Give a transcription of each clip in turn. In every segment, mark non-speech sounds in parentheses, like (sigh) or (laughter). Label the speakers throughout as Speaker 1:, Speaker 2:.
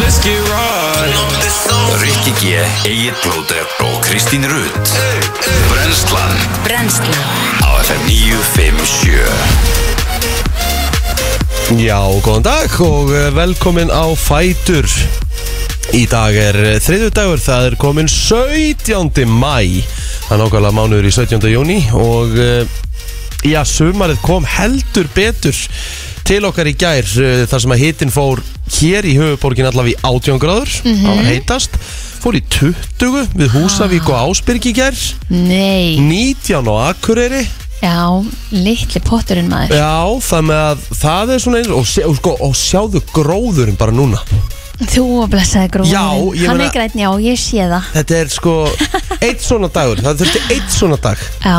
Speaker 1: Let's get right
Speaker 2: Rikki G, Egil Blóter og Kristín Rutt Brenslan
Speaker 3: Brennslan
Speaker 2: á FM 957
Speaker 4: Já, góðan dag og eh, velkomin á Fætur Í dag er þriðudagur, það er komin 17. mæ Það er nákvæmlega mánuður í 17. júni og eh, já, sumarið kom heldur betur til okkar í gær eh, þar sem að hitin fór hér í höfuborgin allavega í 18 gráður það var heitast, fór í 20 við Húsavík og Ásbyrg í gær
Speaker 3: Nei,
Speaker 4: 19 á Akureyri
Speaker 3: já, litli potturinn maður
Speaker 4: Já, þannig að það er svona eins og, sé- og, sko, og sjáðu gróðurinn bara núna
Speaker 3: Þú og blessaði gróðurinn
Speaker 4: Já, ég
Speaker 3: Hann
Speaker 4: meina-
Speaker 3: er græn, já, ég sé það
Speaker 4: Þetta er sko eitt svona dagur, það þurfti eitt svona dag
Speaker 3: Já,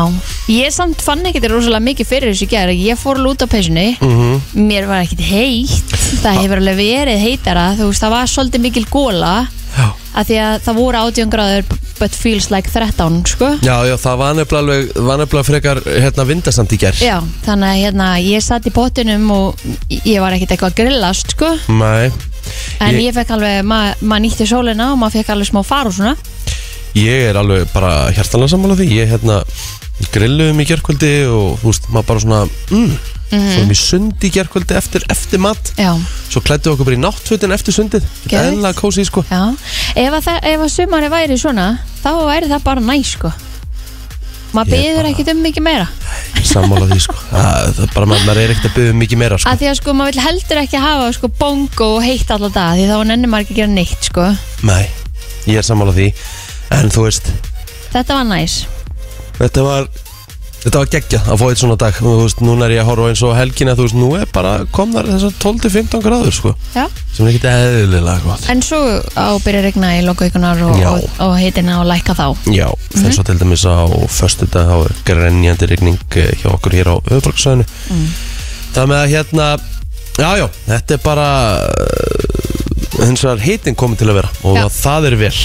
Speaker 3: ég samt fann ekkert rosalega mikið fyrir þessu í gær Ég fór lút á peysunni
Speaker 4: Mhm.
Speaker 3: Mér var ekkert heitt
Speaker 4: Ah.
Speaker 3: Það hefur alveg verið heitara Þú veist, það var svolítið mikil góla
Speaker 4: Já,
Speaker 3: að Því að það voru 18 gráður But feels like 13, sko
Speaker 4: já, það var nefnilega, alveg, var nefnilega frekar hérna vindasamt í ger
Speaker 3: Já, þannig að hérna, ég satt í pottinum og ég var ekkert eitthvað að grillast, sko
Speaker 4: Nei,
Speaker 3: En
Speaker 4: Ég-
Speaker 3: ég, fekk alveg, ma- maður nýtti sólina og maður fekk alveg smá far og svona
Speaker 4: ég er alveg bara hjartanlega sammála því Ég hérna grilluðum í gerkvöldi og þú veist, maður bara svona mm, Fórum í sund í gerkvöldi eftir, eftir mat
Speaker 3: Mhm. Já,
Speaker 4: Svo klættu okkur bara í náttfötin eftir sundið
Speaker 3: Geðveikt.
Speaker 4: Eðla kósi, sko
Speaker 3: já Ef að, það- ef að sumari væri svona, þá væri það bara næ, sko Maður
Speaker 4: Ég
Speaker 3: byður
Speaker 4: bara-
Speaker 3: ekkert um mikið meira
Speaker 4: Sammála því, sko Það, það er bara, maður, maður er ekkert að byggja um mikið meira, sko
Speaker 3: Af því að sko, maður vill heldur ekki hafa sko bongo og heitt alla dag Því þá nennir maður ekki að gera neitt, sko
Speaker 4: Nei, ég er sammála því En þú veist,
Speaker 3: Þetta var næs
Speaker 4: þetta var Þetta var geggja að fá eitt svona dag Þú veist, núna er ég að horfa eins og á helgina Þú veist, nú er bara komnar þessar 12-15 gráður sko,
Speaker 3: Já
Speaker 4: Sem er ekkert eðlilega gott
Speaker 3: En svo á byrja regna í lokavíkunar og,
Speaker 4: Já.
Speaker 3: og, og heitina og lækka þá
Speaker 4: Já, þess
Speaker 3: Mhm.
Speaker 4: að til dæmis á föstu dag þá er grenjandi rigning eh, hjá okkur hér á öðvöldsvæðinu
Speaker 3: Mm.
Speaker 4: Það með að hérna Já, já, þetta er bara eh, hins vegar hitin komin til að vera og
Speaker 3: Já.
Speaker 4: það er vel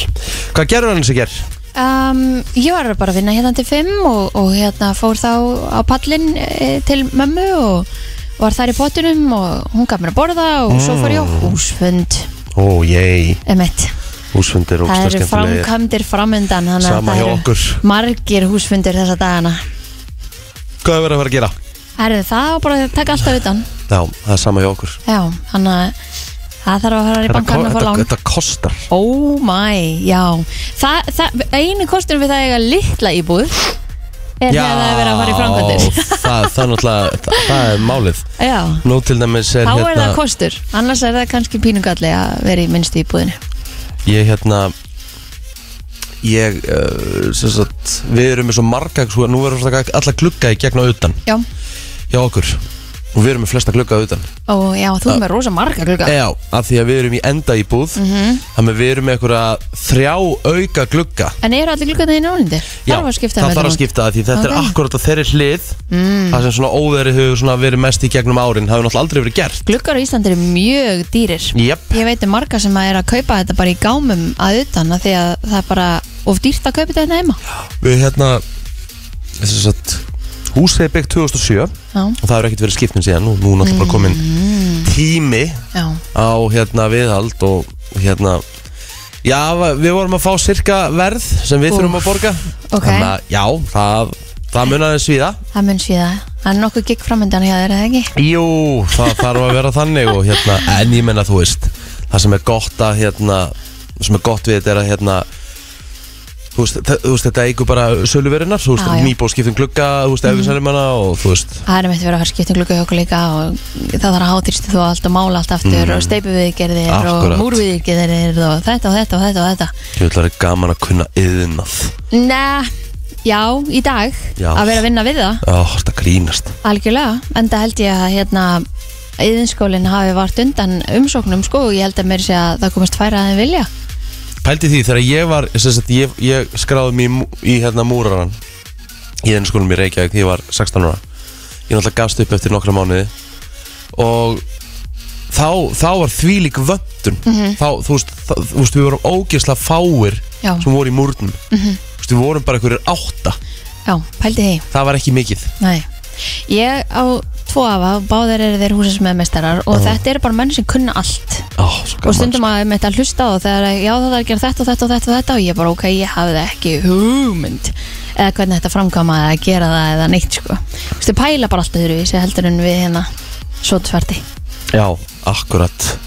Speaker 4: Hvað gerur hann þessi ger?
Speaker 3: Um, ég var bara að vinna hérna til 5 og, og hérna fór þá á pallin e, til mömmu og var þar í potunum og hún gaf mér að borða og svo fór ég á
Speaker 4: Mm.
Speaker 3: húsfund
Speaker 4: Ó, jæj,
Speaker 3: um eitt.
Speaker 4: húsfundir og
Speaker 3: Það eru framkvæmdir framundan þannig að
Speaker 4: Sama
Speaker 3: það
Speaker 4: hjá
Speaker 3: eru
Speaker 4: okkur.
Speaker 3: margir húsfundir þessa dagana.
Speaker 4: Hvað er verið að fara að gera?
Speaker 3: Það eru það og bara að taka alltaf utan.
Speaker 4: Já, það er sama hjá okkur
Speaker 3: Já, þannig að það þarf að fara í bankann og fá lán.
Speaker 4: þetta kostar
Speaker 3: Oh my, já Þa, það, Einu kostunum við það að eiga litla íbúð er þegar það er verið að fara í framkvæmdir
Speaker 4: það, það er náttúrulega, það, það er málið
Speaker 3: (laughs) Já,
Speaker 4: Nú til dæmis er
Speaker 3: þá er
Speaker 4: hérna,
Speaker 3: það kostur annars er það kannski pínugalli að vera í minnstu íbúðinu
Speaker 4: ég hérna Ég, uh, sem sagt, við erum með svo marga sko, Nú erum við alla glugga í gegn og utan
Speaker 3: Já,
Speaker 4: Hjá okkur Og við erum með flesta glugga að utan
Speaker 3: og já, þú er með rosa marga glugga
Speaker 4: Já, af því að við erum í enda í búð
Speaker 3: Mhm.
Speaker 4: Þannig að við erum með einhverja þrjá auka glugga
Speaker 3: En eru allir gluggarnir í nálindir?
Speaker 4: Já,
Speaker 3: þarf að skipta um
Speaker 4: það
Speaker 3: þeim
Speaker 4: þarf að
Speaker 3: öllum.
Speaker 4: skipta það því
Speaker 3: Ok.
Speaker 4: þetta er akkurat á þeirri hlið mm. það sem svona óverið hefur svona verið mest í gegnum árin það hefur náttúrulega aldrei verið gert
Speaker 3: Gluggar á Íslandi eru mjög dýrir
Speaker 4: Jep,
Speaker 3: Ég veit um marga sem að er að kaupa þetta bara í gámum að utan að því að það er bara of dýrt að kaupa þetta hérna heima
Speaker 4: við hérna þess að sagt húsið er byggt 2007 og
Speaker 3: Já,
Speaker 4: það hefur ekkert verið skiptum síðan og nú er náttúrulega
Speaker 3: Mm.
Speaker 4: bara komin tími
Speaker 3: já,
Speaker 4: á hérna viðhald og hérna já, við vorum að fá cirka verð sem við
Speaker 3: Úff,
Speaker 4: þurfum að borga
Speaker 3: ok.
Speaker 4: þannig að já, það, það munaði svíða
Speaker 3: það mun svíða Það er nokkuð gikk framöndan hjá þér, eða ekki?
Speaker 4: Jú, það þarf að vera þannig og hérna, en ég menna þú veist það sem er gott að hérna sem er gott við þetta er að hérna þú veist, þa- þú veist þetta eigur bara söluverinnar, þú veist,
Speaker 3: Já, Mhm. já.
Speaker 4: nýbóð skiptum glugga þú veist, mm. efisælum hana og þú veist
Speaker 3: Það er meitt verið að fara skiptum glugga hjá okkur líka og það þarf að hátirstu þú allt og mála allt aftur
Speaker 4: Mhm.
Speaker 3: og steipu viðgerðir og
Speaker 4: Akkúrat.
Speaker 3: múrviðgerðir og þetta og þetta og þetta og þetta
Speaker 4: ég vil það er gaman að kunna yðinnað
Speaker 3: Nei, já, í dag
Speaker 4: Já.
Speaker 3: að vera að vinna við það,
Speaker 4: Ó, þetta grínast
Speaker 3: algjörlega en það held ég að hérna yðinskólinn hafi vart undan umsóknum sko og ég held að mér sé að það komast færa að þeim vilja
Speaker 4: Pældi því þegar ég var, sem sagt, ég, ég skráði mig í, mú- í hérna múraran í þenni skólum í Reykjavík þegar ég var 16 ára Ég náttúrulega gafst upp eftir nokkra mánuði og þá, þá var þvílík vöndun þá, þú veist, þá, þú veist, við vorum ógeðslega fáir
Speaker 3: Mhm. Já. Mhm.
Speaker 4: sem voru í múrnum mm -hmm. Við vorum bara einhverjir átta
Speaker 3: Já, pældi því,
Speaker 4: Það var ekki mikið
Speaker 3: nei Ég á tvo afa, báðir eru þeir húsins með meistarar og þetta eru bara menn sem kunna allt
Speaker 4: Ó, svo
Speaker 3: og
Speaker 4: gaman,
Speaker 3: stundum að ég meitt að hlusta á þegar að, já það er að gera þetta og þetta og þetta og þetta og ég bara ok, ég hafði ekki hugmynd eða hvernig þetta framkama eða gera það eða neitt sko Þú veist, þau pæla bara alltaf þurru í sig heldur en við hérna svotsverti
Speaker 4: Já, akkurat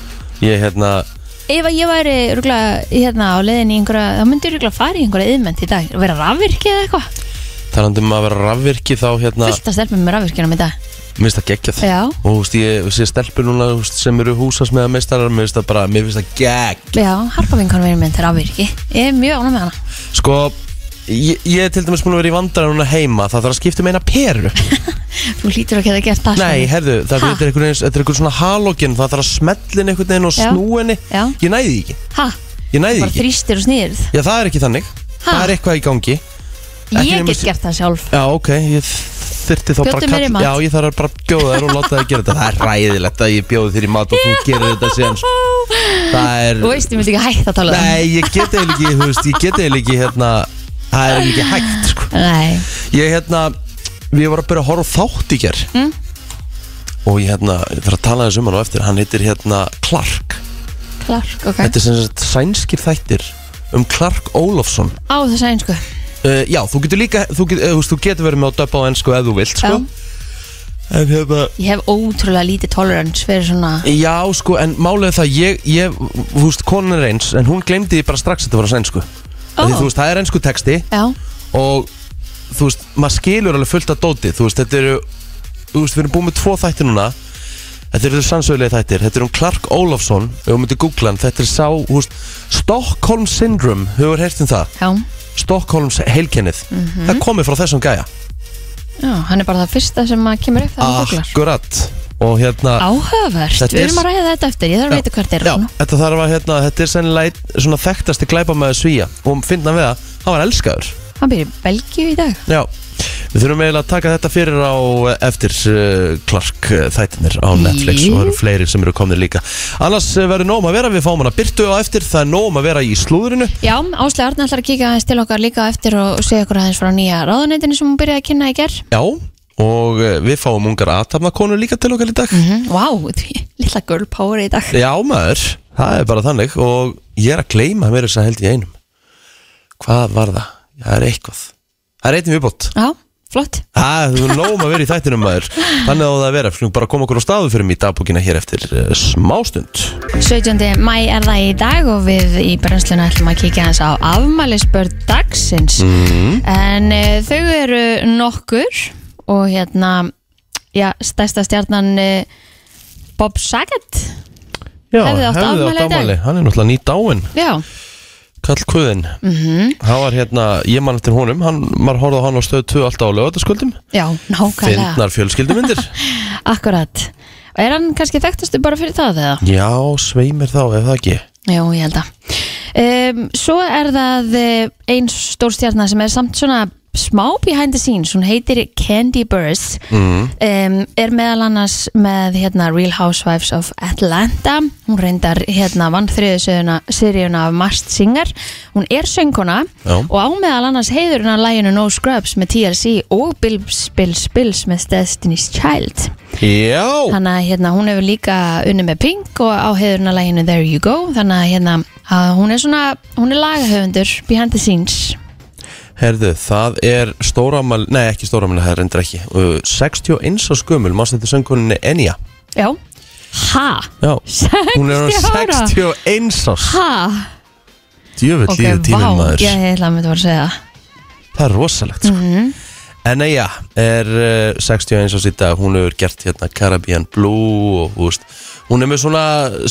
Speaker 4: Ég hérna
Speaker 3: Ef að ég væri rúgla hérna á leiðin í einhverja, þá myndi ég rúgla fara í einhverja yðmynd í dag, vera rafvirki eða eitthvað
Speaker 4: talandi um að vera rafvirki þá hérna
Speaker 3: fullt að stelpa með rafvirkjunum í dag
Speaker 4: minnst það geggjað
Speaker 3: Já.
Speaker 4: og þú veist ég sé stelpur núna þú veist, sem eru húsas með að meistarar mér finnst það bara mér finnst það gegg
Speaker 3: Já, harpa vinkonu verið mynd til rafvirki Ég er mjög ánum með hana
Speaker 4: sko ég, ég er til dæmis múin að vera í vandrar núna heima það þarf að skipta um eina
Speaker 3: (laughs)
Speaker 4: peru
Speaker 3: Þú hlýtur ekki að geta gert það
Speaker 4: nei
Speaker 3: Svenni.
Speaker 4: herðu það
Speaker 3: Ha?
Speaker 4: þetta er einhvern veginn þetta er einhvern svona halógin það þarf að smellin einhvern veginn og
Speaker 3: Já.
Speaker 4: snúinni
Speaker 3: Já.
Speaker 4: ég næði því ekki
Speaker 3: Ha,
Speaker 4: ég næði
Speaker 3: bara
Speaker 4: því ekki
Speaker 3: þrýstir og snýrð
Speaker 4: já það er ekki þannig
Speaker 3: Ha?
Speaker 4: það er eitthvað í gangi Ekki
Speaker 3: Ég
Speaker 4: nema
Speaker 3: get
Speaker 4: sé-
Speaker 3: gert það sjálf
Speaker 4: Já, ok, ég þyrti þá bara
Speaker 3: Bjóddu mér í mat.
Speaker 4: Já, ég þarf bara að bjóða þér og láta þér gera þetta Það er ræðilegt að ég bjóði þér í mat og þú gerir þetta síðan
Speaker 3: (laughs)
Speaker 4: sko. Það er
Speaker 3: Þú veist, ég myndi ekki hægt að tala um
Speaker 4: Nei, ég get eiginlega ekki, þú veist, ég get eiginlega ekki hérna Það er ekki hægt, sko
Speaker 3: það. Nei
Speaker 4: Ég hérna, við varum að byrja að horfa á þátt í ger mm. Og ég hérna, ég þarf að tala þess um hann á eftir Hann heitir hérna Clark
Speaker 3: Clark, ok
Speaker 4: Þetta er sem sagt sænskir þættir um Clark Ólofsson
Speaker 3: Á það sæn sko
Speaker 4: Uh, já, þú getur líka, þú getur, uh, þú veist, þú getur verið með á döpa á ennsku ef þú vilt, sko. En hérna,
Speaker 3: Ég hef ótrúlega lítið tolerance fyrir svona
Speaker 4: Já, sko, en málið er það ég, ég, þú veist, konan er eins en hún glemdi bara strax að þetta var á sænsku oh. því, þú veist, það er einsku texti
Speaker 3: Já,
Speaker 4: og þú veist, maður skilur alveg fullt af dóti, þú veist, þetta eru þú veist, við erum búin með tvo þætti núna þetta eru sannsögulega þættir, þetta eru um Clark Ólafsson, ef við myndum googla hann þetta er sá, þú veist, Stockholm Syndrome hefur heyrt um það,
Speaker 3: já
Speaker 4: Stockholms heilkennið
Speaker 3: Mhm.
Speaker 4: það komið frá þessum gæja
Speaker 3: Já, hann er bara það fyrsta sem að kemur upp þegar hann googlar
Speaker 4: akkurat, og hérna
Speaker 3: Áhugavert,
Speaker 4: Ah. Þetta
Speaker 3: við
Speaker 4: er-
Speaker 3: erum að ræða þetta eftir Ég þarf að vita hvert er
Speaker 4: Já,
Speaker 3: hann
Speaker 4: þetta þarf að, hérna, þetta er sennilega einn svona þekktasti glæpamæður svíja og finna við að hann var elskaður
Speaker 3: Hann býr í Belgíu í dag
Speaker 4: Já, við þurfum eiginlega að taka þetta fyrir á eh, eftir uh, Clark uh, þættinir á Netflix
Speaker 3: Jú.
Speaker 4: og það eru fleiri sem eru komnir líka annars eh, verður nóg um að vera, við fáum hana byrtu á eftir það er nóg um að vera í slúðurinu
Speaker 3: Já, Áslega Arna ætlar að kíka aðeins til okkar líka á eftir og segja okkur aðeins frá nýja ráðuneytinu sem hún byrjaði að kynna í ger
Speaker 4: Já, og uh, við fáum ungar aðtapnakonur líka til okkar í dag
Speaker 3: Vá, wow, því lilla girl power í dag
Speaker 4: Já maður, það er bara þannig og ég er að gleyma mér þess að held í einum Hvað var það? Það er eitthvað Það er eitthvað viðbót
Speaker 3: Já, flott
Speaker 4: Það þú erum nógum að vera í þættinum maður Þannig á það að vera, skulum bara koma okkur á staðu fyrir mig í dagbúkina hér eftir uh, smástund
Speaker 3: 17. mæ er það í dag og við í brennsluna ætlum að kíkja hans á afmælisbörn dagsins en uh, þau eru nokkur og hérna já, stærsta stjarnan uh, Bob Saget
Speaker 4: Já,
Speaker 3: Hefði átt afmæli í dag.
Speaker 4: Hann er náttúrulega nýtt áinn,
Speaker 3: já,
Speaker 4: Kall Kuðin
Speaker 3: Mhm.
Speaker 4: Hann var hérna, ég man eftir honum Hann, maður horfði á hann á stöðu 2 alltaf á lögataskvöldum
Speaker 3: já, nákvæmlega
Speaker 4: Fyndnar
Speaker 3: (laughs)
Speaker 4: fjölskyldumyndir
Speaker 3: akkurat, og er hann kannski þekktastu bara fyrir það eða?
Speaker 4: Já, svei mér þá, ef það ekki
Speaker 3: Jú, ég held að um, Svo er það eh, ein stórstjarnar sem er samt svona smá behind the scenes, hún heitir Candy Burrs mm. er meðal annars með hérna, Real Housewives of Atlanta hún reyndar hérna vann þriðu seríuna af Mast Singer hún er sönguna
Speaker 4: Já.
Speaker 3: og á meðal annars heiðurinn að læginu No Scrubs með TLC og Bills, Bills, Bills með Destiny's Child
Speaker 4: Já,
Speaker 3: þannig að hérna, hún hefur líka unni með Pink og á hefurna læginu There You Go þannig að hérna, að hún er svona hún er lagahöfundur behind the scenes
Speaker 4: herðu, það er stóramæl Nei, ekki stóramæl, það er endur ekki uh, 61 á skömmul, mannst þetta söngkoninni Enja
Speaker 3: já, ha
Speaker 4: Já, hún er
Speaker 3: 60 ára?
Speaker 4: 61 ás
Speaker 3: ha,
Speaker 4: Djöfull
Speaker 3: ok,
Speaker 4: líður
Speaker 3: vá
Speaker 4: tíminn maður
Speaker 3: ég ætla að mynda að segja það.
Speaker 4: Það er rosalegt sko.
Speaker 3: Mhm.
Speaker 4: En neja, er uh, 61 ás í dag Hún hefur gert hérna Caribbean Blue og, þú veist, Hún er með svona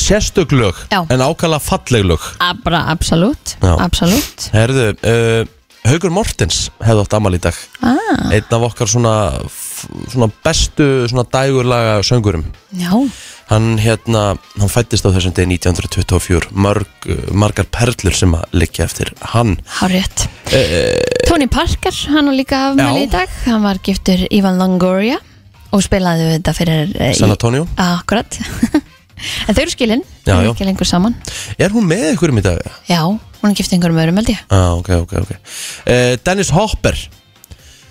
Speaker 4: sérstök lög
Speaker 3: Já.
Speaker 4: En ákala falleg lög
Speaker 3: Ab- bara absolutt,
Speaker 4: Já.
Speaker 3: absolutt
Speaker 4: Herðu, uh, Haugur Mortens hefði átt amal í dag
Speaker 3: ah,
Speaker 4: Einn af okkar svona, f- svona bestu svona dægurlaga söngurum
Speaker 3: já,
Speaker 4: Hann hérna, hann fættist á þessum degi 1924 Mörg, eh, Margar perlur sem að liggja eftir hann
Speaker 3: há rétt Tony Parker, hann var líka afmæli
Speaker 4: Eh, Já.
Speaker 3: í dag hann var giftur Ivan Longoria og spilaði þetta fyrir eh, í-
Speaker 4: San Antonio
Speaker 3: akkurat (laughs) en þau eru skilin,
Speaker 4: Já,
Speaker 3: þau
Speaker 4: já.
Speaker 3: eru ekki lengur saman
Speaker 4: Er hún með einhverjum í dag?
Speaker 3: Já, hún er gift einhverjum öðrum held ég
Speaker 4: Ah, ok, ok, ok uh, Dennis Eh, Hopper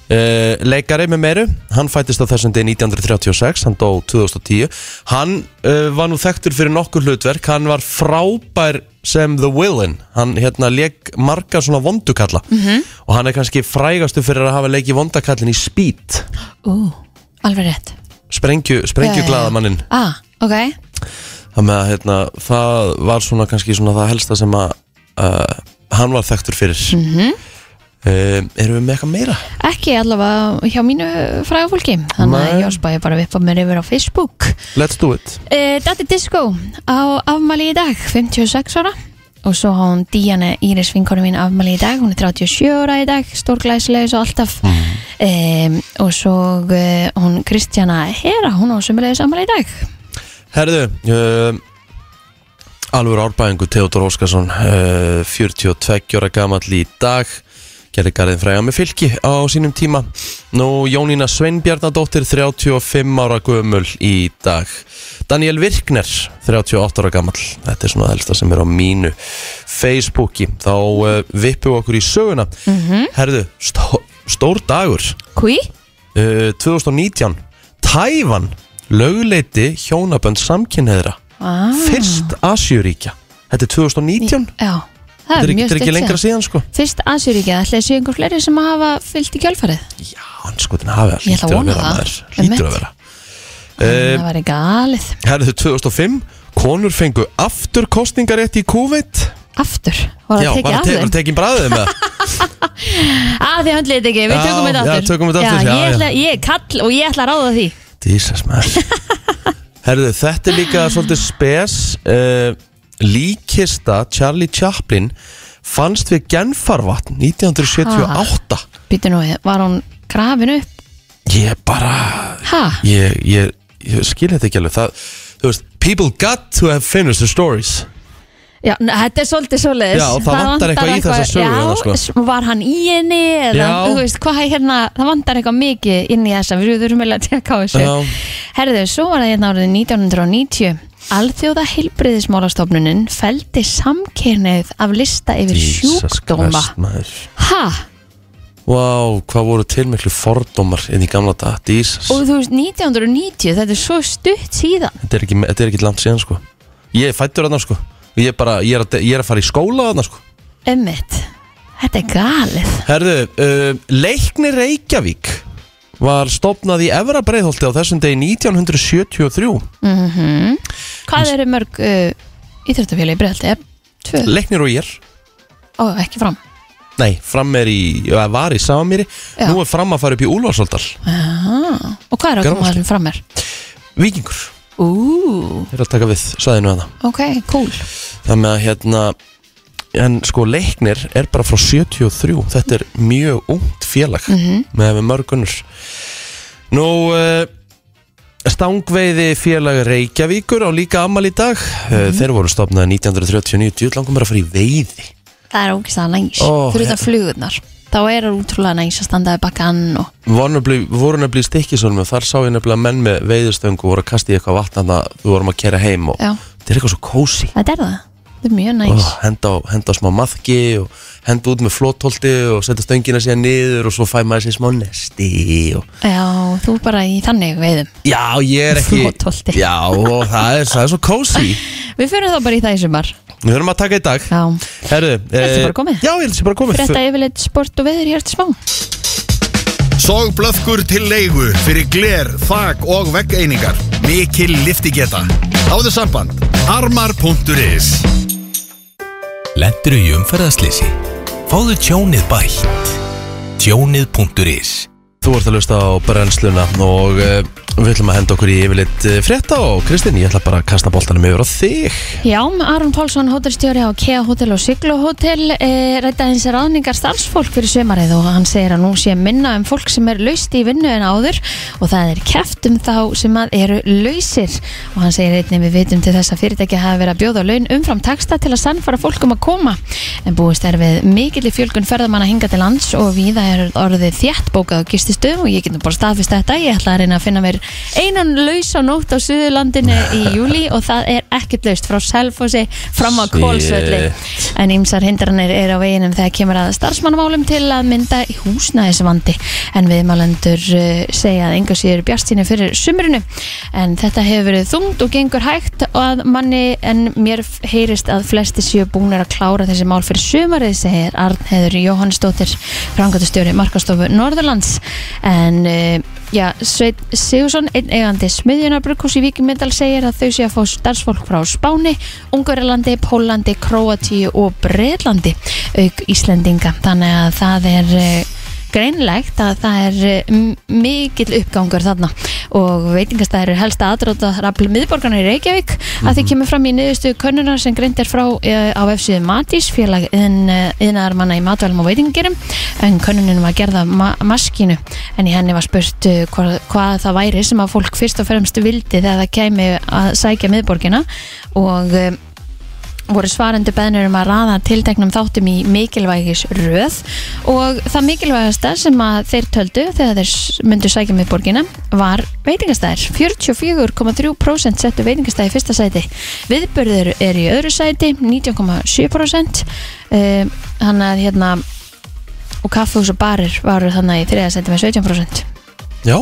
Speaker 4: Uh, leikari með meiru, hann fættist á þessum degi 1936, hann dó 2010 hann uh, var nú þekktur fyrir nokkur hlutverk, hann var frábær sem The Villain hann hérna leik marga svona vondukalla -hmm. og hann er kannski frægastu fyrir að hafa leikið vondakallin í Speed
Speaker 3: Ú, alveg rétt
Speaker 4: sprengju, sprengju glaðamannin
Speaker 3: Ah, ok
Speaker 4: þannig að hérna, það var svona kannski svona það helsta sem að uh, hann var þekktur fyrir mm -hmm. erum við með eitthvað meira?
Speaker 3: Ekki allavega hjá mínu fræga fólki Þannig að
Speaker 4: Nei.
Speaker 3: ég spæði bara vippa mér yfir á Facebook
Speaker 4: Let's do it
Speaker 3: uh, Dati Disco á afmæli í dag 56 ára Og svo á hún Díana Íris vinkonu mín afmæli í dag Hún er 37 ára í dag, stórglæsileg svo alltaf
Speaker 4: Mm.
Speaker 3: um, Og svo uh, hún Kristjana Hera, hún á sömulegis afmæli í dag
Speaker 4: Herðu, uh, alvöru árbæðingu Theodor Óskarsson, uh, 42 ára gamall í dag, gerði garðin fræga með fylki á sínum tíma. Nú Jónína Sveinbjarnadóttir, 35 ára gömul í dag. Daniel Virkner, 38 ára gamall. Þetta er svona elsta sem er á mínu Facebooki. Þá uh, vippum við okkur í söguna. Herðu, stó stór dagur.
Speaker 3: Hví?
Speaker 4: Uh, 2019 Tævan löguleiti hjónabönd samkynneðra
Speaker 3: Ah,
Speaker 4: fyrst Asjuríkja þetta er 2019
Speaker 3: já, það
Speaker 4: þetta
Speaker 3: er
Speaker 4: er ekki,
Speaker 3: mjög
Speaker 4: þetta er ekki
Speaker 3: stutt
Speaker 4: lengra síðan sko
Speaker 3: Fyrst Asjuríkja, ætlaði séu einhver fleiri sem hafa fyllt í kjölfarið
Speaker 4: já, hann sko þetta hafi
Speaker 3: Ég ætla að
Speaker 4: hlýtur
Speaker 3: vona
Speaker 4: vera
Speaker 3: það.
Speaker 4: maður hlýtur
Speaker 3: Einmitt.
Speaker 4: að vera Eh,
Speaker 3: Það var ekki galið
Speaker 4: herðu 2005 konur fengu aftur kostningarétt í COVID
Speaker 3: Aftur, var
Speaker 4: já,
Speaker 3: það tekið
Speaker 4: var
Speaker 3: af
Speaker 4: te- var
Speaker 3: þeim
Speaker 4: tekin bræðið með
Speaker 3: Að þið höndlið þetta ekki, við
Speaker 4: Já,
Speaker 3: tökum þetta
Speaker 4: já,
Speaker 3: aftur
Speaker 4: tökum þetta aftur, já,
Speaker 3: ég,
Speaker 4: já.
Speaker 3: ætla, ég kall og ég ætla að ráða því
Speaker 4: Jesus maður (laughs) Herðu, þetta er líka svolítið spes uh, Líkista Charlie Chaplin fannst við genfarvatn 1978
Speaker 3: Býtu nú, við, var hún grafin upp
Speaker 4: Ég bara
Speaker 3: Ha,
Speaker 4: ég, ég, ég skil þetta ekki alveg það, Þú veist, people got to have finished the stories
Speaker 3: já, n- þetta er svolítið svoleiðis
Speaker 4: Já, það vantar eitthvað í þessa sögu
Speaker 3: Já,
Speaker 4: hérna, sko.
Speaker 3: s- var hann í henni eða,
Speaker 4: Já.
Speaker 3: þú veist, hvað er hérna Það vantar eitthvað mikið inn í þessa Við þurfum eiginlega að teka á þessu
Speaker 4: Já.
Speaker 3: Herðu, svo var það hérna árið 1990 Alþjóða heilbriðismálastofnunin feldi samkynnið af lista yfir sjúkdóma
Speaker 4: Christ, maður
Speaker 3: Ha,
Speaker 4: Vá, hvað voru til miklu fordómar inn í gamla dag, Jesus
Speaker 3: Og þú veist, 1990, þetta er svo stutt síðan.
Speaker 4: Þetta er ekki, þetta er ekki langt síðan, sko Ég er fættur þarna, sko Ég er bara, ég er að, ég er að fara í skóla þarna, sko
Speaker 3: Ömmit, þetta er galið.
Speaker 4: Herðu, uh, Leikni Reykjavík var stopnað í Efra Breiðholti á þessum degi 1973 Mm.
Speaker 3: Hvað eru mörg uh, íþjóttafélagi í bregaldi? Tvö?
Speaker 4: Leiknir og ég,
Speaker 3: Ó, ekki fram.
Speaker 4: nei, fram er í eða var í Samamýri,
Speaker 3: Já.
Speaker 4: nú er fram að fara upp í Úlfarsaldal,
Speaker 3: Ah, og hvað er að koma
Speaker 4: Garðaholti.
Speaker 3: þessum fram er?
Speaker 4: Víkingur
Speaker 3: Ú,
Speaker 4: er að taka við sæðinu hana
Speaker 3: ok, cool.
Speaker 4: þannig að hérna en sko Leiknir er bara frá 73 þetta er mjög ungt félag með með mörgunur nú uh, stangveiði félag Reykjavíkur á líka amal í dag uh, þeir voru stopnað 1939 djúð langum bara að fara í veiði
Speaker 3: Það er ógislega næs.
Speaker 4: Ó,
Speaker 3: Fyrir
Speaker 4: hérna.
Speaker 3: þetta flugurnar. Þá er það útrúlega næs að standaði bakan og...
Speaker 4: Var nefnilega- voru nefnilega í stikkisólmi og þar sá ég nefnilega menn með veiðistöngu voru að kasta í eitthvað vatn þannig að þú vorum að kera heim og
Speaker 3: Já,
Speaker 4: þetta er eitthvað svo kósi
Speaker 3: þetta er það. Þetta er mjög næs.
Speaker 4: oh, henda, á- henda á smá maðki og henda út með flótholti og setja stöngina síðan niður og svo fæ maður sér smá nesti og...
Speaker 3: Já, þú er bara í þannig veiðum.
Speaker 4: Já, ég er ekki
Speaker 3: Flotholti.
Speaker 4: Já, og það er, það er svo kósi
Speaker 3: Við fyrir þá bara í það í sumar.
Speaker 4: Við höfum að taka í dag
Speaker 3: Já.
Speaker 4: Herðu,
Speaker 3: Þetta er bara komið.
Speaker 4: Já, ég held að sé bara komið
Speaker 3: Frétta yfirleitt sport og veður hér til smá.
Speaker 2: Sogblöfkur til leigu fyrir gler, þak og veggeiningar. Mikil liftigeta. Háðu samband. Armar.is
Speaker 1: Lendur í umferðaslýsi? Fáðu tjónið bætt. Tjónið.is
Speaker 4: Þú ert að lusta á brennsluna og uh, við ætlum að henda okkur í yfirleitt uh, frétta og Kristinn, ég ætla bara að kasta boltanum yfir á þig
Speaker 3: Já, Aron Pálsson, hótelstjóri á KEA Hotel og Siglo Hotel e, rætta hins ráðningar starfsfólk fyrir sömarið og hann segir að nú sé minna um fólk sem er laust í vinnu en áður og það er keft um þá sem að eru lausir og hann segir einnig við vitum til þess að fyrirtæki hafa verið að bjóða laun umfram taksta til að sannfara fólkum að koma en búist er við mikill í fjölgun ferðamanna hinga til lands og víða er orðið þjætt bókað á gististöðum og ég get nú bara staðfist þetta, ég ætla að reyna að finna mér einan laus á nótt á Suðurlandinu í júli og það er ekkert laust frá Selfossi fram á
Speaker 4: Shit.
Speaker 3: Kólsvölli en ýmsar hindranir er á veginum þegar kemur að starfsmannmálum til að mynda húsnæðisvandi en viðmálendur uh, segja að enga síður bjartíni fyrir sumrinu en þetta hefur verið þungt og gengur hægt og að manni en mér f- heyrist að flesti séu búnir að klára þessi mál fyrir sumarið segir Arnheður Jóhannsdóttir frangatustjóri markastofu Norðurlands en uh, Já, Sveit Sigursson, einn eigandi smiðjunarbrukkús í Víkimindal segir að þau sé að fá starfsfólk frá Spáni, Ungverjalandi, Pólandi, Króatíu og Breitlandi auk Íslendinga. Þannig að það er eh, greinlegt að það er eh, m- mikill uppgangur þarna og veitingastæður er helsta aðdróta rafl miðborgarna í Reykjavík að því kemur fram í niðurstöðu könnunar sem greint er frá eh, á F7 Matís félag iðn- eh, iðnaðarmanna í matvælum og veitingarum en könnunin var gerð af ma maskínu en í henni var spurt eh, hvað, hvað það væri sem að fólk fyrst og fremst vildi þegar það kemi að sækja miðborgina og eh, voru svarendu beðnur um að raða tilteknum þáttum í mikilvægis röð og það mikilvægasta sem að þeir töldu þegar þeir s- myndu sækja með borgina var veitingastæðir 44,3% settu veitingastæði í fyrsta sæti viðbörður er í öðru sæti 19,7% Eh, þannig að hérna og kaffehús og barir varu þannig í þriða sæti með 17%
Speaker 4: Já,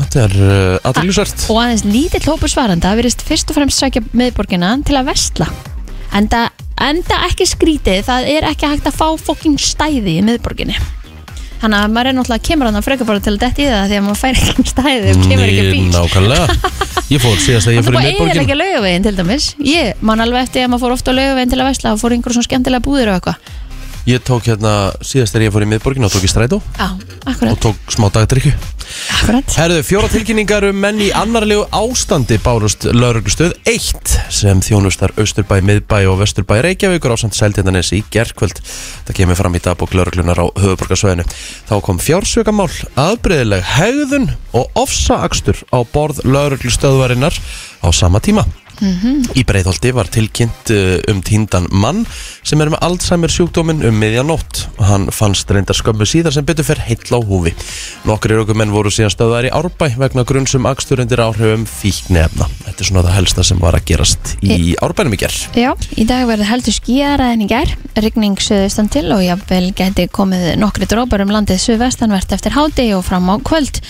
Speaker 4: þetta er uh, aðriljusvært
Speaker 3: og aðeins lítill hópur svaranda verist fyrst og fremst sækja miðborgina til að vestla enda, enda ekki skrítið það er ekki hægt að fá fokkin stæði í miðborginni þannig að maður er náttúrulega kemur hann að freka bara til að detti í það því að maður fær ekki stæði og kemur ekki bíl (laughs)
Speaker 4: Mm, Nákvæmlega Ég fór síðast að ég
Speaker 3: Það
Speaker 4: fyrir
Speaker 3: búið að
Speaker 4: miðborgin
Speaker 3: eiginlega laugavegin til dæmis Ég man alveg eftir að maður fór ofta á laugavegin til að vesla og fór í einhverjum svona skemmtilega búðir og eitthvað
Speaker 4: Ég tók hérna síðast að ég fór í miðborgin og tók í strætó
Speaker 3: Já,
Speaker 4: og
Speaker 3: akkurat,
Speaker 4: tók smá dagdrykju
Speaker 3: akkurat
Speaker 4: Herðu, fjóra tilkynningar um menn í annarlegu ástandi bárust lauruglustöð 1 sem þjónustar Östurbæ, Miðbæ og Vesturbæ Reykjavíkur ásamt Seltjarnanes í gerkvöld. Það kemur fram í dagbók lauruglunar á höfuborgarsvæðinu. Þá kom fjársökamál, aðbreyðileg hegðun og ofsaakstur á borð lauruglustöðvarinnar á sama tíma. Í Breiðholti var tilkynnt uh, um týndan mann sem er með Alzheimer sjúkdóminn um miðjanótt. Hann fannst reyndar skömmu síðar sem betur fer heill á húfi. Nokkri raukumenn voru síðan stöðar í Árbæ vegna um grunnsum akstur undir áhrifum fíknefna. Þetta er svona það helsta sem var að gerast í Árbænum í gerð.
Speaker 3: Já, í dag verður heldur skýjara en í gær, rigning söðustan til og jafnvel geti komið nokkri drópar um landið suðvestanvert eftir hádegi og fram á kvöld,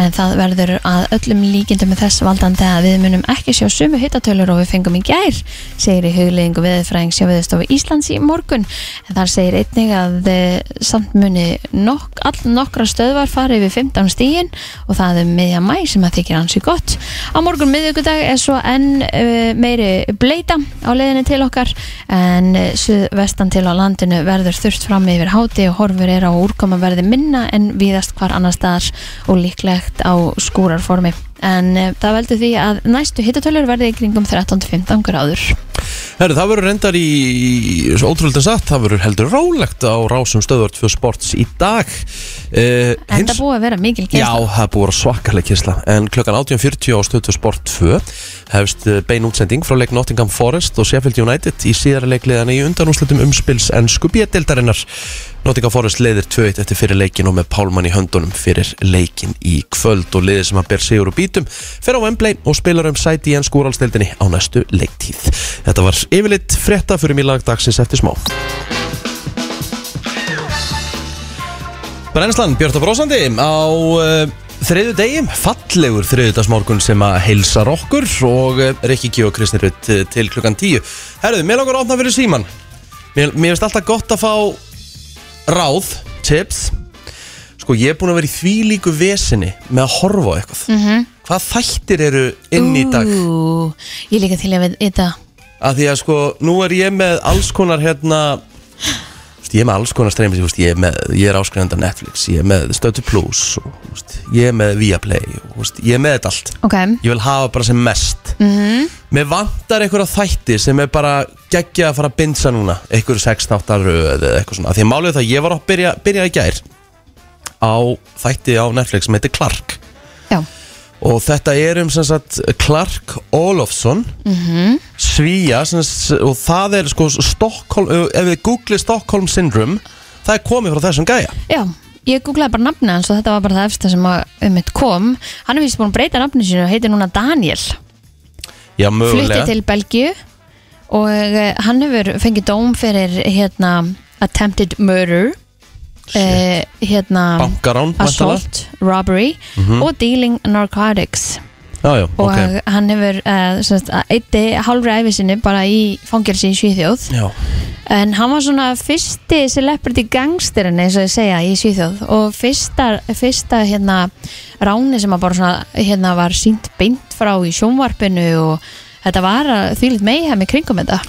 Speaker 3: en það verður að öllum líkindum með þess valdandi að við munum ekki sjá sumu hittatölur og við fengum í gær, segir í hugliðingu viðfræðing sjá viðstofu Íslands í morgun en þar segir einnig að eh, samt muni nokk, all nokkra stöðvar farið við 15 stígin og það er miðja mæ sem að þykir hansi gott á morgun miðugudag er svo enn uh, meiri bleita á leiðinni til okkar en uh, suðvestan til á landinu verður þurft fram yfir háti og horfur er á að úrkoma verði minna en víðast hvar annar staðar og líklegt á skúrarformi en uh, það veldur því að næstu hittatölur verði í kringum 13-15 gráður
Speaker 4: Herru, það verður reyndar í, í svo ótrúlega en satt, það verður heldur rólegt á rásum stöðvart fyrir sports í dag. Uh,
Speaker 3: en það búið að vera mikil
Speaker 4: Já,
Speaker 3: kynst
Speaker 4: það er búið að svakalega kyrsla En klukkan 18.40 á stöðu Sport 2 hefst eh, bein útsending frá leik Nottingham Forest og Sheffield United í síðara leikliðana í undanúslutum umspils ennsku bíadeildarinnar Nottingham Forest leiðir 2-1 eftir fyrir leikin og með Pálmann í höndunum fyrir leikin í kvöld og liðið sem að ber sigur og bítum fer á Wembley og spilar um sæti í ennsku úrvalsteildinni á næstu leiktíð Þetta var yfirleitt frétta fyrir mýlag dagsins eftir smá Brennslan, Björn og Brósandi á uh, þriðu degi, fallegur þriðudagsmorgun sem að heilsar okkur og uh, Rikki G og Kristi Rutt eh, til klukkan tíu. Herðu, mér langar að opna fyrir síman. Mér, mér finnst alltaf gott að fá ráð, tips. Sko, ég er búin að vera í því líku vesinni með að horfa á eitthvað. -hmm. Hvað þættir eru inn í dag?
Speaker 3: Ú, ég líka til að við þetta
Speaker 4: Af því að sko, nú er ég með alls konar hérna þú veist, Ég er með alls konar streymi þú veist, ég, er með, ég er áskrifandi á Netflix Ég er með Stötu Plus og, þú veist, Ég er með Viaplay og, þú veist, Ég er með þetta allt
Speaker 3: Ok,
Speaker 4: Ég vil hafa bara sem mest mm -hmm. Mér vantar einhverja þætti sem er bara geggja að fara að binsa núna Einhverju 6-8 röð eða eitthvað svona Af Því að málið er það, ég var að byrja, byrja í gær Á þætti á Netflix sem heitir Clark
Speaker 3: já,
Speaker 4: Og þetta er um sem sagt Clark Olofsson
Speaker 3: Mhm.
Speaker 4: Svíja sem, sagt, Og það er sko Stockholm Ef við googlið Stockholm Syndrome Það er komið frá þessum gæja
Speaker 3: já ég googlaði bara nafni hans og þetta var bara það efsta sem að um mitt kom hann er vist búin að breyta nafni sínu og heitir núna Daniel
Speaker 4: Já,
Speaker 3: flutti
Speaker 4: mögulega
Speaker 3: til Belgíu og eh, hann hefur fengið dóm fyrir hérna attempted murder eh, hérna
Speaker 4: Bankarán, væntanlega.
Speaker 3: assault, robbery og dealing narcotics
Speaker 4: Já, já,
Speaker 3: og
Speaker 4: ok
Speaker 3: hann hefur uh, sagt, eitti hálfri æfi sinni bara í fangelsi í Svíþjóð
Speaker 4: Já,
Speaker 3: en hann var svona fyrsti celebrity gangsterinn eins og ég segja í Svíþjóð og fyrsta, fyrsta hérna ráni sem að bara svona hérna var sínt beint frá í sjónvarpinu og þetta var að þvílitt meihem í kringum þetta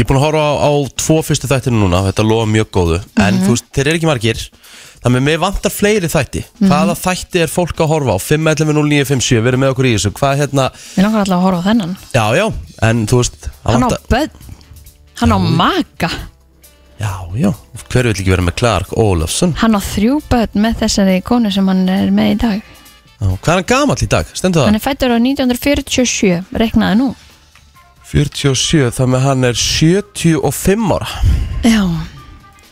Speaker 4: ég er búin að horfa á, á tvo fyrstu þættinu núna Þetta lofa mjög góðu En
Speaker 3: Mhm.
Speaker 4: þú veist, þeir eru ekki margir Þannig að mér vantar fleiri þætti
Speaker 3: Mhm.
Speaker 4: Hvaða þætti er fólk að horfa á? 5.11.09.57, verið með okkur í þessu Hvað hérna,
Speaker 3: mér langar alltaf að horfa á þennan
Speaker 4: já, já En þú veist, það
Speaker 3: hann á
Speaker 4: vantar-
Speaker 3: börn, hann á maka
Speaker 4: Já, já, hver vil ekki vera með Clark Olofsson?
Speaker 3: hann á þrjú börn með þessari konu sem hann er með í dag
Speaker 4: Já, Hvað er hann gamall í dag? Stendur það?
Speaker 3: hann er fættur á 1947, reknaði nú
Speaker 4: 47, þar með hann er 75 ára
Speaker 3: Já,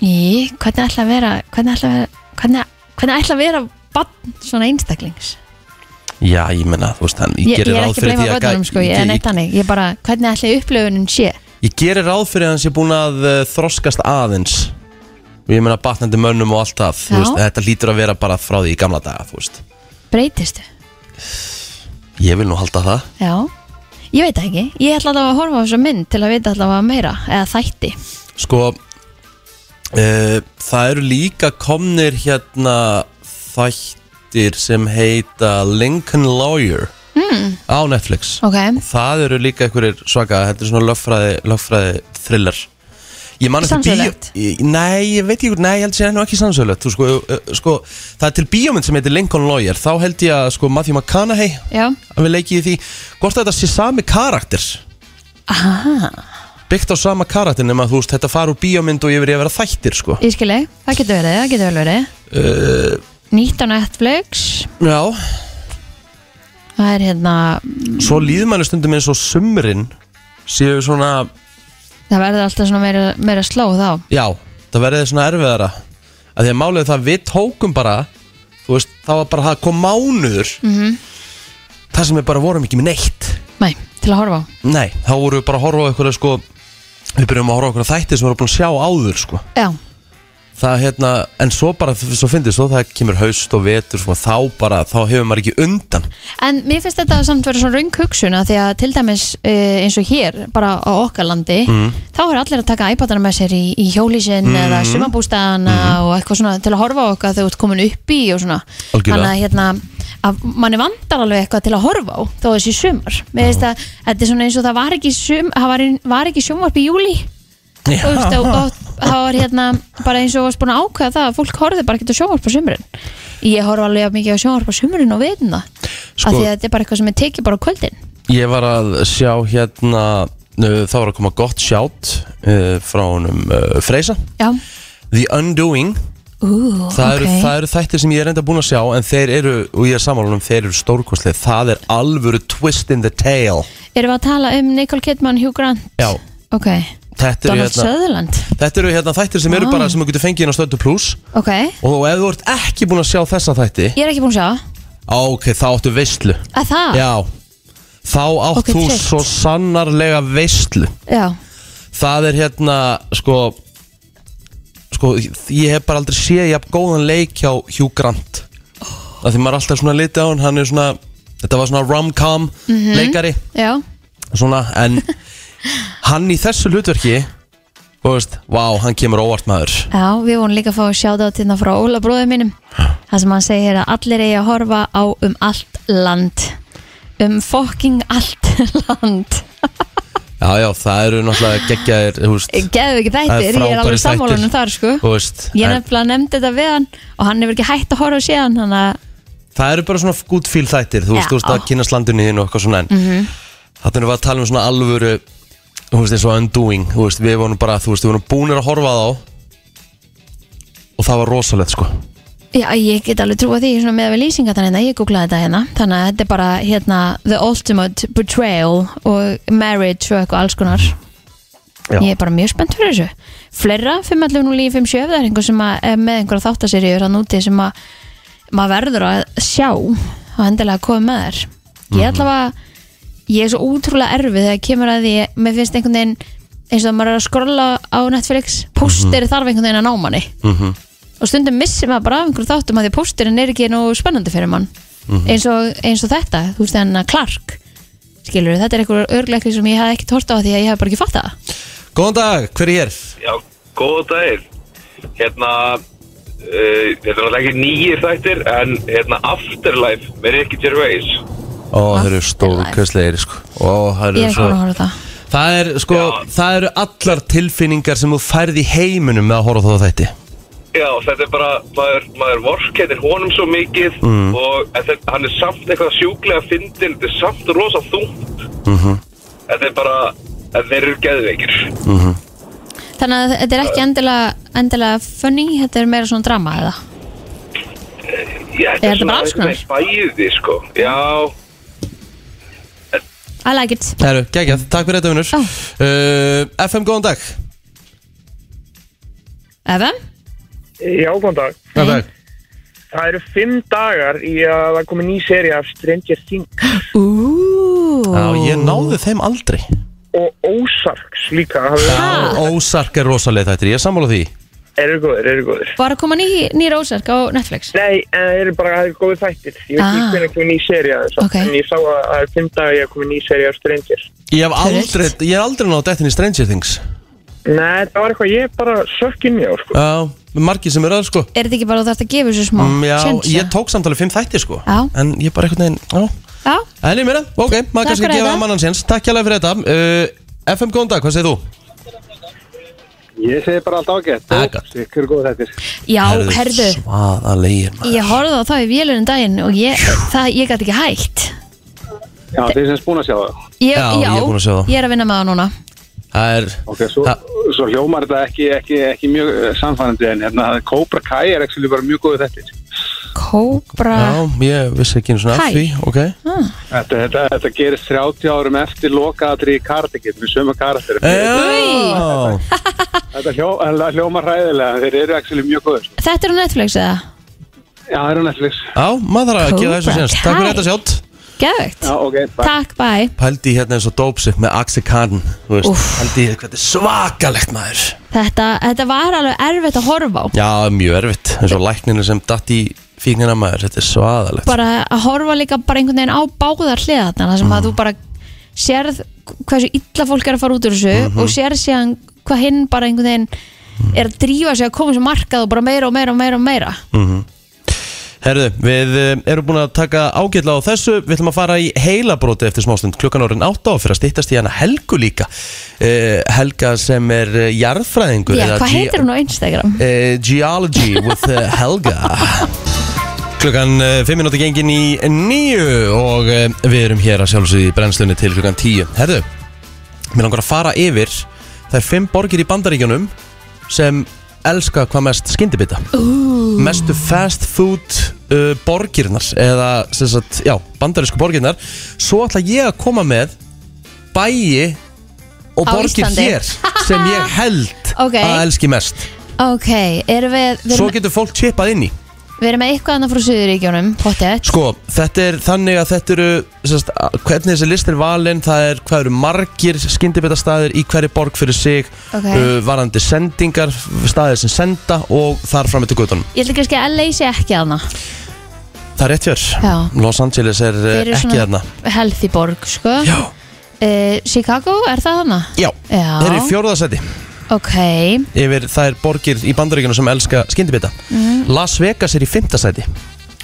Speaker 3: í, hvernig ætla að vera hvernig ætla að vera hvernig, hvernig ætla að vera bann svona einstaklings
Speaker 4: Já, ég menna, þú veist, hann, ég,
Speaker 3: ég,
Speaker 4: gerir
Speaker 3: er
Speaker 4: ráð
Speaker 3: ekki að
Speaker 4: fyrir
Speaker 3: breyma
Speaker 4: því að
Speaker 3: börnunum
Speaker 4: gæ-
Speaker 3: sko, ég er neitt
Speaker 4: ég,
Speaker 3: hannig ég bara, hvernig ætla upplifunin sé
Speaker 4: ég, ég gerir ráð fyrir að hann sé búin að uh, þroskast aðeins og ég menna batnandi mönnum og allt það þú
Speaker 3: Já.
Speaker 4: veist, þetta lítur að vera bara frá því í gamla daga þú veist,
Speaker 3: breytistu,
Speaker 4: ég vil nú halda það
Speaker 3: já ég veit það ekki, ég ætla allavega að horfa á þessa mynd til að vita allavega meira, eða þætti
Speaker 4: Sko uh, Það eru líka komnir hérna þættir sem heita Lincoln Lawyer
Speaker 3: Hmm.
Speaker 4: mm. á Netflix
Speaker 3: ok,
Speaker 4: Það eru líka einhverjir svaka Þetta er svona löffræði, löffræði thriller Ég man eftir bíó
Speaker 3: Sannsögulegt?
Speaker 4: Í- Nei, ég veit ekki, nei, ég held sér nú ekki sannsögulegt Þú sko, uh, sko, það er til bíómynd sem heitir Lincoln Lawyer Þá held ég að sko Matthew McConaughey
Speaker 3: já
Speaker 4: að við leikið í því Hvort þetta sé sami karakter
Speaker 3: Aha,
Speaker 4: Byggt á sama karakter nema þú veist Þetta fara úr bíómynd og yfir í að vera þættir sko
Speaker 3: ég skilji, það getur verið, það getur vel verið
Speaker 4: uh,
Speaker 3: nýtt á Netflix
Speaker 4: Já,
Speaker 3: það er hérna,
Speaker 4: svo líður manni stundum eins og sumrin séu svona,
Speaker 3: það verður alltaf svona meira, meira sló þá
Speaker 4: já, það verði svona erfiðara að því að málið er það að við tókum bara þú veist, það var bara það kom mánuður það sem við bara vorum ekki með neitt
Speaker 3: nei, til að horfa á
Speaker 4: Nei, þá vorum við bara að horfa á eitthvað sko, við byrjum að horfa á eitthvað þætti sem við vorum búin að sjá áður sko.
Speaker 3: já,
Speaker 4: það hérna, en svo bara svo fyndið, svo það kemur haust og vetur sko, þá bara, þá hefur maður ekki undan
Speaker 3: En mér finnst þetta samt verið svona raung hugsun að því að til dæmis eh, eins og hér bara á okkar landi þá er allir að taka iPadana með sér í, í hjólísin eða sumabústæðana og eitthvað svona til að horfa á okkar þegar þú ert komin upp í og svona
Speaker 4: Algjörlega.
Speaker 3: að hérna að manni vandar alveg eitthvað til að horfa á þó þessi sumar mér finnst að þetta er svona eins og það var ekki, sum, það var, var ekki sumvarp í júli
Speaker 4: Já,
Speaker 3: og,
Speaker 4: (laughs)
Speaker 3: og, og það var hérna bara eins og varst búin að ákveða það að fólk horfið bara ekki á sjónvarp á sumurinn ég horf alveg jafn mikið á sjónvarp á sumurinn og veitna
Speaker 4: Sko-
Speaker 3: sko, af því að þetta er bara eitthvað sem er tekið bara á kvöldin
Speaker 4: Ég var að sjá hérna uh, Það var að koma gott sjátt uh, Frá honum uh, Freysa
Speaker 3: já,
Speaker 4: The Undoing
Speaker 3: ú,
Speaker 4: það,
Speaker 3: ok
Speaker 4: eru, það eru þættir sem ég er enda búin að sjá En þeir eru, og ég er samanlunum Þeir eru stórkostlega, það er alvöru Twist in the tail
Speaker 3: erum við að tala um Nicole Kidman, Hugh Grant
Speaker 4: Já,
Speaker 3: ok,
Speaker 4: þetta eru,
Speaker 3: Donald
Speaker 4: hérna,
Speaker 3: Sutherland
Speaker 4: þetta eru hérna þættir sem eru
Speaker 3: Ah.
Speaker 4: bara Sem þú getur fengið inn á stöldu pluss
Speaker 3: ok,
Speaker 4: Og ef þú ert ekki búin að sjá þessa þætti
Speaker 3: ég er ekki búin að sjá það.
Speaker 4: Ok, þá áttu veistlu
Speaker 3: að það,
Speaker 4: Já, þá
Speaker 3: Ah.
Speaker 4: átt
Speaker 3: Ok,
Speaker 4: þú
Speaker 3: tryggt.
Speaker 4: svo sannarlega veistlu
Speaker 3: já,
Speaker 4: það er hérna sko sko ég hef bara aldrei séð jafn góðan leik hjá Hugh Grant oh. að því maður er alltaf svona litið á hann hann er svona þetta var svona rom-com leikari
Speaker 3: já,
Speaker 4: svona en hann í þessu hlutverki þú veist, vá, hann kemur óvart maður
Speaker 3: já við vorum líka að fá að sjá það til það frá Óla bróðið mínum það sem hann segir að allir eigi að horfa á um allt land um fucking allt (laughs) land
Speaker 4: já, já, það eru náttúrulega geggjaðir þú veist,
Speaker 3: Geðu ekki
Speaker 4: Það er
Speaker 3: þættir, ég er
Speaker 4: frábærir
Speaker 3: alveg sammálunum
Speaker 4: þættir.
Speaker 3: þar sko
Speaker 4: þú veist
Speaker 3: Ég
Speaker 4: en,
Speaker 3: nefnilega nefndi þetta við hann og hann hefur ekki hægt að horfa á síðan þannig að
Speaker 4: það eru bara svona good feel þættir þú
Speaker 3: Já. Mhm.
Speaker 4: veist, þú veist að kynast landinu þínu og eitthvað svona en mm -hmm. þannig að við að tala um svona alvöru þú veist, eins og undoing þú veist, við vorum bara, þú veist, við vorum búinir að horfa á þá og það var rosalegt, sko
Speaker 3: Já, ég get alveg trúa því svona með við lýsingar þannig að ég googlaði þetta hérna þannig að þetta er bara hérna the ultimate betrayal og marriage og eitthvað alls konar
Speaker 4: Já.
Speaker 3: Ég er bara mjög spennt fyrir þessu Fleira, 511 og 957 Það er einhver sem að, er með einhverja þáttaseríu Þann úti sem að maður verður að sjá og endilega að koma með þær Ég ætla að ég er svo útrúlega erfið þegar kemur að því mér finnst einhvern veginn eins og að maður er að skrolla á Netflix pósteri þarf einhvern veginn að ná manni
Speaker 4: Mhm.
Speaker 3: og stundum missir maður bara af einhverju þáttum að því pósterin er ekki nú spennandi fyrir mann eins, og, eins og þetta, þú veist þennan Clark skilur, þetta er einhver örgleikli sem ég hef ekki tort á því að ég hef bara ekki fatt það
Speaker 4: Góðan dag, hver er hér?
Speaker 5: Já, góða dagir Hérna uh, Þetta er náttúrulega ekki nýjir þættir En hérna Afterlife með Ricky Gervais
Speaker 4: Ó, það eru
Speaker 3: Afterlife.
Speaker 4: stórkvæslegir sko. Ó,
Speaker 3: ég
Speaker 4: það eru
Speaker 3: er ekki
Speaker 4: svo
Speaker 3: búin að horfa á það
Speaker 4: Það er sko,
Speaker 5: Já.
Speaker 4: það eru allar tilfinningar sem þú færð í heiminum með að horfa á það þætti
Speaker 5: Já, þetta er bara maður, maður vorkenir honum svo mikið og en þetta, hann er samt eitthvað sjúklega fyndin, þetta er samt rosa þungt Þetta er bara en þeir eru geðveikir
Speaker 3: þannig að þetta er ekki endilega, endilega funny, þetta er meira svona drama eða
Speaker 5: Já,
Speaker 3: Er þetta bara alls konar?
Speaker 5: bæði, sko Já,
Speaker 3: I like it
Speaker 4: Það eru, geggjað, takk fyrir þetta vinnur
Speaker 3: Já.
Speaker 4: uh, FM, góðan dag
Speaker 3: Evan?
Speaker 6: Já, góðan dag.
Speaker 4: Góðan dag
Speaker 6: Það eru fimm dagar í að það komi ný seri af Stranger Things
Speaker 3: Úúúú
Speaker 4: Já, ég náði þeim aldrei
Speaker 6: og Ozarks líka.
Speaker 3: Ah.
Speaker 4: Já, Ósark er rosalega þættir, ég er sammála því
Speaker 6: Eru góður, eru góður.
Speaker 3: Var að koma ný, nýr ósark á Netflix
Speaker 6: Nei, en það eru bara það eru góður þættir. Ég veit ekki
Speaker 3: Ah.
Speaker 6: hvernig komi ný seri af þessu.
Speaker 3: Ok.
Speaker 6: En ég sá að það eru fimm dagar í að komi ný seri af Stranger.
Speaker 4: Ég hef
Speaker 3: Tryllt.
Speaker 4: aldrei, ég hef aldrei náði dettin í Stranger Things
Speaker 6: Nei, það var eitthvað ég bara sökkinn í á, sko.
Speaker 4: Já, með margir sem eru að sko
Speaker 3: Er þetta ekki bara að þú þarfst að gefa þessu smá
Speaker 4: Mm, Já,
Speaker 3: séns,
Speaker 4: ég
Speaker 3: eða?
Speaker 4: tók samtalið fimm þættir sko
Speaker 3: Já.
Speaker 4: En ég bara einhvern veginn, já
Speaker 3: Já,
Speaker 4: En ég meira, ok, maður kannski
Speaker 3: fyrir
Speaker 4: gefa
Speaker 3: þetta.
Speaker 4: mannan séns Takk hjálpa fyrir þetta uh, FM, góðan dag, hvað segir þú?
Speaker 7: Ég segi bara allt ágætt
Speaker 4: Ágætt.
Speaker 7: Ykkur góð þettir
Speaker 3: já herðu
Speaker 4: Svaðalegir maður
Speaker 3: Ég horfði á það í vélunum daginn og ég, það, ég gæti ekki hægt
Speaker 7: Já, þeir sem spúna að sjá það
Speaker 3: ég,
Speaker 4: Já, ég er búin að sjá það.
Speaker 3: ég er að vinna með það núna
Speaker 4: Það er,
Speaker 7: Ok, svo,
Speaker 4: Ha.
Speaker 7: svo hljómar þetta ekki, ekki, ekki mjög eh, sannfærandi En hérna, Cobra Kai er ekki bara mjög góð þettir
Speaker 3: Kóbra
Speaker 4: já, ég vissi ekki einu svona
Speaker 3: Hæ.
Speaker 4: af því Ok,
Speaker 7: Þetta, þetta, þetta gerist 30 árum eftir lokaðatri í kartekinn með sömu karakterum.
Speaker 4: Eh. já
Speaker 7: Þetta hljó, þetta hljómar hræðilega, en þeir eru actually mjög góður.
Speaker 3: Þetta er á Netflix eða?
Speaker 7: Já, það eru Netflix.
Speaker 4: Já, maður þarf að gefa þessu
Speaker 3: Cobra
Speaker 4: séns
Speaker 3: Kai.
Speaker 4: Takk fyrir þetta sjátt
Speaker 3: Geðvegt
Speaker 7: Já, ok, bye.
Speaker 3: Takk, bye
Speaker 4: Pældi í hérna eins og dópsið með Axi Kahn þú veist,
Speaker 3: Úff.
Speaker 4: Pældi í hvað þetta er svakalegt maður
Speaker 3: þetta, þetta var alveg erfitt að horfa á
Speaker 4: Já, mjög erfitt eins og lækninu sem datt í fíknina maður Þetta er svaðalegt
Speaker 3: bara að horfa líka bara einhvern veginn á báðar hliðarnar þar sem
Speaker 4: Mm.
Speaker 3: að þú bara sérð hversu illa fólk er að fara út úr þessu
Speaker 4: Mhm.
Speaker 3: og sérð síðan hvað hinn bara einhvern veginn
Speaker 4: Mm.
Speaker 3: er að drífa sig að koma sem markað og bara meira og meira og meira og meira
Speaker 4: Mm. Herðu, við eh, erum búin að taka ágætla á þessu Við ætlum að fara í heilabróti eftir smástund klukkan orðin 8 og fyrir að stýttast í hana Helgu líka uh, Helga sem er eh, jarðfræðingur
Speaker 3: Já,
Speaker 4: eða
Speaker 3: hvað
Speaker 4: ge-
Speaker 3: heitir hún á Instagram?
Speaker 4: uh, Geology with uh, Helga Klukkan 5 uh, minúti gengin í nýju og uh, við erum hér að sjálfsögðu í brennslunni til klukkan 10 Herðu, mér langar að fara yfir Það er 5 borgir í bandaríkjunum sem elska hvað mest skyndibita Ooh. Mestu fast food uh, borgirnar eða sem sagt, já, bandarísku borgirnar Svo ætla ég að koma með bæi og
Speaker 3: Á
Speaker 4: borgir
Speaker 3: Íslandi.
Speaker 4: hér sem ég held
Speaker 3: (laughs) Ok.
Speaker 4: að elski mest
Speaker 3: Ok, erum við við
Speaker 4: Svo
Speaker 3: erum,
Speaker 4: getur fólk tippað inn í
Speaker 3: við erum með eitthvað annað frá Suðuríkjónum Pottið
Speaker 4: Sko, þetta er þannig að þetta eru sérst, hvernig þessi list er valinn það er hvað eru margir skyndibitastaðir í hverju borg fyrir sig
Speaker 3: Ok.
Speaker 4: varandi sendingar, staðir sem senda og þar fram eftir gutunum
Speaker 3: Ég ætla kannski að leysi ekki aðna
Speaker 4: Það er rétt fjör,
Speaker 3: Já.
Speaker 4: Los Angeles er uh, ekki þarna
Speaker 3: healthy borg, sko
Speaker 4: Já,
Speaker 3: uh, Chicago, er það þarna?
Speaker 4: já,
Speaker 3: Já.
Speaker 4: þeir eru í fjórðasæti
Speaker 3: Ok,
Speaker 4: yfir þær borgir í bandaríkjunum sem elska skyndibita
Speaker 3: Mhm.
Speaker 4: Las Vegas er í fimmtasæti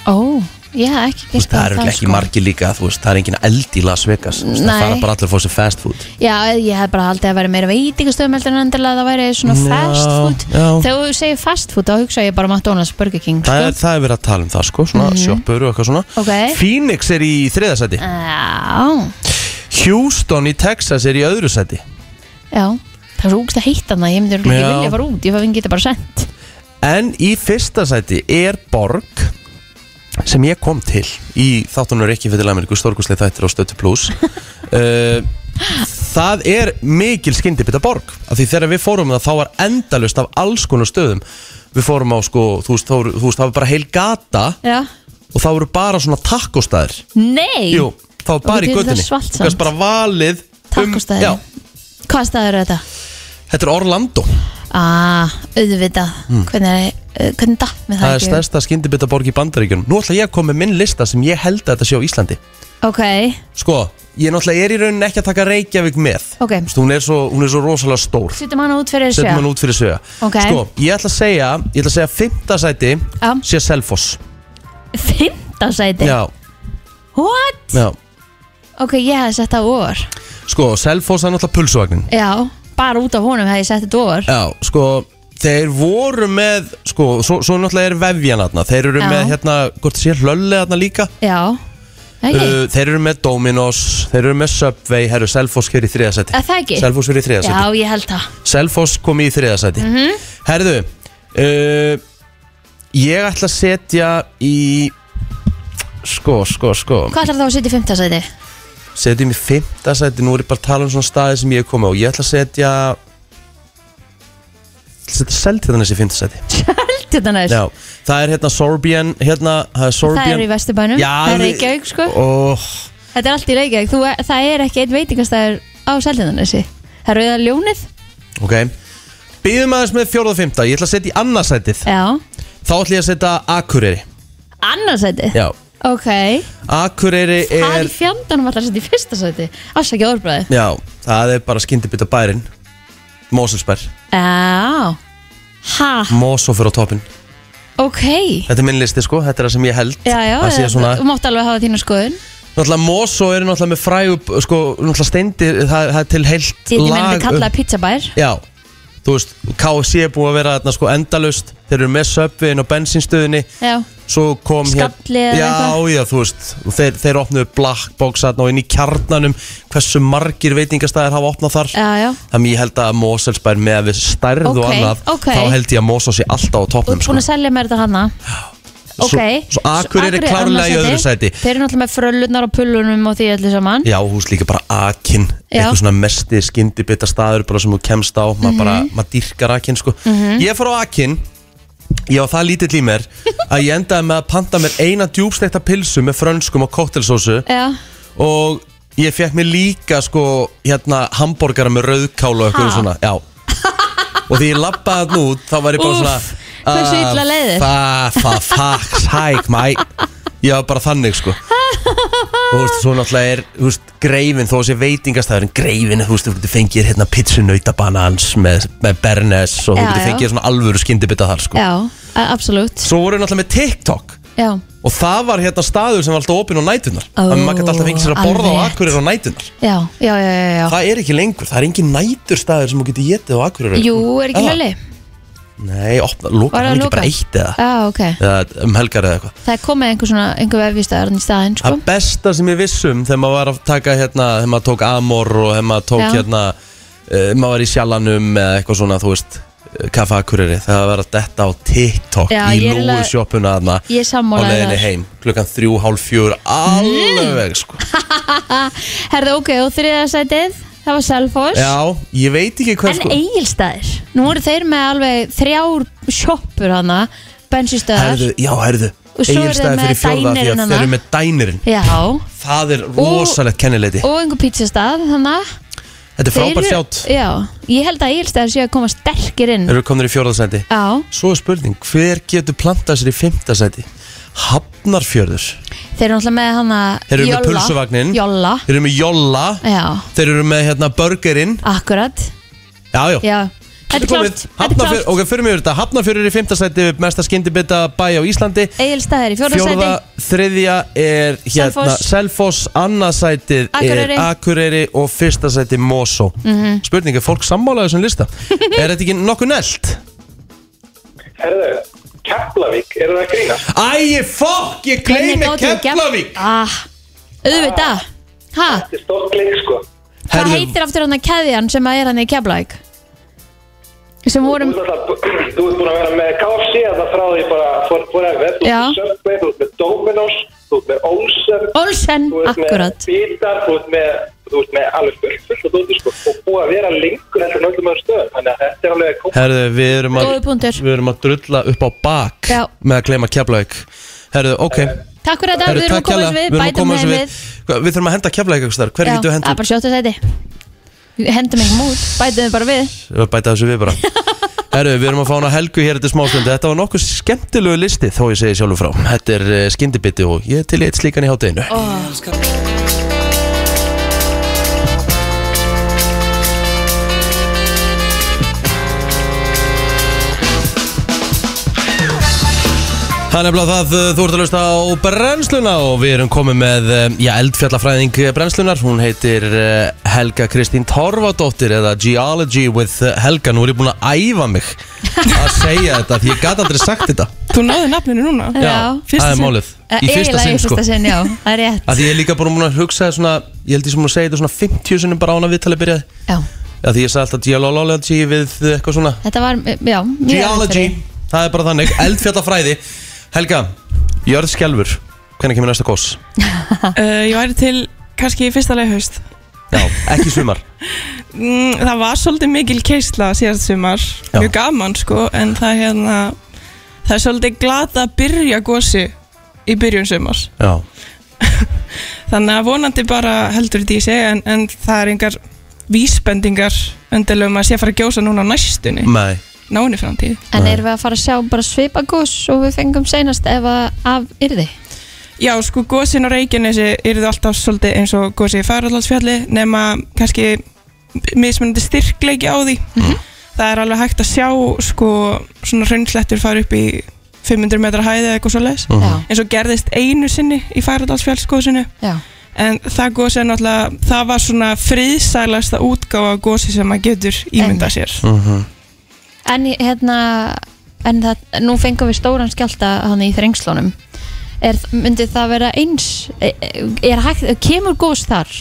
Speaker 3: ó, ég hef ekki
Speaker 4: Þú veist,
Speaker 3: giskað á
Speaker 4: Það eru ekki
Speaker 3: sko.
Speaker 4: margir líka, þú veist, það er engin eld í Las Vegas Þú veist,
Speaker 3: Nei.
Speaker 4: Það fara bara allir að fá sér fast food
Speaker 3: Já, ég hef bara haldið að vera meira veitingastöðum heldur en endilega að það væri svona
Speaker 4: Já,
Speaker 3: fast food
Speaker 4: já.
Speaker 3: Þegar þú segir fast food þá hugsa ég bara um McDonalds, Burger King
Speaker 4: Það er,
Speaker 3: sko. Mhm.
Speaker 4: það er verið að tala um það sko, svona mm sjoppur og eitthvað svona
Speaker 3: Ok. Ah.
Speaker 4: Phoenix er í þriðasæti
Speaker 3: Já,
Speaker 4: Houston í Texas er í öðru sæti
Speaker 3: já Það er svo úgst að heita það, ég myndi örugglega
Speaker 4: Já.
Speaker 3: ekki vilja fara út, ég fann geta bara sent
Speaker 4: En í fyrsta sæti er Borg sem ég kom
Speaker 3: (laughs)
Speaker 4: til í þáttunum Rikki Fettil Ameríku, stórkursleið þættir á Stötu Plus uh, það er mikil skyndibita borg af því þegar við fórum það þá var endalust af alls konar stöðum við fórum á sko, þú veist, þá voru- þú veist það var bara heil gata
Speaker 3: Já.
Speaker 4: og það voru bara svona takkostæðir
Speaker 3: Nei,
Speaker 4: Jú, það var
Speaker 3: Og
Speaker 4: bara í
Speaker 3: við gerum það
Speaker 4: göttinni
Speaker 3: svalt
Speaker 4: Þú gast
Speaker 3: samt.
Speaker 4: bara valið um-
Speaker 3: Takkostæðir.
Speaker 4: Já,
Speaker 3: hvað staður er þetta?
Speaker 4: þetta er Orlando
Speaker 3: Ah, auðvitað Hvernig, uh, hvernig datt með það,
Speaker 4: Hmm. Það er
Speaker 3: ekki?
Speaker 4: stærsta skyndibita borg í bandaríkjunum Nú ætla ég að koma með minn lista sem ég held að þetta sé á Íslandi
Speaker 3: Ok,
Speaker 4: Sko, ég náttúrulega er í rauninni ekki að taka Reykjavík með
Speaker 3: Ok.
Speaker 4: Þú veist, hún, er svo, hún er svo rosalega stór
Speaker 3: setjum hana út fyrir
Speaker 4: Settum hann
Speaker 3: sjö
Speaker 4: út fyrir sögja
Speaker 3: Ok.
Speaker 4: Sko, ég ætla að segja Ég ætla að segja fimmta sæti
Speaker 3: Já.
Speaker 4: Sé Selfoss
Speaker 3: Fymta sæti
Speaker 4: Já,
Speaker 3: What?
Speaker 4: já
Speaker 3: Ok, ég hefði sett það ofar
Speaker 4: Sko, Selfoss er náttúrulega pulsvagnin
Speaker 3: Já, bara út af honum hefði ég sett þetta ofar
Speaker 4: Já, sko Þeir voru með, sko, svo, svo náttúrulega er vefjan aðna Þeir eru
Speaker 3: Já.
Speaker 4: með, hérna, hvort það sé hlölli aðna líka
Speaker 3: Já, ekki
Speaker 4: uh, Þeir eru með Dominos, þeir eru með Subway Herru, Selfoss hér í þriðasæti
Speaker 3: Er það ekki?
Speaker 4: Selfoss hér í þriðasæti
Speaker 3: Já, Mhm. ég held það
Speaker 4: Selfoss kom í þriðasæti mm -hmm. Herðu uh, Ég ætla að setja í Sko, sko, sko
Speaker 3: Hvað ætlar þá að setja í fymta sæti?
Speaker 4: Setjum í fimmtasæti Nú er ég bara að tala um svona staði sem ég er komið á Ég ætla að setja Ég ætla að setja Seltjarnes í fimmtasæti
Speaker 3: Tjóttanæs
Speaker 4: Já, það er hérna Sorbian hérna, það er Sorbian
Speaker 3: Það er í Vesturbænum,
Speaker 4: Já, Oh,
Speaker 3: það er
Speaker 4: við-
Speaker 3: Reykjavík sko
Speaker 4: Óh,
Speaker 3: Þetta er allt í Reykjavík, Þú, það er ekki einn veitingastæður á Seltjarnanesi Það er auða ljónið
Speaker 4: ok Býðum aðeins með fjórða og fimmta Ég ætla að setja í annarsætið
Speaker 3: Já,
Speaker 4: Þá ætla ég að setja Akureyri
Speaker 3: annarsæti
Speaker 4: Já,
Speaker 3: Ok,
Speaker 4: Akureyri
Speaker 3: hvað
Speaker 4: er
Speaker 3: er fjandanum allar að setja í fyrsta sæti? Afsakið orðbræði
Speaker 4: Já, það er bara skyndibita bærin Mósilsberg,
Speaker 3: Já, ha,
Speaker 4: Mósó fyrir á toppin
Speaker 3: ok
Speaker 4: Þetta er minn listi sko, þetta er það sem ég held
Speaker 3: Já, já,
Speaker 4: Það sé svona,
Speaker 3: þú mátt alveg hafa þína skoðun
Speaker 4: náttúrulega Mósó er náttúrulega með frægub Sko, náttúrulega steindi, það, það er til heilt
Speaker 3: Ég meina
Speaker 4: lag
Speaker 3: þetta kallaði pizzabær
Speaker 4: Já, þú veist, KFC er búið að vera þarna sko endalust Þeir eru með söpviðin og bensinstöðinni
Speaker 3: Já,
Speaker 4: Svo kom hér
Speaker 3: Skalli eða
Speaker 4: Já,
Speaker 3: eitthvað?
Speaker 4: já, þú veist og Þeir, þeir opnuðu black box þarna og inn í kjarnanum Hversu margir veitingastæðir hafa opnað þar
Speaker 3: já, já
Speaker 4: Þannig ég held að Moselsbær með að við stærð og
Speaker 3: Ok,
Speaker 4: annað
Speaker 3: ok.
Speaker 4: Þá held ég að Mosó sé alltaf á
Speaker 3: Þú ert
Speaker 4: toppnum sko.
Speaker 3: búin að selja mér þetta hana Ok
Speaker 4: Svo, svo Akureyri er klárlega í öðru sæti
Speaker 3: Þeir eru náttúrulega með fröllunar og pullunum og því öllu saman
Speaker 4: Já, hús líka bara akin
Speaker 3: Já.
Speaker 4: Eitthvað svona mesti skyndibita staður bara sem þú kemst á Maður bara, maður dýrkar akin sko Ég fór á akin Ég var það lítill í mér Að ég endaði með að panta mér eina djúbstekta pilsu Með frönskum og koktelsósu
Speaker 3: Já,
Speaker 4: Og ég fekk mér líka sko Hérna hambúrgara með rauðkál og eitthvað
Speaker 3: Ha?
Speaker 4: svona Já Og því ég lappaði þarna út Þá var ég bara
Speaker 3: Úff,
Speaker 4: svona
Speaker 3: hversu
Speaker 4: ah,
Speaker 3: illa leið þér?
Speaker 4: fa- fa- Fuck, sæk, mæ Ég var bara þannig sko og þú veist, svo náttúrulega er, þú veist, greifin þó að sé veitingastæðurinn, greifin, þú veist, þú getur fengið hérna pizzunautabanaðans með, með Bernes og þú
Speaker 3: Já,
Speaker 4: getur
Speaker 3: já.
Speaker 4: fengið svona alvöru skyndibita þar, sko.
Speaker 3: já, a- absolutt
Speaker 4: Svo voru náttúrulega með TikTok
Speaker 3: Já,
Speaker 4: og það var hérna staður sem var alltaf opinn á nætunar.
Speaker 3: Ó,
Speaker 4: Þannig að maður gæti alltaf fengið sér að borða á
Speaker 3: alveg rétt.
Speaker 4: akkurir á nætunar.
Speaker 3: já, já, já, já, já.
Speaker 4: Það er ekki lengur, það er engin nætur staður sem þú getur getið á akkurir.
Speaker 3: Jú, er ekki hljóli?
Speaker 4: Nei, opna, lokar
Speaker 3: Var það
Speaker 4: hann ekki
Speaker 3: lokað?
Speaker 4: bara eitt eða,
Speaker 3: Já, ok
Speaker 4: eða um helgar eða eitthvað.
Speaker 3: Það er komið einhver svona, einhver vefjistæður í staðinn, sko
Speaker 4: Það besta sem ég vissum þegar maður var að taka hérna, þegar maður tók Amor og þegar maður tók
Speaker 3: Já.
Speaker 4: hérna, uh, maður var í sjalanum eða eitthvað svona, þú veist, kaffa akureyri, þegar maður var að detta á TikTok
Speaker 3: Já,
Speaker 4: í
Speaker 3: ég er
Speaker 4: lúu
Speaker 3: eiginlega-
Speaker 4: sjoppuna aðna
Speaker 3: Ég er Mm.
Speaker 4: á
Speaker 3: sammálaði
Speaker 4: leiðinni
Speaker 3: þar.
Speaker 4: heim, klukkan þrjú, hálf fjör, alveg, sko.
Speaker 3: Herðu, ok, og þriða sætið Það var Selfoss
Speaker 4: Já, ég veit ekki hvað, sko?
Speaker 3: En Egilstaðir Nú eru þeir með alveg þrjár sjoppur hana Bensinstöðar
Speaker 4: herðu, já, herðu,
Speaker 3: Og svo eru þeir
Speaker 4: eiginstæði
Speaker 3: með
Speaker 4: fyrir fjórða því
Speaker 3: dænerinn
Speaker 4: að þeir eru
Speaker 3: þarna.
Speaker 4: með dænirinn.
Speaker 3: Já,
Speaker 4: Það er rosalegt kennileiti.
Speaker 3: og einhver pizzastað þannig
Speaker 4: Þetta er frábært sjátt.
Speaker 3: já, ég held að Egilstaðar séu að koma sterkir inn
Speaker 4: Þeir eru komnir í fjórðasendi.
Speaker 3: já,
Speaker 4: Svo er spurning, hver getur plantað sér í fymtasæti? Hafnarfjörður
Speaker 3: þeir eru náttúrulega með hana
Speaker 4: Þeir eru með pulsuvagnin.
Speaker 3: Jolla,
Speaker 4: Þeir eru með Jolla
Speaker 3: já,
Speaker 4: Þeir eru með hérna burgerinn
Speaker 3: akkurat
Speaker 4: Já, já,
Speaker 3: já, þetta er
Speaker 4: komið.
Speaker 3: klárt þetta er
Speaker 4: Hafnarfjörður,
Speaker 3: klárt,
Speaker 4: ok, fyrir mig yfir þetta Hafnarfjörður er í fymtasæti Mesta skyndibita bæ á Íslandi
Speaker 3: Egilstaðar í fjórða
Speaker 4: Fjórða,
Speaker 3: sæti
Speaker 4: þriðja er hérna
Speaker 3: Selfoss.
Speaker 4: Selfoss, annarsætið er
Speaker 3: Akureyri. Mhm.
Speaker 4: Akureyri og fyrsta sæti Mosó mm -hmm. Spurning, er fólk sammálaðu
Speaker 3: (laughs)
Speaker 4: þessum lista? er þetta ekki nokkuð nelt?
Speaker 5: Herðu, Keflavík, er það að grína?
Speaker 4: Æ, fokk, ég gleymi Keflavík
Speaker 3: ah, auðvitað ha,
Speaker 5: Þetta er stórt leik, sko.
Speaker 3: hvað
Speaker 4: Herðu-
Speaker 3: heitir aftur hann að keðjan sem að er hann í Keflavík sem vorum
Speaker 5: Þú ert alltaf- (clears throat) þú ert búin að vera með KFC að það frá því bara for, forever. Þú
Speaker 3: Já.
Speaker 5: ert með Subway, þú ert með Domino's, þú ert með Olsen,
Speaker 3: Olsen,
Speaker 5: þú ert með
Speaker 3: akkurat
Speaker 5: Bítar, þú ert með þú veist, með alveg fullt- fullt og dóti sko og búið að vera lengur heldur en öllum öðrum stöðum þannig að þetta er alveg að koma
Speaker 4: Herðu, við erum að
Speaker 3: Góður punktur.
Speaker 4: Við erum að drulla upp á bak
Speaker 3: Já.
Speaker 4: Með að gleyma keflavík Herðu, ok
Speaker 3: Takk fyrir þetta,
Speaker 4: Herðu,
Speaker 3: við erum að
Speaker 4: takk
Speaker 3: koma
Speaker 4: hérlega.
Speaker 3: þessu við,
Speaker 4: Við erum að
Speaker 3: bætum þeim við
Speaker 4: koma þessu við Hvað, Við þurfum að henda keflavík einhvers þar Hver
Speaker 3: Já, það
Speaker 4: getur við
Speaker 3: er
Speaker 4: hendum?
Speaker 3: bara sjóttu sæti Við Hendum ekki út, bætum við bara við
Speaker 4: Við bæta þessu við bara Herru, við erum að fá hana helgu hér eftir smástundi Þetta var nokkuð skemmtilegu listi þó ég segi sjálfur frá Þetta er uh, skyndibiti og ég er til eitt slíkan í hátteginu Það er nefnilega það, uh, þú ert að lusta á brennsluna og við erum komið með, um, já, eldfjallafræðing brennslunar, hún heitir uh, Helga Kristín Torfadóttir eða Geology with uh, Helga, nú er ég búin að æfa mig að segja þetta því ég gat aldrei sagt þetta.
Speaker 8: Þú náðu nafninu núna fyrsta
Speaker 4: það er
Speaker 8: sinn.
Speaker 4: málið,
Speaker 3: Eh,
Speaker 4: í fyrsta
Speaker 3: eiginlega
Speaker 4: sinn sko.
Speaker 3: Í fyrsta sinn, já, það er rétt
Speaker 4: Af því ég er líka bara búin að hugsa svona, ég held ég sem búin að segja þetta svona 50 sinnum bara án að viðtalið byrjaði.
Speaker 3: Já,
Speaker 4: Af því ég sagði alltaf geology við eitthvað svona,
Speaker 3: þetta var, já mjög
Speaker 4: Geology,
Speaker 3: erfitt
Speaker 4: það er bara þannig Eldfjallafræði Helga, jörðskjálfur Hvernig kemur næsta gós?
Speaker 8: uh, Ég væri til kannski í fyrsta leið haust
Speaker 4: Já, ekki í sumar
Speaker 8: mm, Það var svolítið mikil keisla síðast sumar
Speaker 4: Já.
Speaker 8: Mjög gaman sko En það, er hérna, það er svolítið glata að byrja gósi Í byrjun sumars
Speaker 4: Já,
Speaker 8: Þannig að vonandi bara heldur þetta í sig En, en það er engar vísbendingar Öndilegum að sé að fara að gjósa núna á næstunni
Speaker 4: nei
Speaker 8: Náinni framtíð
Speaker 3: fyrir. En erum við að fara að sjá bara svipagús og við fengum seinast ef að af yrði
Speaker 8: Já, sko, gósin á Reykjanesi eru alltaf svolítið eins og gósi í Færallandsfjalli nema kannski mismunandi styrkleiki á því Það er alveg hægt að sjá sko, svona hraunslettur fara upp í 500 metra hæði eða eitthvað svoleiðis
Speaker 4: Mhm.
Speaker 3: Já,
Speaker 8: eins og gerðist einu sinni í Færallandsfjallsgósinu
Speaker 3: já,
Speaker 8: en það gósi er náttúrulega það var svona friðsælasta útgáfa af gósi sem maður getur ímynda sér
Speaker 4: Mhm.
Speaker 3: En ég- hérna en það, nú fengum við stóran skjálta hann í þrengslunum er, myndi það vera eins er, er hægt, kemur gós þar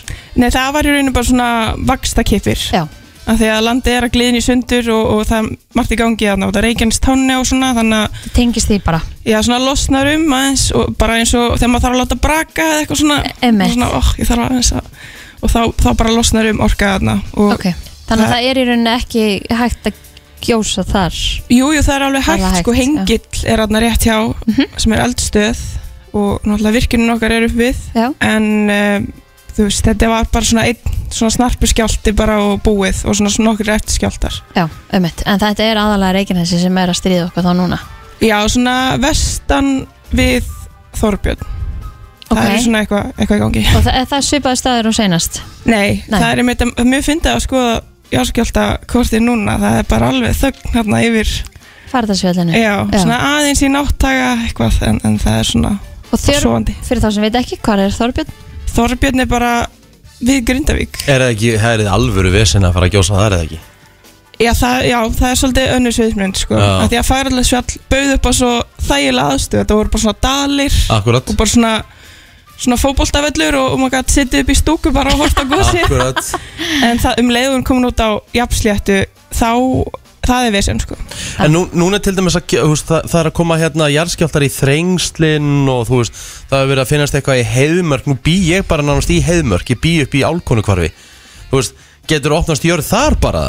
Speaker 8: Nei, það var í rauninu bara svona vakstakipir
Speaker 3: já,
Speaker 8: af því að landið er að gliðin í sundur og, og það er margt í gangi að náta reikjans tánni og svona þannig að
Speaker 3: það tengist því bara
Speaker 8: já, svona losnar um aðeins og bara eins og þegar maður þarf að láta braka eða eitthvað svona,
Speaker 3: E, Einmitt.
Speaker 8: svona oh, ég þarf aðeins að og þá, þá bara losnar um orka þarna og
Speaker 3: ok, þannig að það er í rauninni ekki hægt að gjósa þar
Speaker 8: jú, jú, það er alveg
Speaker 3: Það er
Speaker 8: hægt,
Speaker 3: hægt,
Speaker 8: sko,
Speaker 3: já. Mhm.
Speaker 8: hengill er þarna rétt hjá sem er eldstöð og náttúrulega virkinin okkar er upp við
Speaker 3: já,
Speaker 8: en um, þú veist, þetta var bara svona einn svona snarpu skjálti bara og búið og svona, svona okkur eftir skjáltar
Speaker 3: já, ömmitt en þetta er aðalega reikinhessi sem er að stríða okkur þá núna
Speaker 8: Já, svona vestan við Þorbjörn
Speaker 3: ok,
Speaker 8: Það er svona eitthvað eitthva í gangi
Speaker 3: og það, er það svipaði staður og seinast
Speaker 8: Nei,
Speaker 3: Nei.
Speaker 8: það er einmitt að- mjög fyndið að skoða jáskjálta kortið núna Það er bara alveg þögn hérna yfir
Speaker 3: farðarsfjöldinu
Speaker 8: Já, svona aðeins í náttaga eitthvað En, en það er svona
Speaker 3: og þér,
Speaker 8: sofandi
Speaker 3: fyrir þá sem veit ekki, hvað er Þorbjörn?
Speaker 8: Þorbjörn er bara við Grindavík
Speaker 4: Er það ekki, það er alvöru vesen að fara að gjósa það er það ekki
Speaker 8: Já, það, já, það er svolítið önnur sviðmynd sko.
Speaker 4: Já.
Speaker 8: Af Því að færalesfjall bauð upp á svo þægilega aðstöð Þetta voru bara svona dalir
Speaker 4: Akkurat
Speaker 8: og bara svona svona fótboltavellur og, oh og maður gæti sittið upp í stúku bara og horta gósi
Speaker 4: Akkurat (laughs)
Speaker 8: en það um leiðum komin út á jafnsléttu þá það er vesen sko
Speaker 4: En nú, núna til dæmis að, ge- þú veist, það, það er að koma hérna jarðskjálftar í þrengslinn og þú veist, það hefur verið að finnast eitthvað í heiðmörk Nú bý ég bara nánast í heiðmörk, ég bý upp í álkonukvarfi Þú veist, getur opnast jörð þar bara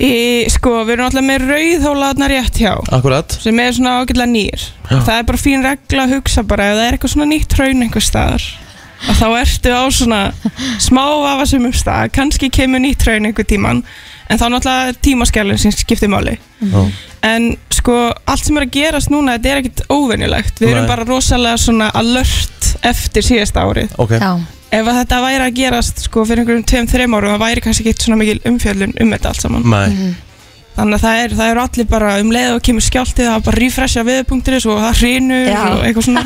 Speaker 8: í, sko við erum alltaf með rauðhólaðna rétt hjá
Speaker 4: Akkurat
Speaker 8: sem er svona ágætlega nýr
Speaker 4: Já.
Speaker 8: það er bara fín regla að hugsa bara ef það er eitthvað svona nýtt hraun einhver staðar að þá ertu á svona smá vafasumum stað kannski kemur nýtt hraun einhver tíman en þá náttúrulega er tímaskjælun sem skiptir máli
Speaker 4: Já.
Speaker 8: en sko allt sem er að gerast núna þetta er ekkit óvenjulegt við erum
Speaker 4: Nei.
Speaker 8: bara rosalega svona alert eftir síðasta árið
Speaker 4: Ok,
Speaker 3: Já,
Speaker 8: ef að þetta væri að gerast sko, fyrir einhverjum tveim, þreim árum það væri kannski ekkert svona mikil umfjöllun um þetta allt saman
Speaker 4: mæ
Speaker 3: Mhm.
Speaker 8: þannig að það eru er eru allir bara um leið og kemur skjáltið það er bara að refresha viðpunkturins og það hrinur
Speaker 3: Já.
Speaker 8: og eitthvað
Speaker 3: (laughs)
Speaker 8: svona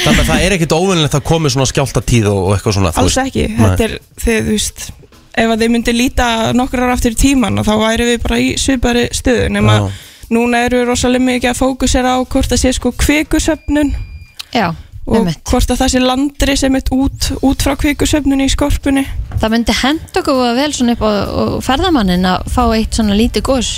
Speaker 4: Þannig að það er ekkit óvinnilegt að komi svona skjáltatíð og, og eitthvað svona þú
Speaker 8: alls
Speaker 4: veist.
Speaker 8: ekki,
Speaker 4: Nei.
Speaker 8: þetta er þið, þú veist ef að þið myndi líta nokkur ára aftur í tíman þá væri við bara í svipari stöðu nema
Speaker 4: Já.
Speaker 8: núna eru við rosalega mikið að fókusera á hvort það sé sko kvikusöfnun
Speaker 3: já,
Speaker 8: og
Speaker 3: ömmitt
Speaker 8: hvort að það sé landri sem er út, út frá kvikusöfnun í skorpunni
Speaker 3: Það myndi hend okkur voða vel svona upp á, á ferðamannin að fá eitt svona lítið gós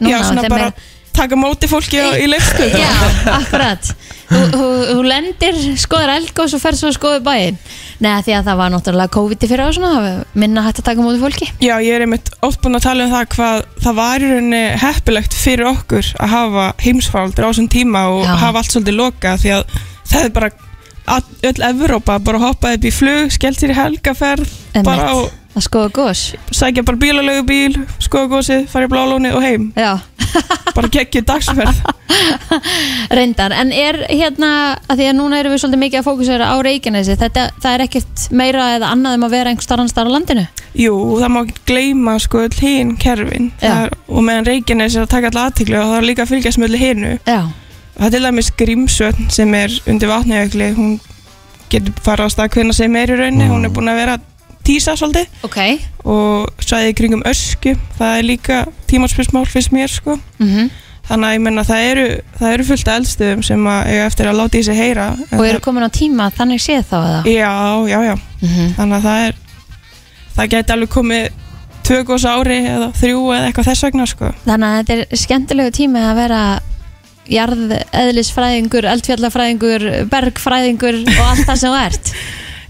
Speaker 3: núna,
Speaker 8: Já, svona
Speaker 3: þeim
Speaker 8: bara-
Speaker 3: er,
Speaker 8: taka móti fólki á, í leifstöð
Speaker 3: Já, akkurat Þú- Þú þú lendir, skoðar eldgós og ferð svo að skoða bæinn Nei, því að það var náttúrulega COVID fyrir á svona það var minna hægt að taka á móti fólki
Speaker 8: Já, ég er einmitt oft búin að tala um það hvað það var í rauninni heppilegt fyrir okkur að hafa heimsfaraldur á þessum tíma og
Speaker 3: Já.
Speaker 8: hafa allt svolítið lokað því að það er bara all, öll Evrópa bara hoppaði upp í flug, skellt sér í helgaferð bara á,
Speaker 3: Einmitt, Að skoða gós
Speaker 8: sækja bara bílalögu bíl, skoða gósið, fara í blálóni og
Speaker 3: (laughs)
Speaker 8: heim,
Speaker 3: Já,
Speaker 8: bara geggju dagsferð
Speaker 3: (laughs) reyndar En er hérna, að því að núna erum við svolítið mikið að fókusera á Reykjanesi Þetta, það er ekkert meira eða annað um að vera einhver starran starra landinu
Speaker 8: Jú, það má ekki gleyma sko öll hinn kerfin
Speaker 3: Já.
Speaker 8: Það er, og meðan Reykjanes er að taka all aðtíklu og það er líka að fylgjast með öllu hinnu
Speaker 3: Já,
Speaker 8: það er til dæmis Grímsvötn sem er undir vatnajökli hún getur farið á stað hvernig sem er í raunni hún er búin að vera að tísa svolítið
Speaker 3: ok
Speaker 8: og sæði kringum ösku það er líka tímarspursmál fyrst mér sko
Speaker 3: mm
Speaker 8: þannig að ég menna það eru, það eru fullt af eldstöðum sem að eiga eftir að láta í sig heyra En
Speaker 3: Og eru komin á tíma, þannig séð þá eða?
Speaker 8: það, Já, já, já
Speaker 3: Mhm.
Speaker 8: þannig að það er það geti alveg komið tvö gós á ári eða þrjú eða eitthvað þess vegna sko
Speaker 3: Þannig að þetta er skemmtilegu tími að vera jarð, eðlisfræðingur, eldfjallafræðingur, bergfræðingur og allt það sem þú (laughs) ert.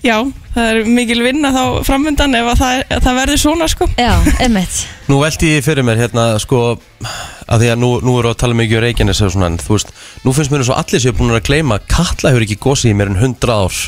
Speaker 8: Já, það er mikil vinna þá framöndan ef að það, það verður svona sko
Speaker 3: Já, emmitt.
Speaker 4: Nú veldi ég fyrir mér hérna sko að því að nú, nú eru að tala mikið um Reykjanes og svona en þú veist, nú finnst mér eins og allir séu búin að gleyma að Katla hefur ekki gósið í mér en 100 ár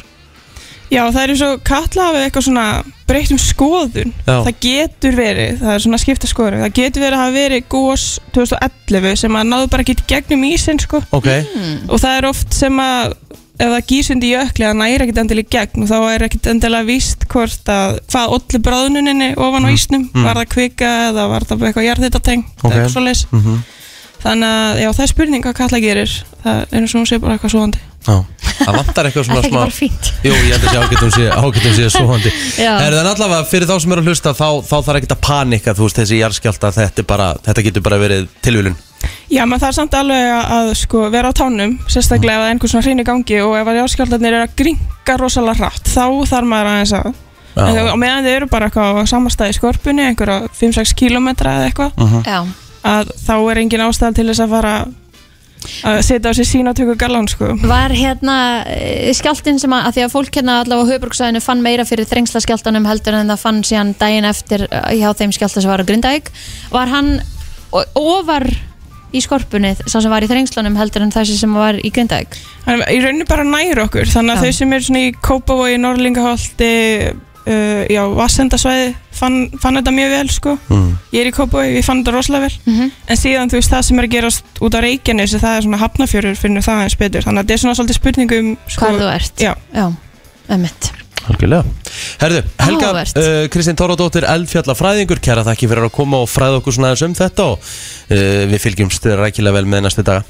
Speaker 8: Já, það er eins og kalla hafið eitthvað svona breytt um skoðun
Speaker 4: Já.
Speaker 8: Það getur verið, það er svona skipta skoðun Það getur verið að hafa verið gós 2011 sem að náðu bara ekki gegnum ísinn sko.
Speaker 4: Ok,
Speaker 3: Mhm.
Speaker 8: og það er oft sem að ef það gísundi í ökli það næri ekkit endilega í gegn og þá er ekkit endilega víst hvort að hvað olli bráðuninni ofan á ísnum, var það kvika eða var það bara eitthvað jarðhitatengt
Speaker 4: Mm. Ok.
Speaker 8: okay. eitthvað svoleiðis
Speaker 4: Mhm.
Speaker 8: þannig að já, það er spurning hvað kalla gerir það er eins og hún sé bara eitthvað svoandi
Speaker 4: já, það vantar eitthvað
Speaker 3: Það (laughs)
Speaker 4: svona
Speaker 3: er ekki
Speaker 4: smá
Speaker 3: bara fínt.
Speaker 4: Jú, ég held að sé ágætum sé, ágætum sé svoandi
Speaker 3: Já.
Speaker 4: Er það allavega fyrir þá sem eru að hlusta þá, þá þarf ekkert að panika, þú veist, þessi jarðskjálta þetta, er bara, þetta getur bara verið tilvílun
Speaker 8: Já, maður þarf samt alveg að, að sko, vera á tánum, sérstaklega ef það er einhver svona hreinu gangi og ef að jáskjáldarnir eru að gringa rosalega hratt, þá þarf maður aðeins að
Speaker 4: Já.
Speaker 8: en þau- á meðan þau eru bara eitthvað á samastæði skorpunni, einhverja 5-6 kilometra eða eitthvað,
Speaker 3: Já,
Speaker 8: að þá er engin ástæða til þess að fara að setja á sig sínatöku galan, sko.
Speaker 3: var hérna eh, skjálftinn sem að, að því að fólk hérna allavega á höfbruksæðinu fann meira fyrir þrengsla skjáltanum heldur en það fann síðan daginn eftir eh, hjá þeim skjálta sem var á Grindæk, var hann o- ofar í skorpunni sá sem var í þrengslunum heldur en þessi sem var í Grindæk?
Speaker 8: Þannig að í rauninu bara næri okkur, þannig
Speaker 3: Já.
Speaker 8: að þau sem eru svona í Kópavogi, Norlingaholti, uh, já, Vassendasvæði, fann, fann þetta mjög vel, sko.
Speaker 4: mm.
Speaker 8: Ég er í Kópavogi, ég fann þetta rosalega vel.
Speaker 3: Mm -hmm.
Speaker 8: En síðan þú veist það sem er að gerast út á Reykjanesi það er svona hafnafjörur finnur það eins betur þannig að þetta er svona svolítið spurningu um
Speaker 3: Hvar þú ert?
Speaker 8: Já.
Speaker 3: Já, emmitt.
Speaker 4: Algjörlega Herðu, Helga,
Speaker 3: Áhugavert.
Speaker 4: uh, Kristín Tóradóttir, eldfjallafræðingur Kæra þakki fyrir að koma og fræða okkur svona aðeins um þetta og uh, við fylgjumst rækilega vel með næstu daga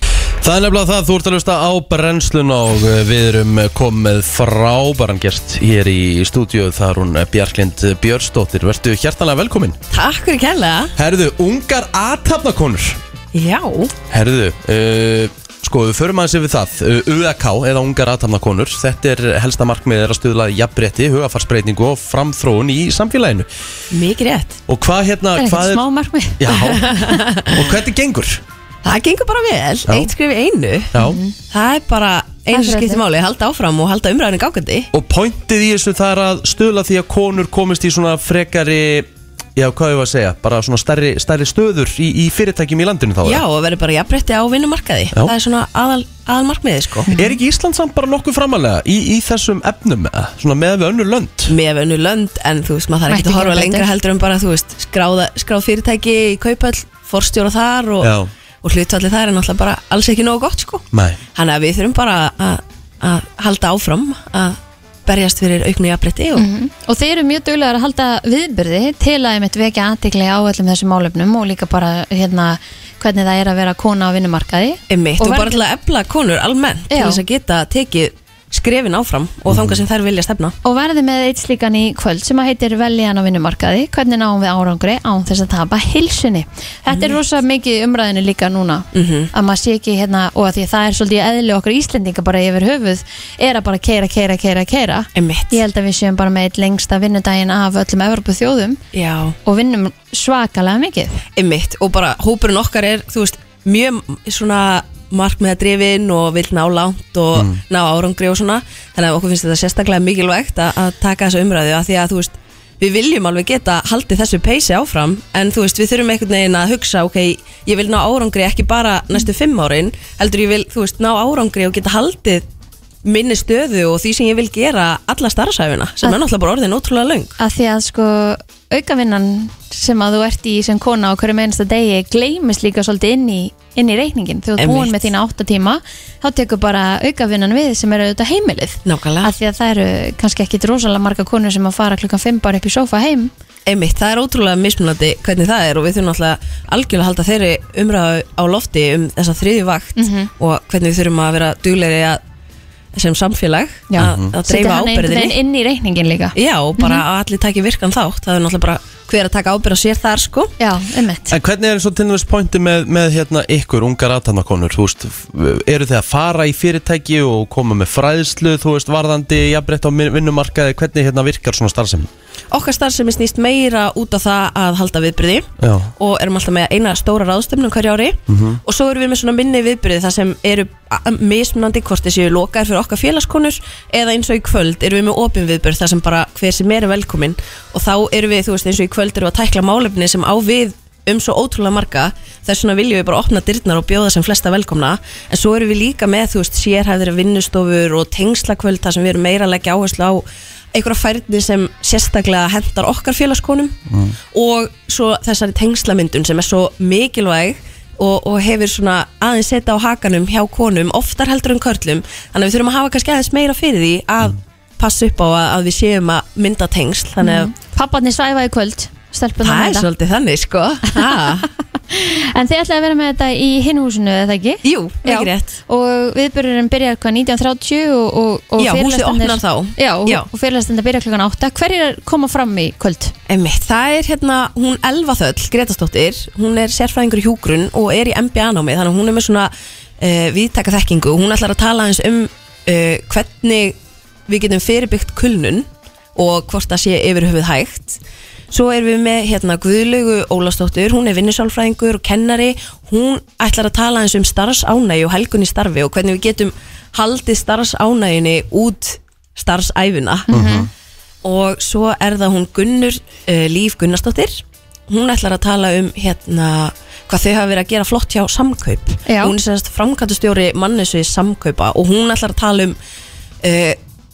Speaker 4: Það er nefnilega það, þú ert að lusta á brennslun og uh, við erum komið frábæran gest hér í stúdíu þar hún uh, Bjarklind Björnsdóttir Vertu hjertanlega velkomin
Speaker 9: Takk fyrir kella
Speaker 4: Herðu, ungar aðtapnakonur
Speaker 9: Já
Speaker 4: Herðu, uh, sko við förum aðeins yfir það uh, UAK eða ungar aðtamnakonur Þetta er helsta markmið er að stuðla jafnbretti, hugafarsbreytingu og framþróun í samfélaginu
Speaker 9: Mikið rétt
Speaker 4: Og hvað hérna,
Speaker 3: Það er
Speaker 4: hvað
Speaker 3: ekkert smá markmið.
Speaker 4: Já, og hvernig gengur?
Speaker 9: Það gengur bara vel,
Speaker 4: Já.
Speaker 9: eitt skrif í einu
Speaker 4: Já,
Speaker 3: Mhm.
Speaker 9: Það er bara
Speaker 3: Það er
Speaker 9: einu sem
Speaker 3: rétt.
Speaker 9: skiptir máli Halda áfram og halda umræðinu gákandi
Speaker 4: og pointið í þessu það er að stuðla því að konur komist í svona frekari Já, hvað ég var að segja, bara svona stærri, stærri stöður í, í fyrirtækjum í landinu þá eða?
Speaker 9: Já, og verður bara jafnbretti á vinnumarkaði
Speaker 4: Já.
Speaker 9: Það er svona aðal, aðalmarkmiði sko
Speaker 4: Er ekki Ísland samt bara nokkuð framalega í, í þessum efnum, eða? svona með við önnur lönd?
Speaker 9: Með önnu lönd, en þú veist, maður þarf
Speaker 3: Mætti
Speaker 9: ekki að
Speaker 3: gera
Speaker 9: horfa
Speaker 3: betur.
Speaker 9: lengra heldur en bara, þú veist, skráða, skráð fyrirtæki í kaupöll, forstjóra þar og,
Speaker 4: Já.
Speaker 9: og hlutvalli þar er náttúrulega bara alls ekki nógu gott, sko.
Speaker 4: Nei
Speaker 9: Þannig að við þurfum bara að, að halda áfram að berjast fyrir auknu jafnbretti og
Speaker 3: Mhm. Og þeir eru mjög duglegar að halda viðbyrði til að einmitt vekja aðtikli á öllum þessum málefnum og líka bara hérna hvernig það er að vera kona á vinnumarkaði.
Speaker 9: Einmitt,
Speaker 3: Og
Speaker 9: og, bara
Speaker 3: verður-
Speaker 9: til að efla konur almennt til
Speaker 3: Já.
Speaker 9: þess að geta tekið skrefin áfram og þangað sem þær vilja stefna
Speaker 3: Og verði með eitt slíkan í kvöld sem að heitir veljan á vinnumarkaði, hvernig náum við árangri án þess að tapa hilsunni. Þetta er rosa mikið í umræðinu líka núna að maður sé ekki hérna og að því að það er svolítið eðli okkar Íslendinga bara yfir höfuð er að bara keira, keira, keira, keira.
Speaker 9: Einmitt,
Speaker 3: Ég held að við séum bara með eitt lengsta vinnudaginn af öllum Evropu þjóðum
Speaker 9: já,
Speaker 3: og vinnum svakalega mikið.
Speaker 9: einmitt og bara hópurinn okkar er, þú veist, mjög svona markmiðadrifin og vil ná langt og ná árangri og svona þannig að okkur finnst þetta sérstaklega mikilvægt að, að taka þessa umræðu að því að þú veist við viljum alveg geta haldið þessu peysi áfram en þú veist við þurfum einhvern veginn að hugsa ok, ég vil ná árangri ekki bara næstu fimm árin, heldur ég vil þú veist ná árangri og geta haldið minni stöðu og því sem ég vil gera alla starfsæfina sem er náttúrulega bara orðin ótrúlega löng
Speaker 3: að því að sko aukavinnan sem að þú ert í sem kona á hverju einasta degi gleymis líka svolítið inn í, inn í reikningin þú ert
Speaker 9: Einmitt.
Speaker 3: búin með þína 8 tíma þá tekur bara aukavinnan við sem eru auðvitað heimilið
Speaker 9: Nákvæmlega.
Speaker 3: að því að það eru kannski ekki rosalega marga konur sem að fara klukkan 5 bara upp í sófa heim
Speaker 9: Einmitt, það er ótrúlega mismunandi hvernig það er og við þurfum náttúrulega algjörlega að halda þeirri umræðu á lofti um þessa þriðju vakt
Speaker 3: Mhm.
Speaker 9: og hvernig við þurfum að vera duglegri að, sem samfélag
Speaker 3: Já. Mhm.
Speaker 9: að, að dreifa
Speaker 3: hana einhvern veginn
Speaker 9: ábyrðinni
Speaker 3: inn í Mhm. reikningin líka
Speaker 9: Já, og bara að allir taki virkan þátt það er náttúrulega bara hver að taka ábyrð á sér þar sko
Speaker 3: já, ummitt
Speaker 4: En hvernig er eins og til næmis pointi með, með hérna, ykkur ungar aðtannakonur, þú veist, eru þið að fara í fyrirtæki og koma með fræðslu, þú veist, varðandi, jafnbreytt á min- vinnumarkaði, hvernig hérna virkar svona starfsemi?
Speaker 9: Okkar starfsemi snýst meira út á það að halda viðbyrði
Speaker 4: Já.
Speaker 9: og erum alltaf með eina stóra ráðstöfnum hverju ári og svo erum við með svona minni viðbyrði þar sem eru a- mismunandi hvort þessi lokaðir fyrir okkar félagskonur eða eins og í kvöld erum við með opin viðbyrð þar sem bara hver sem er er velkomin og þá erum við, þú veist, eins og í kvöld erum við að tækla málefni sem á við um svo ótrúlega marga þess vegna viljum við bara opna dyrnar og bjóða sem flesta velkomna en svo erum við líka með, þú veist, sérhæfðir vinnustofur og tengslakvöld þar sem við erum meira að leggja áherslu á einhverja færni sem sérstaklega hendar okkar félagskonum og svo þessari tengslamyndun sem er svo mikilvæg og, og hefur svona aðeins setja á hakanum hjá konum, oftar heldur en körlum þannig að við þurfum að hafa kannski aðeins meira fyrir því að passa upp á að, að við séum að mynda tengsl, þannig að
Speaker 3: papparnir svæfa í kvöld stelpurnar
Speaker 9: það er
Speaker 3: mæta.
Speaker 9: svolítið þannig sko Ha.
Speaker 3: en þið ætlaði að vera með þetta í hinhúsinu eða ekki?
Speaker 9: Jú, ekki rétt
Speaker 3: og viðbyrjurinn byrjar hvað 19.30 og, og, og
Speaker 9: Já, húsið
Speaker 3: fyrirlestirnir-
Speaker 9: opnar þá.
Speaker 3: já, og-
Speaker 9: Já.
Speaker 3: og fyrirlestandi byrja klukkan 8 hverjir koma fram í kvöld?
Speaker 9: Einmitt, það er hérna, hún Elva Þöll, Gretastóttir, hún er sérfræðingur í hjúgrun og er í MBA-námi, þannig að hún er með svona uh, viðtaka þekkingu og hún ætlar að tala aðeins um uh, hvernig við getum fyrirbyggt kulnun og hvort það sé yfir höfuð hægt. Svo erum við með hérna Guðlaugu Ólastóttur, hún er vinnusálfræðingur og kennari, hún ætlar að tala aðeins um starfsánægi og helgun í starfi og hvernig við getum haldið starfsánæginni út starfsæfina og svo er það hún Gunnur uh, Líf Gunnarsdóttir hún ætlar að tala um hérna hvað þau hafa verið að gera flott hjá samkaup
Speaker 3: Já.
Speaker 9: hún er sérst framkantustjóri mannesu í samkaupa og hún ætlar að tala um uh,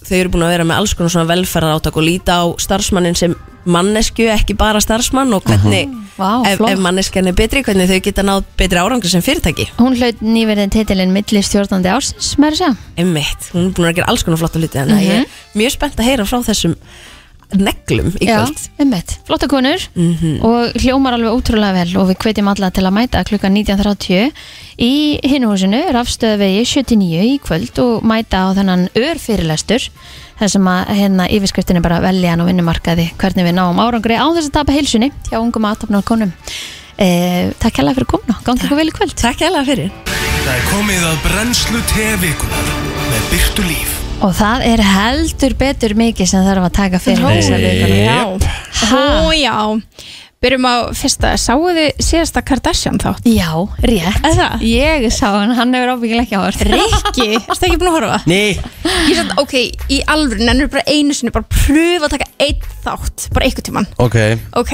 Speaker 9: þau eru búin að vera með alls konar svona velferðarátak og líta á starfsmannin sem mannesku ekki bara starfsmann og hvernig
Speaker 3: Mhm. Vá,
Speaker 9: ef,
Speaker 3: flott.
Speaker 9: ef manneskjan er betri hvernig þau geta náð betri árangur sem fyrirtæki
Speaker 3: hún hlaut nýverðin titilinn milli stjórnandi ársins með þess að segja.
Speaker 9: Einmitt, hún er búin að gera alls konar flottu hluti þannig að
Speaker 3: Mhm.
Speaker 9: ég er mjög spennt að heyra frá þessum neglum í
Speaker 3: Já,
Speaker 9: kvöld Mhm.
Speaker 3: einmitt. flotta konur og hljómar alveg ótrúlega vel og við hvetjum alla til að mæta klukkan 19.30 í hinhúsinu, rafstöðvegi 79 í kvöld og mæta á þennan ör fyrirlestur þar sem að hérna yfirskriftin er bara veljan og vinnumarkaði hvernig við náum árangri á þess að tapa heilsunni hjá ungum aðtapnar konum eh, Takk hella fyrir komuna, gangi ykkur vel í kvöld
Speaker 9: Takk hella fyrir
Speaker 1: Það er komið að brennslu tevikunar með Byrtu Líf.
Speaker 3: og það er heldur betur mikið sem þarf að taka fyrir þessa vikuna
Speaker 10: Ó já, byrjum á fyrsta, sáu þið síðasta Kardashian þátt?
Speaker 3: Já, rétt
Speaker 10: Eða?
Speaker 3: Ég sá hann, hann hefur ábyggilega ekki áhört
Speaker 10: (laughs) Rikki, erstu ekki búin að horfa?
Speaker 4: Nei.
Speaker 10: Ég satt, ok, í alvöru, nennur bara einu sinni, bara pröfa að taka einn þátt, bara einhvern tíman
Speaker 4: Ok,
Speaker 10: Ok,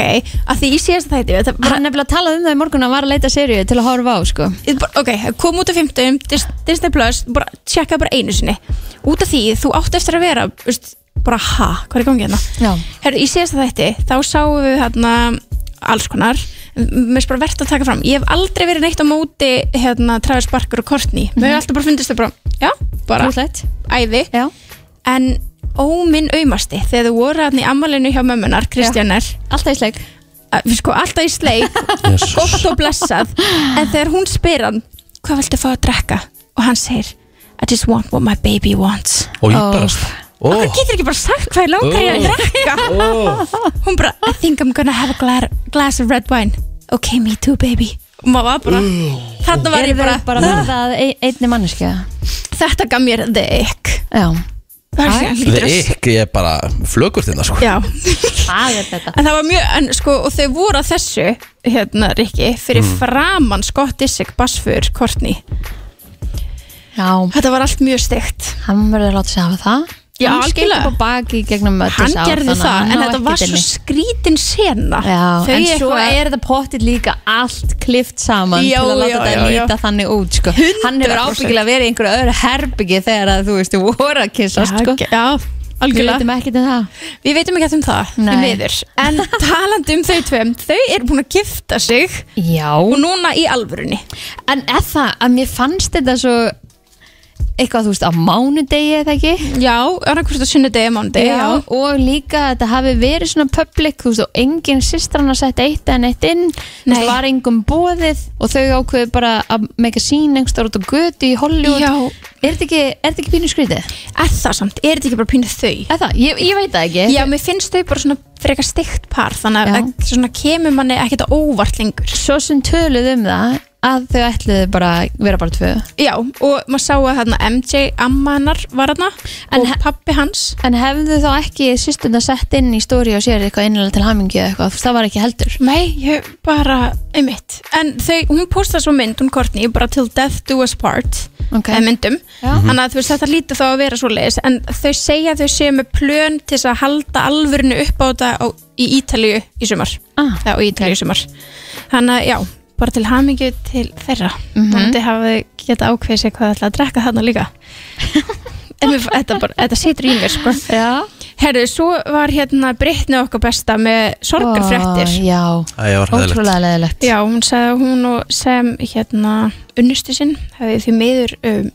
Speaker 10: af því í síðasta þætti, þetta bara,
Speaker 3: Hann nefnilega talaði um það í morgun að var að leita seríu til að horfa á sko
Speaker 10: ég bara, ok, kom út á 50, Dis- Disney Plus, bara tjekka bara einu sinni Út af því, þú átt eftir að vera, veist, bara ha, hvað er í gangi hérna?
Speaker 3: Já,
Speaker 10: Herru, í síðasta þætti, þá sáum við hérna alls konar mér er bara verðt að taka fram, ég hef aldrei verið neitt á móti hérna Travis Barker og Courtney mér hefur alltaf bara fundist það bara, já, bara
Speaker 3: húsleitt
Speaker 10: æði,
Speaker 3: Já,
Speaker 10: en óminn aumasti, þegar þau voru hérna í ammalinu hjá mömmunar, Kristjanar
Speaker 3: alltaf í sleik
Speaker 10: við sko alltaf í sleik,
Speaker 4: Jesus.
Speaker 10: gott og blessað en þegar hún spyr hann hvað viltu fá að drekka? og hann segir I just want what my baby wants
Speaker 4: og ég barast. Ó,
Speaker 10: og
Speaker 2: Oh.
Speaker 10: hann getur ekki bara sagt hvað er langar ég að drekka
Speaker 4: ó,
Speaker 10: hún bara, I think I'm gonna have a gla glass of red wine ok, me too baby og maður var bara, þarna var
Speaker 3: Er
Speaker 10: ég bara,
Speaker 3: bara með það ein- einni manneskja
Speaker 10: þetta gaf mér the ick
Speaker 3: Já,
Speaker 10: Það er
Speaker 4: Það
Speaker 10: hlýtur
Speaker 4: er
Speaker 10: að-
Speaker 4: ekki, ég er bara flögur þérna sko
Speaker 10: Já
Speaker 3: Það er þetta
Speaker 10: En það var mjög, en sko, og þau voru að þessu hérna, Rikki, fyrir
Speaker 4: Mm.
Speaker 10: framann Scott Disick, Bassfur, Courtney
Speaker 3: Já
Speaker 10: Þetta var allt mjög steikt
Speaker 3: Hann verður að láta sig hafa það
Speaker 10: Já,
Speaker 3: Hann skeipur
Speaker 10: algjörlega.
Speaker 3: bara baki í gegnum öll
Speaker 10: Hann
Speaker 3: þessi ár,
Speaker 10: gerði
Speaker 3: þannig að
Speaker 10: það,
Speaker 3: hann
Speaker 10: en
Speaker 3: á
Speaker 10: þetta
Speaker 3: ekkert
Speaker 10: var svo
Speaker 3: inni.
Speaker 10: skrítin sena
Speaker 3: Já,
Speaker 10: Þau
Speaker 3: en svo
Speaker 10: eitthvað-
Speaker 3: er þetta pottit líka allt klift saman
Speaker 10: Já,
Speaker 3: til að láta
Speaker 10: já,
Speaker 3: þetta
Speaker 10: já, já.
Speaker 3: líta þannig út sko. hann hefur
Speaker 10: 100%.
Speaker 3: ábyggilega verið í einhverju öðru herbyggi þegar að þú veist, þú voru að kyssast sko.
Speaker 10: já,
Speaker 3: við
Speaker 10: algjörlega.
Speaker 3: veitum ekkert um það
Speaker 10: Við veitum ekkert um það,
Speaker 3: Nei.
Speaker 10: við miður (laughs) En talandi um þau tveim, þau eru búin að gifta sig
Speaker 3: Já
Speaker 10: Og núna í alvörunni
Speaker 3: En er það að mér fannst þetta svo eitthvað, þú veist, á mánudegi eða ekki?
Speaker 10: Já, annarkvist á sunnudegi, mánudegi, já.
Speaker 3: Og líka að þetta hafi verið svona public, þú veist, og engin systran að setja eitt en eitt inn, þú veist, var engum bóðið og þau ákveðu bara að make a scene einhverstaðar út á götu í Hollywood.
Speaker 10: Já.
Speaker 3: Er þetta ekki, er þetta ekki pínu skrítið?
Speaker 10: Er það samt, er þetta ekki bara pínu þau?
Speaker 3: Er það, ég, ég veit það ekki.
Speaker 10: Já, mér finnst þau bara svona frekar stygt par Þannig
Speaker 3: Já.
Speaker 10: að að svona kemur manni ekkert á óvart lengur
Speaker 3: Svo sem töluð um það að þau ætluðu bara að vera bara tvö.
Speaker 10: Já, og maður sá að þarna MJ amma hennar var þarna og pappi hans
Speaker 3: En hefðu þá ekki sýstunda sett inn í stóri og sér eitthvað innilega til hamingju eða eitthvað, þú veist, það var ekki heldur.
Speaker 10: Nei, ég bara, einmitt En þau, hún postaði svo mynd, hún Courtney bara til Death Do Us Part
Speaker 3: Ok.
Speaker 10: okay. myndum,
Speaker 3: Já.
Speaker 10: þannig að þú veist þetta lítur þá að vera svo leiðis, en þau segja að þau séu með plön til þess að halda alvörinu upp á þetta á, í Ítalíu í sumar,
Speaker 3: ah,
Speaker 10: já, í Ítalíu í sumar þannig að já, bara til hamingju til þeirra,
Speaker 3: Mhm.
Speaker 10: þannig að þau hafa geta ákveðið sér hvað það ætla að drekka þarna
Speaker 3: (laughs)
Speaker 10: líka en mér, þetta, bara, þetta situr í mér sko. herru, svo var hérna Brittany okkar besta með sorgarfréttir
Speaker 3: Ó, Já,
Speaker 4: Æ, var hræðilegt.
Speaker 3: ótrúlega leðilegt
Speaker 10: Já, hún sagði að hún og sem hérna unnustu sinn hefði því meður um,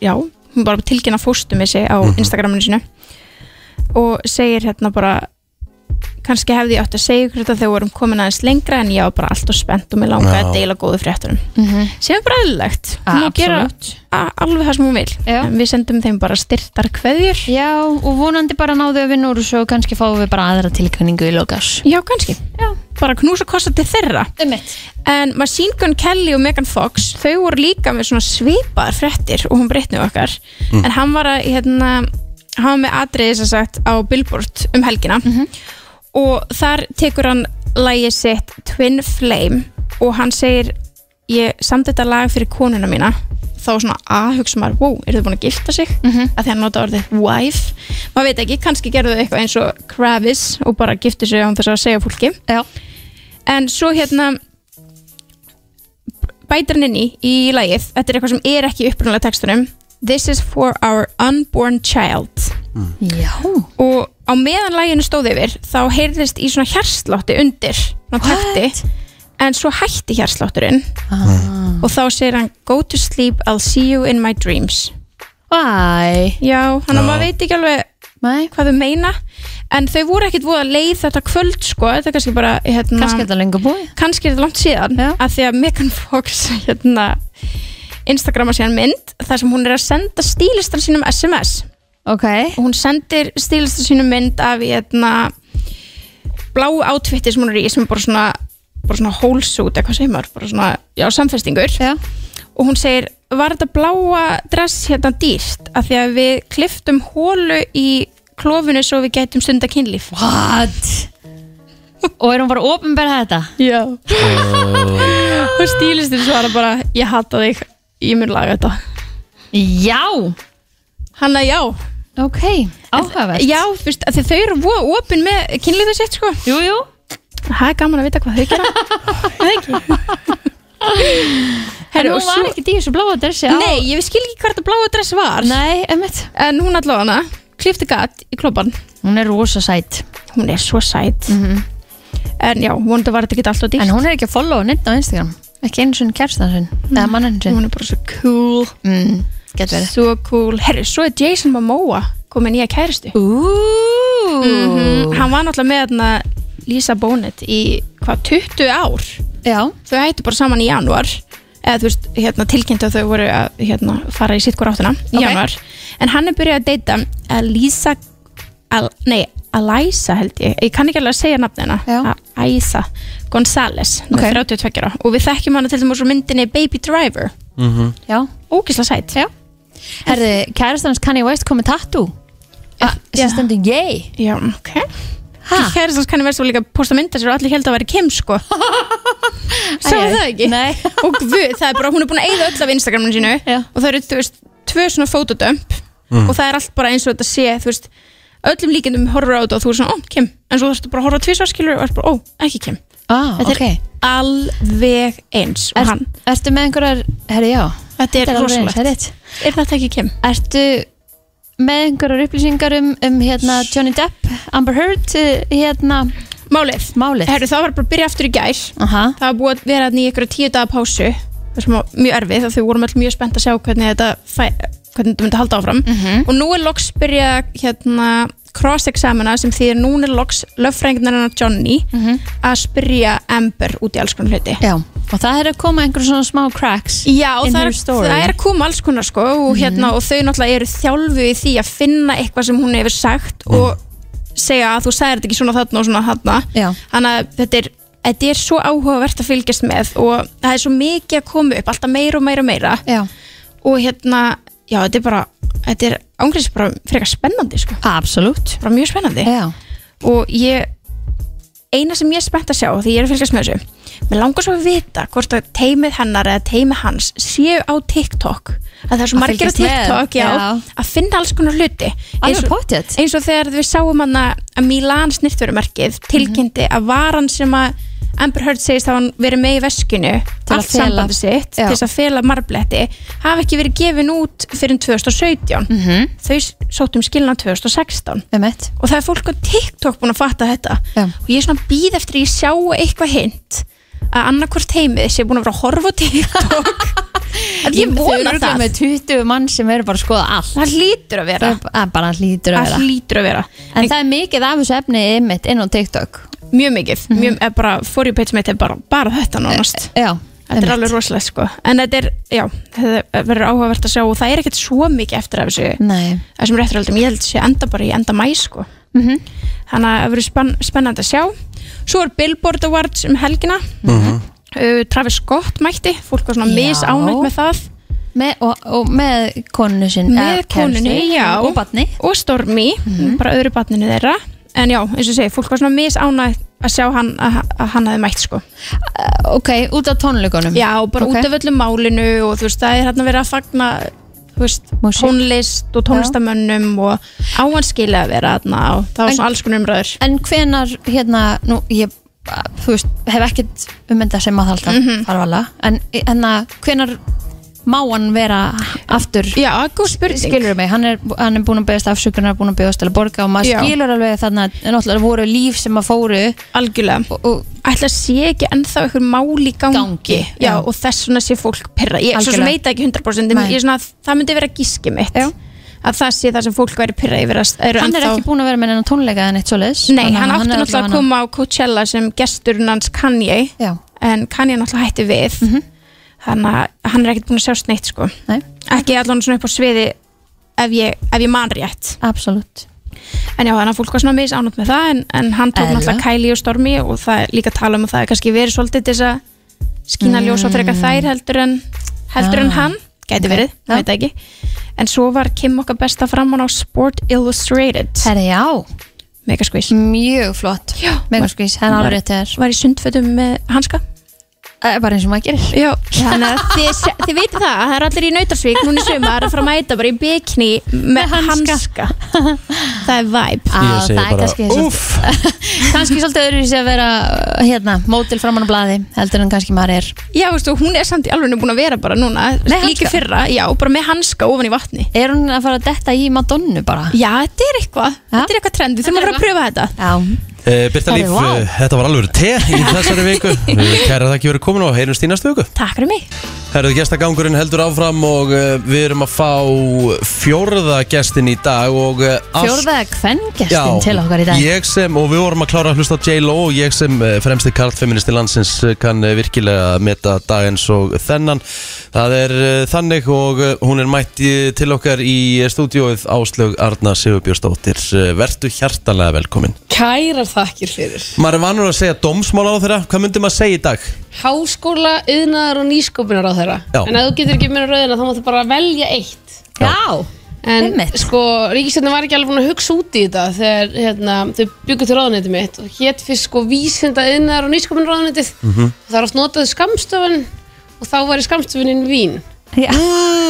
Speaker 10: já, hún bara tilkynna fóstum með sig á Instagraminu sinu og segir hérna bara kannski hefði ég átt að segja ykkur þetta þegar við vorum komin aðeins lengra en ég var bara allt og spennt og mér langaði
Speaker 3: Já.
Speaker 10: að deila góðu fréttunum
Speaker 3: mm -hmm.
Speaker 10: sem er bara eðlilegt hún má gera a- alveg það sem hún vil en við sendum þeim bara styrtar kveðjur
Speaker 3: Já, og vonandi bara náðu að vinna úr þessu og kannski fáum við bara aðra tilkynningu í lokas
Speaker 10: Já, kannski Já. bara knús og kosta til þeirra
Speaker 3: Einmitt.
Speaker 10: en Machine Gun Kelly og Megan Fox þau voru líka með svona svipaðar frettir og hún breytnið okkar
Speaker 11: Mm.
Speaker 10: en hann var að hérna, hann var með atriði sem sagt á Billboard um helgina og þar tekur hann lægið sitt Twin Flame og hann segir ég samt þetta lag fyrir konuna mína þá svona að hugsa maður, wow, eru þau búin að gifta sig að því hann nota orðið wife maður veit ekki, kannski gerðu þau eitthvað eins og Kravis og bara giftu sig án þess að segja fólki
Speaker 3: Já.
Speaker 10: en svo hérna bætir hann inn í í lagið, þetta er eitthvað sem er ekki í upprunalega textunum This is for our unborn child
Speaker 3: Já
Speaker 10: og á meðan laginu stóð yfir þá heyrðist í svona hjartslátti undir svona takti en svo hætti hjartslátturinn
Speaker 3: Mm.
Speaker 10: og þá segir hann Go to sleep, I'll see you in my dreams
Speaker 3: Æ
Speaker 10: Já, hann
Speaker 3: Já.
Speaker 10: að maður veit ekki alveg
Speaker 3: Nei.
Speaker 10: hvað þau meina en þau voru ekkit voða leið þetta kvöld sko, þetta er kannski bara hérna,
Speaker 3: Kannski er þetta lengur búið
Speaker 10: kannski er þetta langt síðan Já. að því að Megan Fox (laughs) hérna, Instagrama síðan mynd þar sem hún er að senda stílistan sínum SMS
Speaker 3: okay.
Speaker 10: og hún sendir stílistan sínum mynd af hérna, blá átfitti sem hún er í sem er bara svona, bara svona hólsút eitthvað segir maður, bara svona já, samfestingur
Speaker 3: Já.
Speaker 10: og hún segir var þetta bláa dress hérna dýrt af því að við kliftum hólu í klófinu svo við gætum stunda kynlíf
Speaker 3: What? Og er hún bara ofinberð þetta?
Speaker 10: Já og stílistin svara bara ég hata þig, ég mun laga þetta
Speaker 3: Já
Speaker 10: Hanna já
Speaker 3: Ok, áhugavert
Speaker 10: Já, þú veist, af því þau eru voða opinn með kynlífið sitt sko
Speaker 3: Jú, jú
Speaker 10: Það er gaman að vita hvað þau
Speaker 3: (laughs)
Speaker 10: gera Það er ekki
Speaker 3: En
Speaker 10: Herru,
Speaker 3: hún
Speaker 10: og
Speaker 3: var
Speaker 10: svo-
Speaker 3: ekki í þessu bláa dressi á-
Speaker 10: Nei, ég skil ekki hvað þetta bláa dress var
Speaker 3: Nei, emmitt
Speaker 10: En hún allavega hana, klifti gatt í klubban
Speaker 3: Hún er rosa sætt
Speaker 10: Hún er svo sætt En já, vonandi var þetta ekki alltaf dýrt
Speaker 3: Mhm. En hún er ekki að followa neitt á Instagram Ekki einu sinni kærstan sinn Eða mannin sinn
Speaker 10: Mm. Hún er bara svo cool
Speaker 3: mm, Getur verið
Speaker 10: Svo cool Herru, svo er Jason Momoa komið nýja kæristu mm Hann var náttúrulega með hana, Lisa Bonet í hvað 20 ár
Speaker 3: Já.
Speaker 10: Þau hættu bara saman í janúar eða þú veist, hérna, tilkynntu að þau voru að hérna, fara í sitt hvort áttuna í
Speaker 11: Ok.
Speaker 10: janúar en hann er byrjað að deyta Lisa Al, nei, Alisa held ég ég kann ekki alveg að segja nafnina Aisa González, okay. 32 ára og við þekkjum hana til dæmis úr myndinni Baby Driver
Speaker 4: Mhm.
Speaker 3: Já
Speaker 10: Ógislega sætt
Speaker 3: Já Herði, kærastan hans Kanye West komið tattoo Ah, sem stendur yay
Speaker 10: Já, ok Kærastans kanni verðst þú líka að posta mynda sér og allir held að væri Kim sko Sá
Speaker 3: Æ, æ.
Speaker 10: það ekki? Nei (laughs) Og guð, það er bara, hún er búin að eyða öll af Instagraminu sínu Já. og það eru, þú veist, tvö svona fotodömp
Speaker 11: Mm.
Speaker 10: og það er allt bara eins og þetta sé, þú veist öllum líkendum horfur á þetta og þú er svona, ó, Kim en svo þú þarfst bara að horfa tvísvarskilur og er bara, ó, ekki Kim
Speaker 3: ah,
Speaker 10: Þetta
Speaker 3: ok.
Speaker 10: er alveg eins og hann
Speaker 3: Ertu með einhverjar, herri já
Speaker 10: Þetta er
Speaker 3: alveg eins,
Speaker 10: rosalegt.
Speaker 3: það er rétt.
Speaker 10: Er þetta ekki Kim?
Speaker 3: Ertu með einhverjar upplýsingar um, um hérna Johnny Depp, Amber Heard eh, hérna
Speaker 10: Málið,
Speaker 3: Málið.
Speaker 10: Herru, það var bara að byrja aftur í gær
Speaker 3: Aha.
Speaker 10: Það var búið að vera þarna í ykkur tíu daga pásu Það er sem var mjög erfið þá þau vorum öll mjög spennt að sjá hvernig þetta fæ, hvernig þetta myndi halda áfram og nú er loks byrja hérna cross-examina sem þýðir núna er loks löffrængnarinnar Johnny að spyrja Amber út í alls konar hluti
Speaker 3: Já, og það er að koma einhver svona smá cracks
Speaker 10: Já,
Speaker 3: in
Speaker 10: það er,
Speaker 3: her story Mhm.
Speaker 10: það er að koma alls konar sko og, hérna, og þau náttúrulega eru þjálfu í því að finna eitthvað sem hún hefur sagt
Speaker 3: Mhm.
Speaker 10: og segja að þú sagðir þetta ekki svona þarna og svona þarna
Speaker 3: Já.
Speaker 10: þannig að þetta er, þetta er svo áhugavert að fylgjast með og það er svo mikið að koma upp alltaf meira og meira og meira
Speaker 3: já.
Speaker 10: og hérna, já þetta er bara þetta er ángriðs bara frekar spennandi sko.
Speaker 3: Absolutt
Speaker 10: bara mjög spennandi
Speaker 3: já.
Speaker 10: og ég eina sem ég er spennt að sjá því ég er að fylgjast með þessu mér langar svo að vita hvort að teimið hennar eða teimið hans séu á TikTok að það er svo
Speaker 3: Að
Speaker 10: margir á
Speaker 3: fylgjast með,
Speaker 10: TikTok já,
Speaker 3: já.
Speaker 10: að finna alls konar hluti eins og, eins og þegar við sáum hann að Milan snirtverumarkið
Speaker 3: Mhm.
Speaker 10: tilkynnti að varan sem að Amber Heard segist að hann verið með í veskinu
Speaker 3: Til að
Speaker 10: allt
Speaker 3: fela-
Speaker 10: sambandi sitt
Speaker 3: Já.
Speaker 10: til þess að fela marbletti hafi ekki verið gefin út fyrir 2017
Speaker 3: Mhm.
Speaker 10: -hmm. þau s- sóttu um skilna 2016
Speaker 3: Emmett.
Speaker 10: og það er fólk á TikTok búin að fatta þetta
Speaker 3: Já.
Speaker 10: og ég er svona býð eftir að ég sjá eitthvað hint að annarkvort heimið sé búin að vera að horfa á TikTok
Speaker 3: (laughs)
Speaker 10: að ég
Speaker 3: Þau eru
Speaker 10: vona
Speaker 3: örugglega
Speaker 10: það
Speaker 3: með 20 mann sem eru bara að skoða allt
Speaker 10: það hlýtur að vera
Speaker 3: það bara hlýtur að
Speaker 10: Það
Speaker 3: vera
Speaker 10: hlýtur að vera
Speaker 3: en það er mikið af þessu efni ymmit inn á TikTok
Speaker 10: mjög mikið,
Speaker 3: Mhm.
Speaker 10: mjög, er bara for you page mitt er bara, bara þetta nánast
Speaker 3: já,
Speaker 10: þetta er alveg rosalegt sko en þetta er, já, þetta verður áhugavert að sjá og það er ekkert svo mikið eftir af þessu
Speaker 3: Nei.
Speaker 10: þessum rétturöldum, ég held sé enda bara í enda mæ sko
Speaker 3: Mhm.
Speaker 10: þannig að það verður spenn, spennandi að sjá svo er Billboard Awards um helgina uh, Travis Scott mætti fólk var svona
Speaker 3: Já.
Speaker 10: misánægt með það
Speaker 3: með, og, og með konunni sinn
Speaker 10: með konunni, já
Speaker 3: og batni
Speaker 10: og Stormi,
Speaker 3: Mhm.
Speaker 10: bara öðru batninu þeirra en já, eins og ég segi, fólk var svona misánægt að sjá hann að, að hann hefði mætt sko
Speaker 3: ok, út af tónleikunum
Speaker 10: Já, og bara
Speaker 3: Ok.
Speaker 10: út af öllu málinu og þú veist, það er hérna verið að fagna þú veist, tónlist og tónlistamönnum og áhanskili að vera þarna og það var
Speaker 3: En-
Speaker 10: svona alls konar umræður
Speaker 3: en hvenar hérna, nú ég a- þú veist, hef ekkert um þetta sem að halda mm
Speaker 10: Mhm.
Speaker 3: en hérna, hvenar má hann vera aftur
Speaker 10: já, góð spurning
Speaker 3: skilur mig, hann er, hann er búin að beðast afsökunar búin að beðast til að borga og maður
Speaker 10: Já.
Speaker 3: skilur alveg þarna, en náttúrulega voru líf sem að fóru
Speaker 10: algjörlega
Speaker 3: og, og,
Speaker 10: ætla að sé ekki ennþá einhver mál í gangi, já,
Speaker 3: já.
Speaker 10: og þess vegna sé fólk pyrra, ég svo sem
Speaker 3: Algjörlega.
Speaker 10: veit það ekki 100% en
Speaker 3: Nei.
Speaker 10: ég er svona að það myndi vera gíski mitt já. að það sé það sem fólk væri pyrra yfir að eru
Speaker 3: hann er
Speaker 10: ennþá-
Speaker 3: ekki búin að vera með enn tónleika en eitt svoleiðis
Speaker 10: Nei,
Speaker 3: Þannig að
Speaker 10: hann átti
Speaker 3: er
Speaker 10: náttúrulega að
Speaker 3: allavega-
Speaker 10: koma á Coachella sem gesturinn hans Kanye
Speaker 3: Já. Mhm.
Speaker 10: en Kanye náttúrulega hætti við þannig að hann er ekkert búin að sjást neitt sko.
Speaker 3: Nei.
Speaker 10: ekki allan svona upp á sviði ef ég, ef ég man rétt
Speaker 3: Absolutt
Speaker 10: En já, þannig að fólk var svona mis ánútt með það en, en hann tók
Speaker 3: Eðlilega.
Speaker 10: náttúrulega Kylie og Stormi og það er líka að tala um að það er kannski verið svolítið til þess að skína mm. ljós á frekar þær heldur en heldur en
Speaker 3: Ah.
Speaker 10: hann, gæti verið, það veit það ekki en svo var Kim okkar besta framann á Sport Illustrated
Speaker 3: Herri, já
Speaker 10: Mega squeeze
Speaker 3: Mjög flott Já Megaskvís, það er alveg rétt þér
Speaker 10: Var í sundfötum með hanska
Speaker 3: Bara eins og maður gerir
Speaker 10: Já Þannig að þið, sé- þið veitir það að það er allir í nautarsvík núna í sumar að fara að mæta bara í bikini með hanska, (laughs) Það er væp
Speaker 3: Á, það er kannski úff (laughs) Kannski svolítið öðruvísi að vera hérna, mótil framan á blaði heldur en kannski maður er
Speaker 10: Já, veistu, hún er samt í alveg búin að vera bara núna Líka í fyrra, já, bara með hanska ofan í vatni
Speaker 3: Er hún að fara að detta í Madonnu bara?
Speaker 10: Já, þetta er eitthvað Þetta er eitthvað trendi, þurfum að fara að pröfa þetta
Speaker 3: Já
Speaker 4: Uh, Birta
Speaker 10: Herri,
Speaker 4: Líf,
Speaker 10: vá.
Speaker 4: uh, þetta var alveg te í þessari
Speaker 3: (laughs)
Speaker 4: viku Við Kæra þakki fyrir komin og heyrjumst í næstu viku
Speaker 10: Takk fyrir mig
Speaker 4: Herðu gestagangurinn heldur áfram og uh, við erum að fá fjórða gestin í dag og uh, Ást-
Speaker 3: Fjórða kvenngestin til okkar í dag
Speaker 4: ég sem, og við vorum að klára að hlusta á J-Lo og ég sem eh, fremsti karlfeministi landsins eh, kann eh, virkilega meta dag eins og þennan það er eh, þannig og eh, hún er mætt í- til okkar í eh, stúdíóið Áslaug Arna Sigurbjörnsdóttir Eh, vertu hjartalega velkomin
Speaker 12: Kærar þakkir fyrir.
Speaker 4: maður er vanur að segja dómsmál á þeirra hvað myndi maður segja í dag?
Speaker 12: Háskóla, yðnaðar og nýskopunar á þeirra.
Speaker 4: Já.
Speaker 12: En ef þú getur ekki meira rauðina þá máttu bara velja eitt. Já.
Speaker 10: En sko, ríkistjórnin var ekki alveg búin að hugsa út í þetta þegar hérna, þau byggur til ráðuneytið mitt og hétt fyrst sko vísinda innar og nýsköpun ráðuneytið
Speaker 9: Mhm.
Speaker 10: og það er oft notaði skamstöfun og þá var í skamstöfunin vín
Speaker 3: Já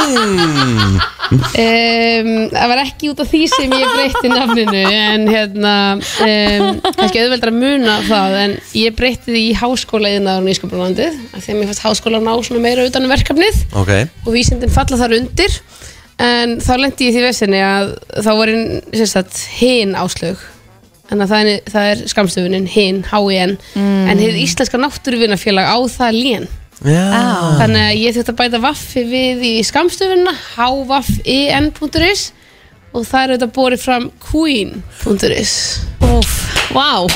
Speaker 9: Mm.
Speaker 10: um, það var ekki út af því sem ég breytti nafninu en hérna um, kannski auðveldar að muna það en ég breytti því í háskóla innar og nýsköpun ráðuneytið af því að mér fannst háskóla ná svona meira utan um verkefnið
Speaker 4: Ok
Speaker 10: og vísindin falla þar undir en þá lendi ég í því vesinni að þá var einn sérstætt hin áslög en það er, það er skamstöfunin hin, H-I-N en hið íslenska náttúruvinafélag á það lén
Speaker 4: Ah.
Speaker 9: Já.
Speaker 10: þannig að ég þurfti að bæta vaffi við í skamstöfunna hvafin.is og það er auðvitað borið fram queen.is Óf, vá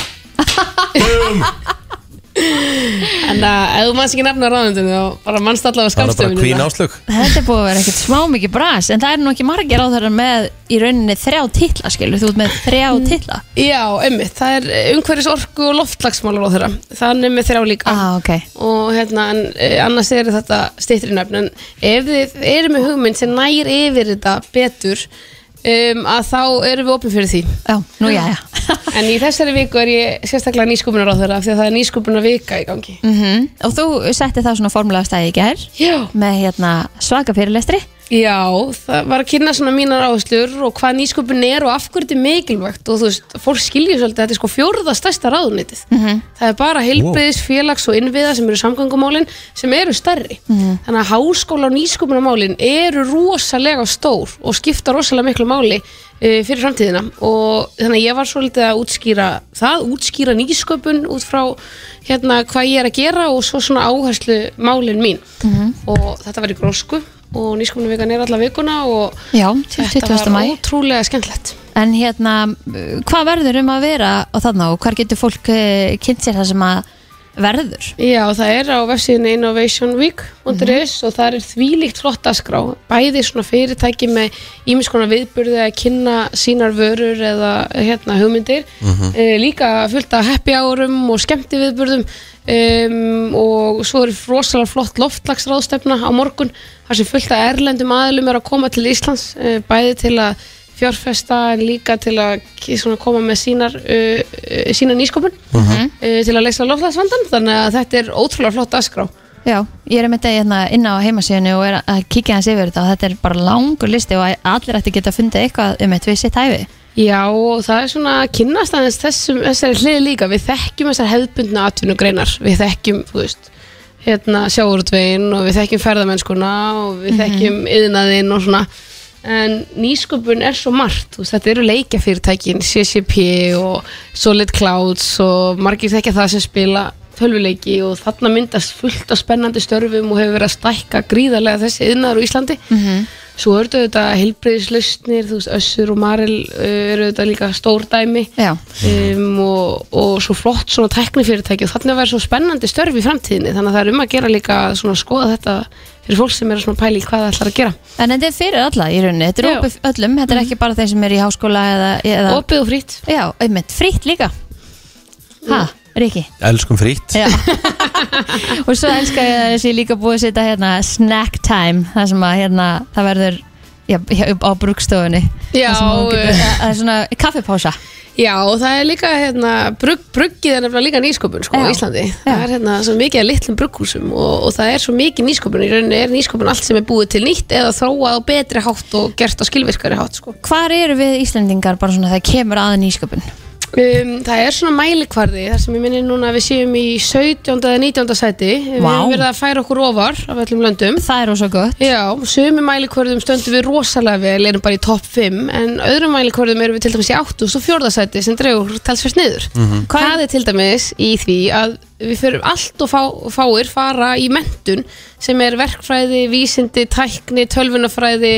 Speaker 10: En að ef þú manns ekki nefna ráðundinu þá bara mannst allavega
Speaker 4: Það er bara
Speaker 10: skamstöfunina
Speaker 4: Queen áslög
Speaker 3: Þetta er búið að vera ekkert smá mikið bras en það er nú ekki margir á þeirra með í rauninni þrjá titla skilur, þú ert með þrjá titla
Speaker 10: Já, einmitt, það er eh, umhverfis orku og loftlagsmálar á þeirra Þannig með þrjá líka
Speaker 3: ah, okay.
Speaker 10: Og hérna, en, eh, annars er þetta stýttri nöfn En ef þið eru með hugmynd sem nær yfir þetta betur um, Að þá erum við opin fyrir því
Speaker 3: Já, nú já, já
Speaker 10: En í þessari viku er ég sérstaklega nýskupunar á þeirra Af því að það er nýskupunar vika í gangi
Speaker 3: mm Og þú setti það svona formulega af stæði í gær
Speaker 10: Já.
Speaker 3: með hérna, svaka fyrirlestri
Speaker 10: Já, það var að kynna svona mínar áherslur og hvað nýsköpun er og af hverju þetta er mikilvægt og þú veist, fólk skiljur svolítið að þetta er sko fjórða stærsta ráðunitið.
Speaker 3: Mm.
Speaker 9: Mhm.
Speaker 10: Það er bara heilbreyðis, félags og innviða sem eru samgöngumálin sem eru stærri.
Speaker 3: Mm.
Speaker 9: Mhm.
Speaker 10: Þannig að háskóla og nýsköpunamálin eru rosalega stór og skipta rosalega miklu máli uh, fyrir framtíðina og þannig að ég var svolítið að útskýra það, útskýra nýsköpun út frá hérna hvað ég er að gera og svo svona áherslu málin mín
Speaker 3: Mm.
Speaker 10: og þetta var í grósku og nýsköpunarvikan er alla vikuna og
Speaker 3: Já,
Speaker 10: þetta
Speaker 3: 20.
Speaker 10: var
Speaker 3: maí
Speaker 10: ótrúlega skemmtilegt
Speaker 3: En hérna, uh, hvað verður um að vera á þarna og hvar getur fólk uh, kynnt sér það sem að verður?
Speaker 10: Já, það er á vefsíðinu innovationweek.is og það er þvílíkt flott askrá bæði svona fyrirtæki með ímis konar viðburði að kynna sínar vörur eða hérna hugmyndir
Speaker 9: Mhm.
Speaker 10: Eh, líka fullt af happy árum og skemmti viðburðum um, og svo er rosalega flott loftlagsráðstefna á morgun þar sem fullt af erlendum aðlum er að koma til Íslands uh, bæði til að fjárfesta en líka til að ki- svona, koma með sínar, uh, uh, sínar nýskopun uh, til að leysa loftlagsvandan þannig að þetta er ótrúlega flott askrá
Speaker 3: Já, ég er með þetta hérna, inn á heimasíðinu og er að kíkja hans yfir þetta og þetta er bara langur listi og að- allir ætti að geta fundið eitthvað um eitt við sitt hæfi
Speaker 10: Já, og það er svona að kynnast aðeins þessum, þessari hlið líka við þekkjum þessar hefðbundna atvinnugreinar við þekkjum, þú veist hérna sjáurtvegin og við þekkjum ferðamennskuna og við
Speaker 9: Mhm.
Speaker 10: þekkjum yðnaðinn og svona en nýsköpun er svo margt, þú veist, þetta eru leikjafyrirtækin CCP og Solid Clouds og margir þekkja það sem spila tölvuleiki og þarna myndast fullt af spennandi störfum og hefur verið að stækka gríðarlega þessi yðnaður á Íslandi Svo eru þetta heilbreyðislausnir, þú veist, Össur og Maril uh, eru þetta líka stór dæmi um, og, og svo flott svona teknifyrirtæki og þannig að vera svo spennandi störf í framtíðinni þannig að það er um að gera líka svona að skoða þetta fyrir fólk sem er að svona pæli hvað það ætlar að gera.
Speaker 3: En þetta er fyrir alla í rauninni, þetta er
Speaker 10: Já. Mhm.
Speaker 3: opið öllum, þetta er ekki bara þeir sem er í háskóla eða, eða
Speaker 10: Opið og frýtt
Speaker 3: Já, einmitt, frýtt líka Ha, Riki
Speaker 4: Elskum frýtt
Speaker 3: Já (laughs) Og svo elska ég að þessi líka búið að setja hérna snack time Það sem að hérna, það verður já, já, upp á brugstofunni
Speaker 10: Já,
Speaker 3: Það sem að hún getur-
Speaker 10: eh.
Speaker 3: það er svona kaffipása
Speaker 10: Já og það er líka hérna, brugg, bruggið er nefnilega líka nýsköpun sko á Íslandi. Það er hérna svo mikið að litlum brugghúsum og, og það er svo mikið nýsköpun í rauninni er nýsköpun allt sem er búið til nýtt eða þróað á betri hátt og gert á skilvirkari hátt sko.
Speaker 3: Hvar eru við Íslendingar bara svona þegar kemur að nýsköpun?
Speaker 10: Um, það er svona mælikvarði þar sem ég minni núna að við séum í 17. eða 19. sæti Við
Speaker 3: Vá.
Speaker 10: höfum verið að færa okkur ofar af öllum löndum
Speaker 3: Það er rosa gott
Speaker 10: Já, sömu mælikvarðum stöndum við rosalega vel, erum bara í topp 5 En öðrum mælikvarðum erum við til dæmis í 8. og svo 4. sæti sem dregur talsvert niður
Speaker 9: Mhm.
Speaker 10: Það er til dæmis í því að við fyrir allt og fá, fáir fara í mentun sem er verkfræði, vísindi, tækni, tölvunafræði,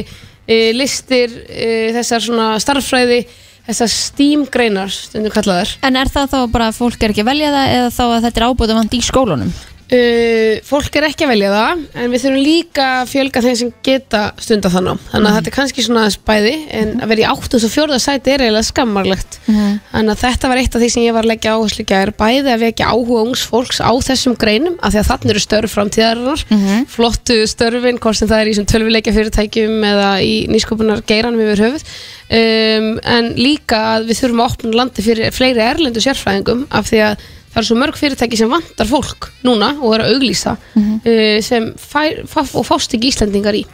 Speaker 10: e, listir, e, þessar svona starffræði, þessar stímgreinar, stundum kallaðar.
Speaker 3: En er það þá bara að fólk er ekki að velja það eða þá að þetta er ábúðum vant í skólunum?
Speaker 10: Uh, fólk er ekki að velja það en við þurfum líka að fjölga þeim sem geta stunda þann nám þannig að þetta er kannski svona aðeins bæði en að vera í 804. sæti er eiginlega skammarlegt
Speaker 3: Mhm.
Speaker 10: þannig að þetta var eitt af því sem ég var að leggja áherslu í gær bæði að vekja áhuga ungs fólks á þessum greinum af því að þannig eru störf framtíðarinnar
Speaker 3: Mhm.
Speaker 10: flottu störfin, hvort sem það er í tölvileikja fyrirtækjum eða í nýsköpunar geiranum yfir höfuð um, en líka að við þurfum að opna landi fyrir fleiri erlendu sérfræðingum af því að það eru svo mörg fyrirtæki sem vantar fólk núna og er að auglýsa uh, sem fær, fá, og fást ekki Íslendingar í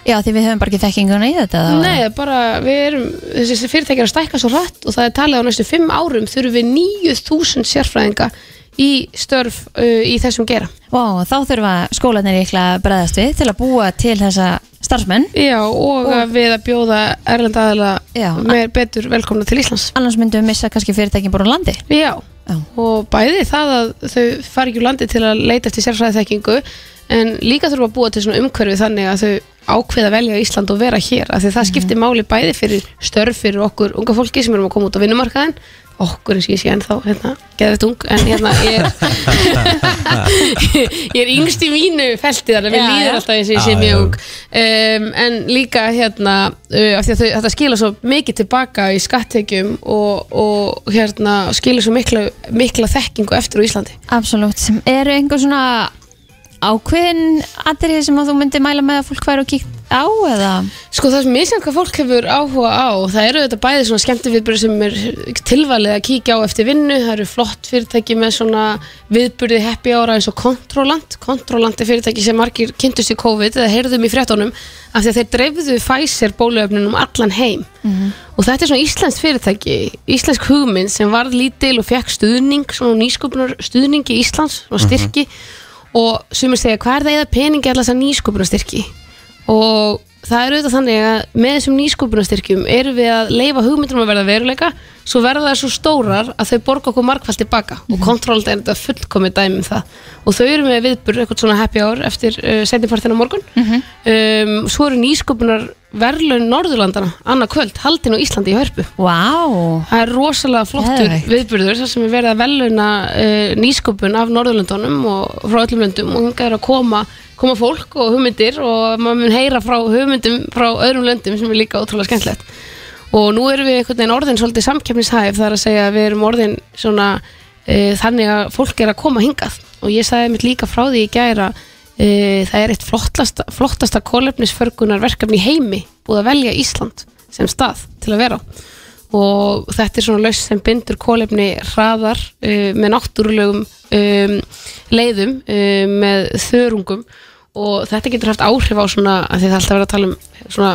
Speaker 3: Já, því við höfum bara ekki þekkinguna í þetta þá.
Speaker 10: Nei, bara við erum, þessi þessi fyrirtæki er að stækka svo rætt og það er talið á næstu fimm árum þurfum við 9000 sérfræðinga í störf uh, í þessum geira
Speaker 3: Vá, þá þurfa skólanir líklega að bregðast við til að búa til þessa starfsmenn.
Speaker 10: Já, og, að við að bjóða erlenda aðila meir betur velkomna til Íslands.
Speaker 3: Annars myndum við missa kannski fyrirtækin bara úr landi.
Speaker 10: Já, og bæði það að þau fari ekki úr landi til að leita eftir sérfræðiþekkingu en líka þurfa að búa til svona umhverfi þannig að þau ákveða að velja Ísland og vera hér af því það skiptir máli bæði fyrir störf fyrir okkur unga fólki sem erum að koma út á vinnumarkaðin okkur eins og ég sé ennþá hérna, geðvett ung en hérna ég er, (laughs) ég er yngst í mínu felti þannig að
Speaker 9: Já,
Speaker 10: mér
Speaker 9: já.
Speaker 10: líður alltaf eins og ég sé
Speaker 9: Já, já.
Speaker 10: mjög ung um, en líka hérna uh, af því að þau, þetta skila svo mikið tilbaka í skattekjum og, og hérna skila svo mikla, mikla þekkingu eftir á Íslandi
Speaker 3: Absolutt. Eru einhver svona ákveðin aðrið sem að þú myndir mæla með að fólk væri og kíkt á eða?
Speaker 10: Sko það sem ég sem hvað fólk hefur áhuga á það eru þetta bæði svona skemmti viðbyrði sem er tilvalið að kíkja á eftir vinnu það eru flott fyrirtæki með svona viðbyrði happy ára eins og Controland Controland er fyrirtæki sem margir kynntust í COVID eða heyrðum í fréttunum af því að þeir dreifðu Pfizer bóluöfnunum allan heim og þetta er svona íslensk fyrirtæki íslensk hugmynd sem varð lítil og fekk stuðning, svona nýsköpunar stuðningi Íslands og styrki og sumir segja hvað er það eða peningi alltaf þess að nýsköpunarstyrki og það er auðvitað þannig að með þessum nýsköpunarstyrkjum erum við að leifa hugmyndum að verða veruleika svo verða það svo stórar að þau borga okkur markfald tilbaka
Speaker 9: Mhm.
Speaker 10: og kontróld er þetta fullkomið dæmi um það og þau eru með viðburð eitthvað svona happy hour eftir uh, setnipartina morgun
Speaker 9: Mhm.
Speaker 10: um, svo eru nýsköpunar verðlaun Norðurlandana annað kvöld, haldin á Íslandi í Hörpu
Speaker 3: wow.
Speaker 10: það er rosalega flottur
Speaker 3: Geðveikt.
Speaker 10: viðburður þar sem er verið að verðlauna uh, nýsköpun af Norðurlandunum og frá öllum löndum og það er að koma, koma fólk og hugmyndir og maður mun heyra frá hugmyndum frá öðrum löndum sem er líka ótrúlega skemmtilegt og nú erum við einhvern veginn orðin svolítið samkeppnishæf þar að segja að við erum orðin svona e, þannig að fólk er að koma hingað og ég sagði mitt líka frá því í gæra e, það er eitt flottasta, flottasta kólefnisförgunar verkefni í heimi búið að velja Ísland sem stað til að vera á og þetta er svona laus sem bindur kólefni hraðar uh, með náttúrulegum um, leiðum um, með þörungum og þetta getur haft áhrif á svona að því það er alltaf verið að tala um svona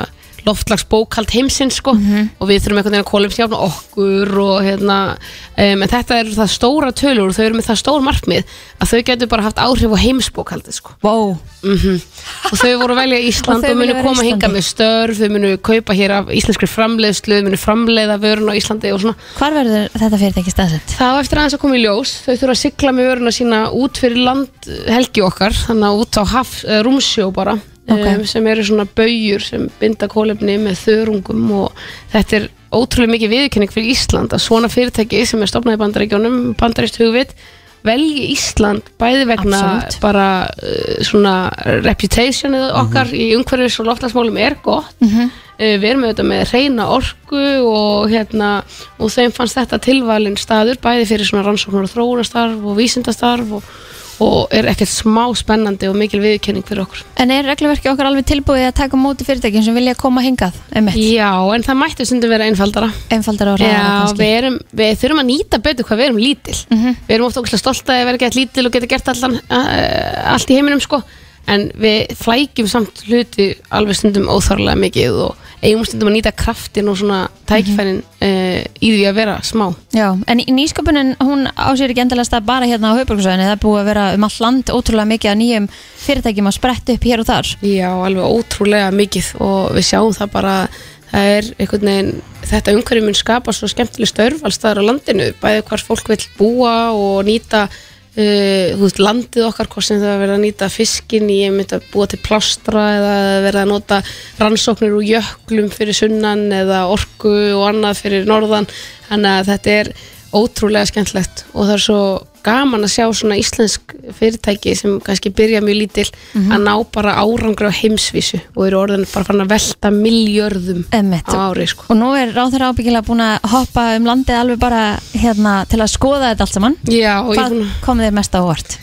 Speaker 10: loftlagsbókald heimsins sko
Speaker 3: Mhm.
Speaker 10: og við þurfum einhvern veginn að kólefnisjáfna okkur og hérna um, en þetta eru það stóra tölur og þau eru með það stór markmið að þau getur bara haft áhrif á heimsbókaldi sko
Speaker 3: wow.
Speaker 10: og þau voru að velja
Speaker 3: (laughs) Og
Speaker 10: Ísland
Speaker 3: þau
Speaker 10: og, munu
Speaker 3: vilja vera
Speaker 10: koma
Speaker 3: Íslandi.
Speaker 10: hinga með störf þau munu kaupa hér af íslenskri framleiðslu þau munu framleiða vörun á Íslandi og svona
Speaker 3: Hvar verður þetta fyrirtæki staðsett?
Speaker 10: Það á eftir aðeins að koma í ljós, þau þurfa að sigla með vöruna sína út fyrir land helgi okkar, þannig að út á haf, eh, rúmsjó bara,
Speaker 3: Ok.
Speaker 10: um, sem eru svona baugjur sem binda kólefni með þörungum og þetta er ótrúlega mikið viðurkenning fyrir Ísland að svona fyrirtæki sem er stopnað í bandaríkjónum, bandarist hugvit, velji Ísland bæði vegna
Speaker 3: Absolutt.
Speaker 10: bara uh, svona reputationið okkar
Speaker 3: Mhm.
Speaker 10: í umhverfis og loftlagsmálum er gott Eh, við erum auðvitað með reyna orku og hérna og þeim fannst þetta tilvalinn staður bæði fyrir svona rannsóknar og þróunastarf og vísindastarf og, og er ekkert smá spennandi og mikil viðurkenning fyrir okkur
Speaker 3: En er regluverki okkar alveg tilbúið að taka á móti fyrirtækjum sem vilja koma hingað? Einmitt?
Speaker 10: Já, en það mætti stundum vera einfaldara
Speaker 3: Einfaldara og ræða
Speaker 10: Já, við, erum, við þurfum að nýta betur hvað við erum lítil Við erum ofta okkur stolt að vera gett lítil og geta gert allan, uh, allt í heiminum sko En við flækjum samt hluti alveg stundum óþarlega mikið og eigum stundum að nýta kraftin og
Speaker 3: Mhm.
Speaker 10: svona tækifærin uh, í því að vera smá
Speaker 3: Já, en í nýsköpunin, hún á sér ekki endalega stað bara hérna á Hauðbjörgusvæðinu, það er búið að vera um all land ótrúlega mikið af nýjum fyrirtækjum að spretta upp hér og þar.
Speaker 10: Já, alveg ótrúlega mikið og við sjáum það bara það er einhvern veginn, þetta umhverju mun skapa svo skemmtileg störf alls staðar á landinu bæði hvar fólk vill búa og nýta uh, þú veist, landið okkar hvort sem það er verið að nýta fiskin í einmitt að búa til plástra eða verið að nota rannsóknir úr jöklum fyrir sunnan eða orku og annað fyrir norðan þannig að þetta er
Speaker 9: ótrúlega skemmtlegt og það er svo gaman að sjá svona íslensk fyrirtæki sem kannski byrja mjög lítil
Speaker 3: Mhm.
Speaker 9: að ná bara árangra á heimsvísu og eru orðin bara farin að velta miljörðum
Speaker 3: Emmett.
Speaker 9: á ári sko.
Speaker 3: Og nú er ráðherra ábyggilega búin að hoppa um landið alveg bara hérna til að skoða þetta allt saman.
Speaker 9: Já, og ég
Speaker 3: Hvað
Speaker 9: búin-
Speaker 3: kom þér mest á óvart?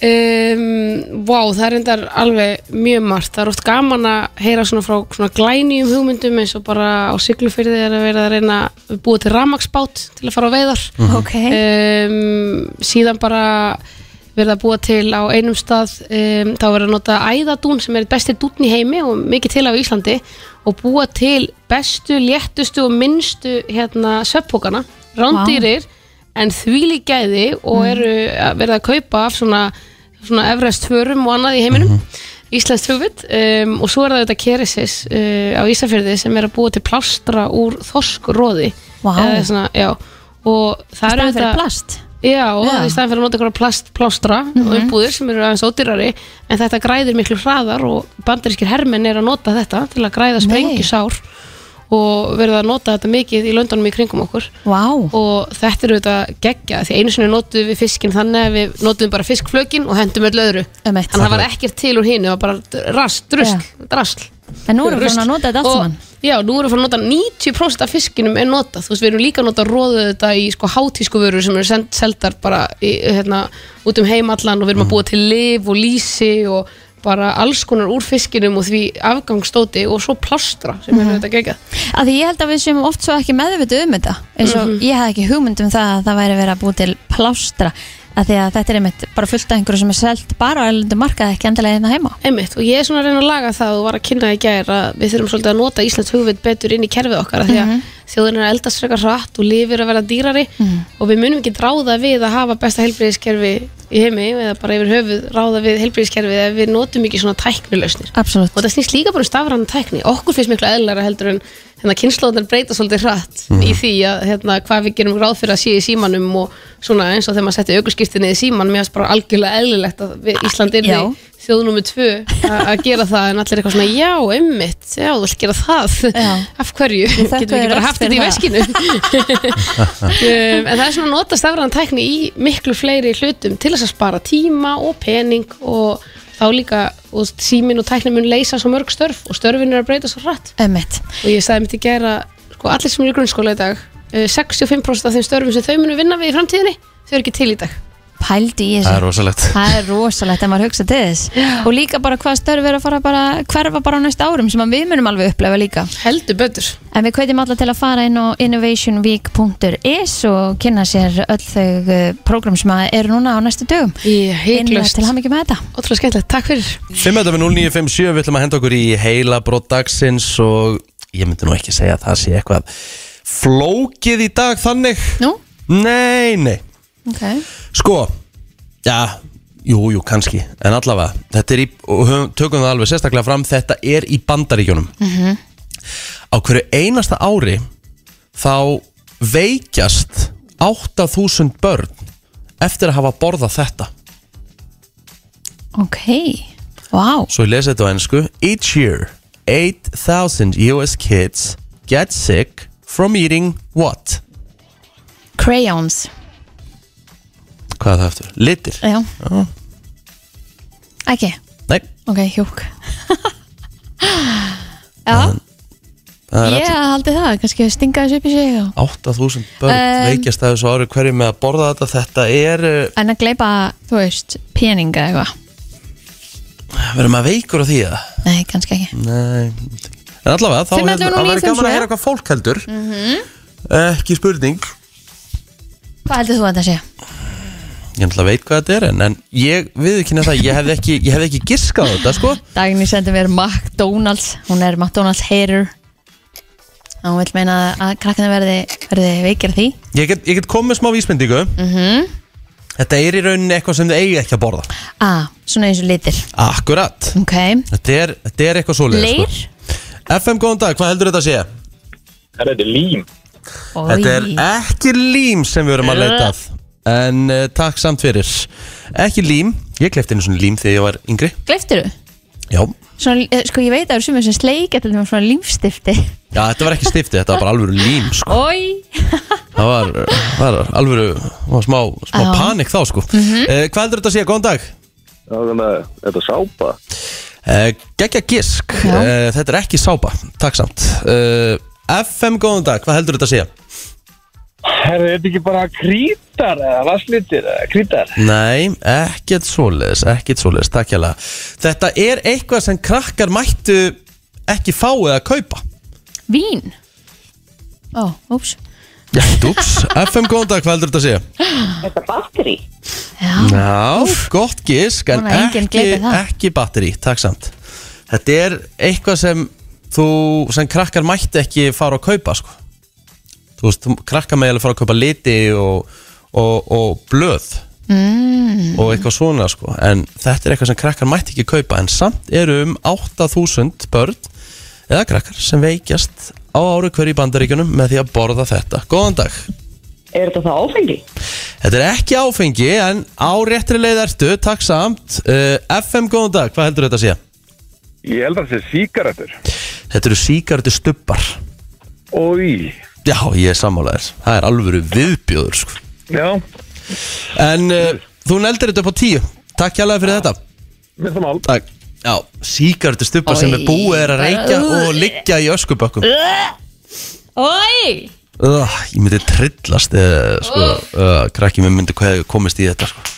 Speaker 9: Um, wow, það er endar alveg mjög margt það er oft gaman að heyra svona frá svona glænýjum hugmyndum eins og bara á siglufyrði er að vera að reyna að búa til ramagsbát til að fara á veiðar
Speaker 3: Mhm. Ok.
Speaker 9: Eh, um, síðan bara verið að búa til á einum stað um, þá verið að nota æðadún sem er eitt besti dún í heimi og mikið til á Íslandi og búa til bestu, léttustu og minnstu hérna söppókana, rándýrir en þvílík gæði og
Speaker 13: Mm.
Speaker 9: eru að verið að kaupa af svona, svona Everest förum og annað í heiminum mm Íslands þjóðvitt um, og svo er það þetta Keresis uh, á Ísafjörði sem er að búa til plástra úr þorskróði
Speaker 3: Vá.
Speaker 9: Eða eh, svona, já, og það
Speaker 3: Í
Speaker 9: er
Speaker 3: staðinn fyrir
Speaker 9: auðvitað-
Speaker 3: plast?
Speaker 9: Já,
Speaker 3: Já.
Speaker 9: í staðan fyrir að nota einhverja plast, plástra
Speaker 3: Mhm.
Speaker 9: og umbúðir sem eru aðeins ódýrari en þetta græðir miklu hraðar og bandarískir hermenn er að nota þetta til að græða sprengjusár og verða að nota þetta mikið í löndunum í kringum okkur
Speaker 3: wow.
Speaker 9: og þetta er auðvitað geggja því einu sinni notuðum við fiskinn þannig að við notuðum bara fiskflökin og hendum öll öðru
Speaker 3: Emmett.
Speaker 9: þannig að það var ekkert til úr hínu það var bara rast, drusl, drasl
Speaker 3: En nú erum við farin að nota þetta allt
Speaker 9: Og-
Speaker 3: saman.
Speaker 9: Já, nú erum við farin að nota 90% af fiskinum er notað, þú veist, við erum líka að nota róðu þetta í sko hátísku vörur sem eru send, seldar bara í, hérna, út um heim allan og við erum
Speaker 3: Mm.
Speaker 9: að búa til liv og lýsi og bara alls konar úr fiskinum og því afgangstóti og svo plástra sem
Speaker 3: Mhm.
Speaker 9: er þetta geggjað
Speaker 3: Að því ég held að við séum oft svo ekki meðvitu um þetta eins og
Speaker 9: Mhm.
Speaker 3: ég hafði ekki hugmynd um það að það væri verið að búi til plástra að því að þetta er einmitt bara fullt af einhverju sem er selt bara á erlendu markaði ekki endilega hérna heima
Speaker 9: Einmitt, og ég er svona að reyna að laga það og var að kynna í gær að við þurfum svolítið að nota Íslands hugvit betur inn í kerfið okkar af því að
Speaker 3: Mhm.
Speaker 9: þjóðin er að eldast frekar hratt og lifir að vera dýrari og við munum ekki ráða við að hafa besta helbriðiskerfi í heimi eða bara yfir höfuð ráða við helbriðiskerfið ef við notum ekki svona tæknilausnir
Speaker 3: Absolutt.
Speaker 9: og það snýst líka bara um stafrann tækni okkur finnst miklu eðlara heldur en hérna, kynnslóðunar breyta svolítið hratt í því að hérna, hvað við gerum ráð fyrir að sé í símanum og svona eins og þegar maður setti aukurskiptinni í síman, mér finnst bara algjörlega eðlilegt að við, Ísland er
Speaker 3: Já.
Speaker 9: þjóðnúmi tvö a- að gera það en allir eitthvað svona, já, einmitt, já, þú vilt gera það af hverju,
Speaker 3: þökkum
Speaker 9: getum
Speaker 3: þér
Speaker 9: við ekki
Speaker 3: öll
Speaker 9: bara haft þetta í
Speaker 3: fyrir
Speaker 9: veskinu
Speaker 3: (laughs)
Speaker 9: um, en það er svona að nota stafræðan tækni í miklu fleiri hlutum til þess að spara tíma og pening og þá líka og símin og tækni mun leysa svo mörg störf og störfin er að breyta svo hratt
Speaker 3: Emmett.
Speaker 9: og ég sagði mitt í gera sko, allir sem eru í grunnskóla í dag eh, 65% af þeim störfum sem þau munu vinna við í framtíðinni þau eru ekki til í dag
Speaker 3: Pældi í þessu
Speaker 4: Það er rosalegt.
Speaker 3: Það er rosalegt að maður hugsa til þess Og líka bara hvað störf er að fara bara hverfa bara á næstu árum sem að við munum alveg upplefa líka
Speaker 9: Heldur betur
Speaker 3: En við kveitjum alla til að fara inn á innovationweek.is og kynna sér öll þau eh, prógram sem að eru núna á næstu dögum
Speaker 9: Í
Speaker 3: Innilega til hamingjum með þetta
Speaker 9: Ótrúlega skemmtilegt, takk fyrir
Speaker 4: 5.0957 við ætlum að henda okkur í heila brottagsins og ég myndi nú ekki segja að það sé eitthvað flókið í dag þannig
Speaker 3: Nú?
Speaker 4: Nei, nei
Speaker 3: okay.
Speaker 4: Sko, já, jú, jú, kannski En allavega, þetta er í, og höfum, tökum það alveg sérstaklega fram Þetta er í bandaríkjunum Á hverju einasta ári Þá veikjast 8000 börn Eftir að hafa borðað þetta
Speaker 3: Ok, wow
Speaker 4: Svo ég lesi þetta á ennsku Each year, 8000 US kids get sick from eating what?
Speaker 3: Crayons
Speaker 4: Hvað er það eftir? Litir?
Speaker 3: Já. Ekki?
Speaker 4: Nei.
Speaker 3: Ok, hjúk (laughs) Já,
Speaker 4: Það er
Speaker 3: ég haldi það, kannski að stinga þessu upp í sig og...
Speaker 4: 8000 börn
Speaker 3: Um,
Speaker 4: veikjast að þessu ári hverju með að borða þetta þetta er, uh,
Speaker 3: En að gleypa, þú veist, peninga eða eitthvað
Speaker 4: verður maður veikur á því að
Speaker 3: Nei, kannski ekki
Speaker 4: nei, en allavega þá
Speaker 3: 511
Speaker 4: hérna, það
Speaker 3: 0957.
Speaker 4: væri gaman að heyra hvað fólk heldur ekki spurning,
Speaker 3: Hvað heldur þú að þetta sé?
Speaker 4: ég náttúrulega veit hvað þetta er en, en ég viðkynna það, ég hefði ekki ég hefði ekki giskað á þetta sko
Speaker 3: Dagný sendi mér McDonalds Hún er McDonalds hater Og hún vil meina að krakkana verði, verði veikir af því
Speaker 4: ég get, ég get komið smá vísmyndingu
Speaker 3: mm
Speaker 4: þetta er í rauninni eitthvað sem þið eigi ekki að borða
Speaker 3: ah, Svona eins og litir
Speaker 4: akkurat,
Speaker 3: Ok,
Speaker 4: þetta er, þetta er eitthvað svoleið
Speaker 3: leir
Speaker 4: sko. FM góðan dag, hvað heldur þetta að sé? Þetta er lím sko. Þetta er e- ekki lím sem við erum að leita að En uh, takk samt fyrir Ekki lím, ég klefti einu svona lím þegar ég var yngri
Speaker 3: Gleiftirðu?
Speaker 4: Já,
Speaker 3: Svona, eh, sko ég veit að það eru sumir sem sleikja til þeim svona lífstifti
Speaker 4: Já þetta var ekki stifti, þetta var bara alveg lím sko.
Speaker 3: Ói
Speaker 4: Það var, var alvöru, var smá, smá
Speaker 14: Já.
Speaker 4: panik þá sko
Speaker 14: Mhm.
Speaker 4: Eh, Hvað heldur þetta að segja, góðan dag? Já, þannig að þetta er sápa Gekja gisk, Eh, þetta er ekki sápa, takk samt Eh, FM, góðan dag, hvað heldur þetta að segja?
Speaker 15: Herðu, þetta ekki bara krítar eða vasslitir eða krítar?
Speaker 4: Nei, ekkert svoleiðis, ekkert svoleiðis, takk hérlega Þetta er eitthvað sem krakkar mættu ekki fá eða kaupa
Speaker 3: Vín Ó, úps
Speaker 4: Já, dúps, FM, góðan dag, hvað heldur þetta að segja?
Speaker 3: Þetta batteri
Speaker 4: Já, gott gisk en
Speaker 3: Vona að enginn
Speaker 4: ekki,
Speaker 3: gleypir það.
Speaker 4: ekki batteri, takk samt Þetta er eitthvað sem þú sem krakkar mætti ekki fara að kaupa sko. þú veist, þú- krakkar með alveg fara að kaupa liti og, og, og blöð
Speaker 3: mm.
Speaker 4: og eitthvað svona sko. en þetta er eitthvað sem krakkar mætti ekki kaupa en samt eru um 8000 börn eða krakkar sem veikjast á ári hverju í bandaríkjunum með því að borða þetta Góðan dag
Speaker 16: Er þetta það áfengi?
Speaker 4: Þetta er ekki áfengi en á réttri leið ertu, takk samt uh, FM, góðan dag, hvað heldur þetta að sé?
Speaker 17: Ég held að það sé síkaretur
Speaker 4: Þetta eru síkartu stubbar Ói Já, ég er sammálaðir, það er alvöru viðbjóður sko.
Speaker 17: Já,
Speaker 4: En uh, þú neldir þetta upp á tíu Takk hjálpa fyrir þetta
Speaker 17: með það mál
Speaker 4: Takk Já, uh, síkartu stubbar sem er
Speaker 3: Oj,
Speaker 4: búið er að
Speaker 3: bara-
Speaker 4: reykja og liggja í öskubökkum
Speaker 3: Ói
Speaker 4: uh, Ég myndi trillast eða, sko, uh, krakki mér myndi hvað komist í þetta sko.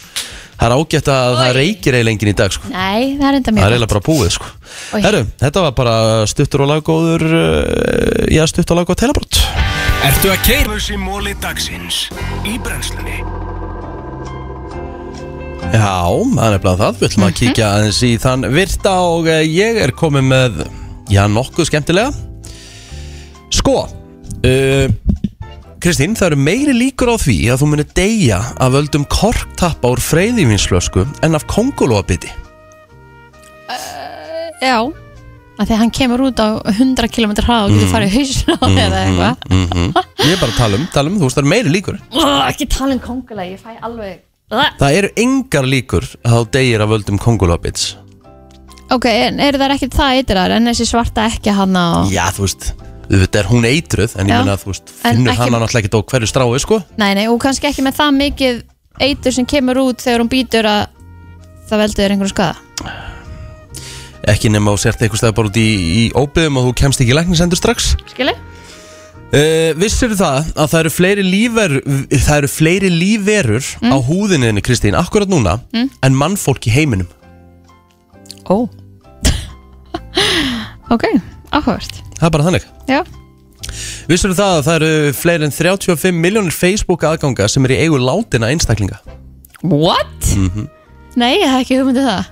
Speaker 4: Það er ágætt að það reykir eiginlega enginn í dag sko.
Speaker 3: Nei, það er enda
Speaker 4: Það
Speaker 3: mjög
Speaker 4: er eiginlega bara búið sko.
Speaker 3: Oj.
Speaker 4: Herru, þetta var bara stuttur og laggóður uh, Já, stuttur og laggóð telabrótt
Speaker 1: Ertu að keira þessi móli dagsins í brennslunni?
Speaker 4: Já, það er nefnilega það, við ætlum að kíkja aðeins í þann virta og eh, ég er komið með, já, nokkuð skemmtilega Sko, uh, Kristín, það eru meiri líkur á því að þú munir deyja af völdum korktappa úr freyðivinslösku en af kongulóabiti
Speaker 3: Já að því að hann kemur út á 100 km hrað og getur
Speaker 4: Mm.
Speaker 3: farið í hausin á þér eða eitthvað
Speaker 4: mm -hmm. Ég er bara að tala um, tala um, þú veist, það eru meiri líkur
Speaker 3: Ó, ekki tala um kongula, ég fæ alveg
Speaker 4: Það eru engar líkur að þú deyjir af völdum kongulóabits
Speaker 3: ok, en eru þær ekki það eitrar en þessi svarta ekki hann á
Speaker 4: Já, þú veist, auðvitað er hún eitruð en ég
Speaker 3: Já.
Speaker 4: meina að þú veist,
Speaker 3: En
Speaker 4: finnur
Speaker 3: ekki-
Speaker 4: hana náttúrulega ekki á hverju strái, sko
Speaker 3: nei, nei, og kannski ekki með það mikið eitur sem kemur út þegar hún býtur að það veldur þér einhverjum skada
Speaker 4: ekki nema og sért eitthvað stæð bara út í, í óbyðum og þú kemst ekki í læknisendur strax
Speaker 3: skilji?
Speaker 4: Uh, vissir það að það eru fleiri lífver, það eru fleiri lífverur á húðinni, Kristín, akkurat núna
Speaker 3: Mm.
Speaker 4: en mannfólk í heiminum
Speaker 3: Ó (laughs) ok, áhugavert
Speaker 4: það er bara þannig
Speaker 3: já,
Speaker 4: vissir það að það eru fleiri en 35 miljónir Facebook aðganga sem eru í eigu látina einstaklinga
Speaker 3: what?
Speaker 4: mm
Speaker 3: Mhm. nei, ég hef ekki hugmyndið það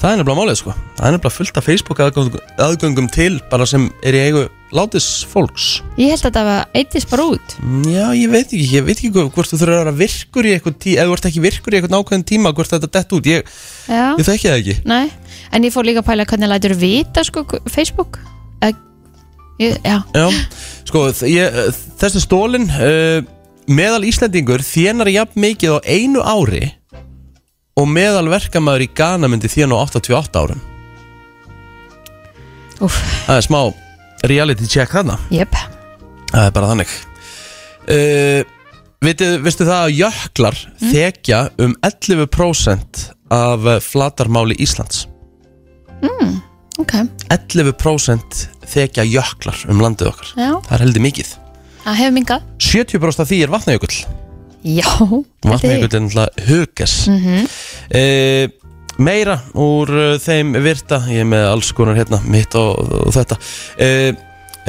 Speaker 4: það er nefnilega málið sko það er nefnilega fullt af Facebook aðgöngum, aðgöngum til bara sem eru í eigu látis fólks
Speaker 3: ég held að það var eitist bara út
Speaker 4: Já, ég veit ekki, ég veit ekki hvort hvort þú þurfur að vera virkur í eitthvað tíma, eða þú ert ekki virkur í eitthvað nákvæðan tíma, hvort þetta dett út, ég,
Speaker 3: já,
Speaker 4: ég þekki það ekki.
Speaker 3: nei, en ég fór líka að pæla hvernig lætur vita sko Facebook Eð, ég, já,
Speaker 4: Já, sko, þ- ég, þessi stólin, uh, meðal Íslendingur þjenar jafn mikið á einu ári og meðal verkamæður í Ghana myndi þjena á 88 árum.
Speaker 3: Úff.
Speaker 4: Það er smá reality check þarna.
Speaker 3: jöp
Speaker 4: Það er bara þannig uh, vitið, Vistu það að jöklar þekja um 11% af eh, flatarmáli Íslands
Speaker 3: mm, ok,
Speaker 4: 11% þekja jöklar um landið okkar
Speaker 3: já,
Speaker 4: Það er heldur mikið
Speaker 3: það hefur mingað
Speaker 4: 70% af því er vatnajökull
Speaker 3: já,
Speaker 4: Vatnajökull er náttúrulega hugas
Speaker 3: mm -hmm.
Speaker 4: uh, meira úr uh, þeim virta ég er með alls konar hérna mitt og, og þetta uh,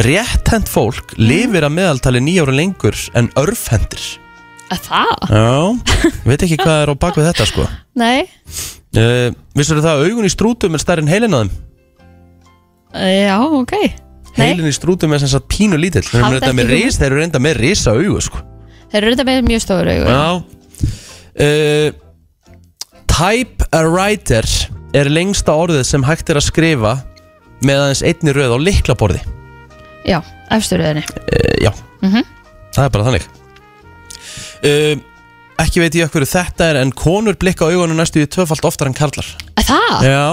Speaker 4: rétthend fólk
Speaker 3: Mhm.
Speaker 4: lifir að meðaltali nýjára lengur en örfhendir
Speaker 3: að það?
Speaker 4: já, veit ekki hvað er á bakvið þetta sko
Speaker 3: nei,
Speaker 4: uh, vissur það að augun í strútum er stærri en heilin á þeim
Speaker 3: já, ok
Speaker 4: heilin í strútum er sem sagt pínu lítill þeir eru
Speaker 3: Halda
Speaker 4: reynda með
Speaker 3: ekki
Speaker 4: ris, þeir eru reynda með risa augu sko
Speaker 3: þeir eru þetta með mjög stóru augu
Speaker 4: Já uh, Typewriter er lengsta orðið sem hægt er að skrifa með aðeins einni röð á liklaborði
Speaker 3: Já, efsturöðinni
Speaker 4: uh, Já,
Speaker 3: mm
Speaker 4: það er bara þannig uh, Ekki veit ég hverju þetta er en konur blikka á augunum næstu í tvöfalt oftar en karlar
Speaker 3: Það?
Speaker 4: Já,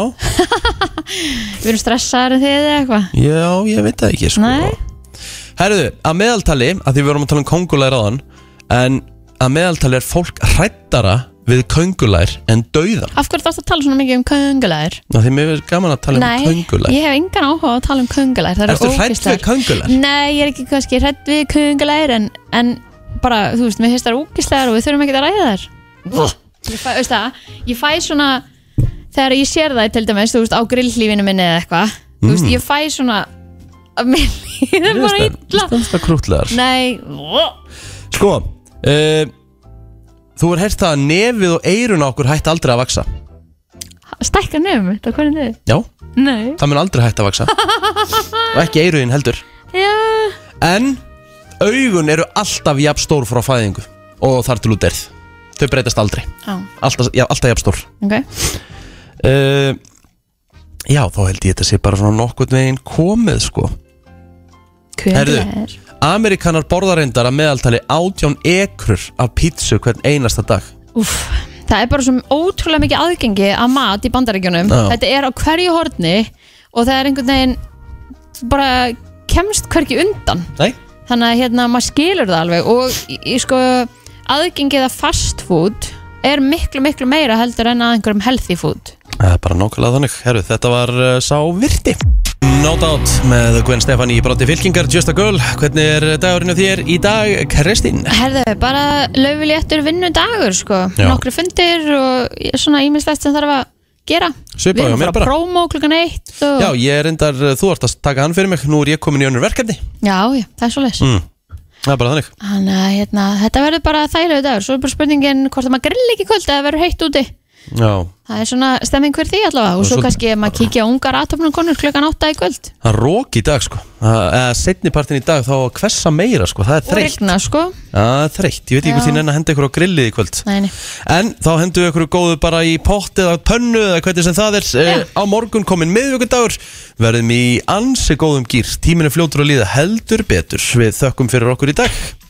Speaker 3: Við erum stressaðar en þið eða eitthvað
Speaker 4: já, ég veit það ekki sko.
Speaker 3: Nei,
Speaker 4: Herðu, að meðaltali, að því við vorum að tala um kongulega ráðan En að meðaltali er fólk hrættara við köngulær en dauðan
Speaker 3: Af hverju þarfst að tala svona mikið um köngulær?
Speaker 4: Ná, Því mér er gaman að tala um köngulær
Speaker 3: ég hef engan áhuga á að tala um köngulær Það
Speaker 4: Ertu
Speaker 3: eru
Speaker 4: hrædd við
Speaker 3: ógeðslegar.
Speaker 4: köngulær?
Speaker 3: Nei, ég er ekki kannski hrætt við köngulær en, en bara, þú veist, mér finnst það ógislegar og við þurfum ekki að ræða þær Ég fæ, veist það, ég fæ svona þegar ég sér það til dæmis, þú veist, á grillhlífinu minni eða eitthvað Þú veist,
Speaker 4: Mm.
Speaker 3: ég fæ svona að mér (laughs) líður bara illa
Speaker 4: Stömmsta krútlegar
Speaker 3: Nei, ó,
Speaker 4: Sko uh, Þú er heyrt það að nefið og eirun á okkur hætti aldrei að vaksa
Speaker 3: stækka nefnum þetta, hvernig niður?
Speaker 4: Já,
Speaker 3: Nei
Speaker 4: það mun aldrei hætti að
Speaker 3: (laughs)
Speaker 4: vaksa Og ekki eiruðin heldur
Speaker 3: Já,
Speaker 4: En augun eru alltaf jafn stór frá fæðingu Og þar til út erð Þau breytast aldrei
Speaker 3: Já.
Speaker 4: Alltaf, já, alltaf jafn stór
Speaker 3: ok
Speaker 4: uh, Já, þá held ég þetta sé bara svona nokkurn veginn komið sko
Speaker 3: Köngulær
Speaker 4: Amerikanar borða reyndar að meðaltali átján ekrur af pítsu hvern einasta dag
Speaker 3: Úf, það er bara svo ótrúlega mikið aðgengi að mat í bandaríkjunum
Speaker 4: Já.
Speaker 3: Þetta er á hverju horni og það er einhvern veginn bara kemst hverki undan
Speaker 4: Nei.
Speaker 3: Þannig að hérna maður skilur það alveg og ég sko aðgengið að fast food er miklu miklu meira heldur en að einhverjum healthy food
Speaker 4: Það er bara nákvæmlega þannig Herru, þetta var uh, sá virti No doubt með Gwen Stefani í brotti fylkingar Just a girl, hvernig er dagurinn á þér í dag, Kristín?
Speaker 3: Herðu, bara löfuléttur vinnu dagur sko,
Speaker 4: Já.
Speaker 3: nokkru fundir og svona ímislegt sem þarf að gera
Speaker 4: Svipað
Speaker 3: Við
Speaker 4: hjá
Speaker 3: erum
Speaker 4: mér
Speaker 3: að
Speaker 4: bara.
Speaker 3: fara prómó klukkan eitt og...
Speaker 4: Já, ég er reyndar, eh, þú ert að taka hann fyrir mig Nú er ég komin í önnur verkefni
Speaker 3: já, já, það er svo leys
Speaker 4: mm. Það er bara þannig
Speaker 3: Þannig að hérna, þetta verður bara þægilegu dagur Svo er bara spurningin hvort að maður grill ekki í kvöld eða verður heitt úti
Speaker 4: Já,
Speaker 3: Það er svona stemming fyrir því allavega
Speaker 4: Og
Speaker 3: Og svo
Speaker 4: svo-
Speaker 3: kannski ef maður kíkja á ungar aðtöfnarkonur klukkan átta í kvöld
Speaker 4: það er rók í dag sko Það- Eða setni partin í dag þá á að hvessa meira sko Það er
Speaker 3: Og
Speaker 4: þreytt
Speaker 3: regna sko
Speaker 4: Það er þreytt, ég veit ekki hvort
Speaker 3: Já.
Speaker 4: ég nenni að henda ykkur á grillið í kvöld
Speaker 3: Nei, nei.
Speaker 4: En þá hendu ykkur góðu bara í pott eða pönnu eða hvernig sem það er yeah. Á morgun komin miðvikudagur Verðum í ansi góðum gýr Tíminu fljótur að líða heldur betur Við þökkum fyrir okkur í dag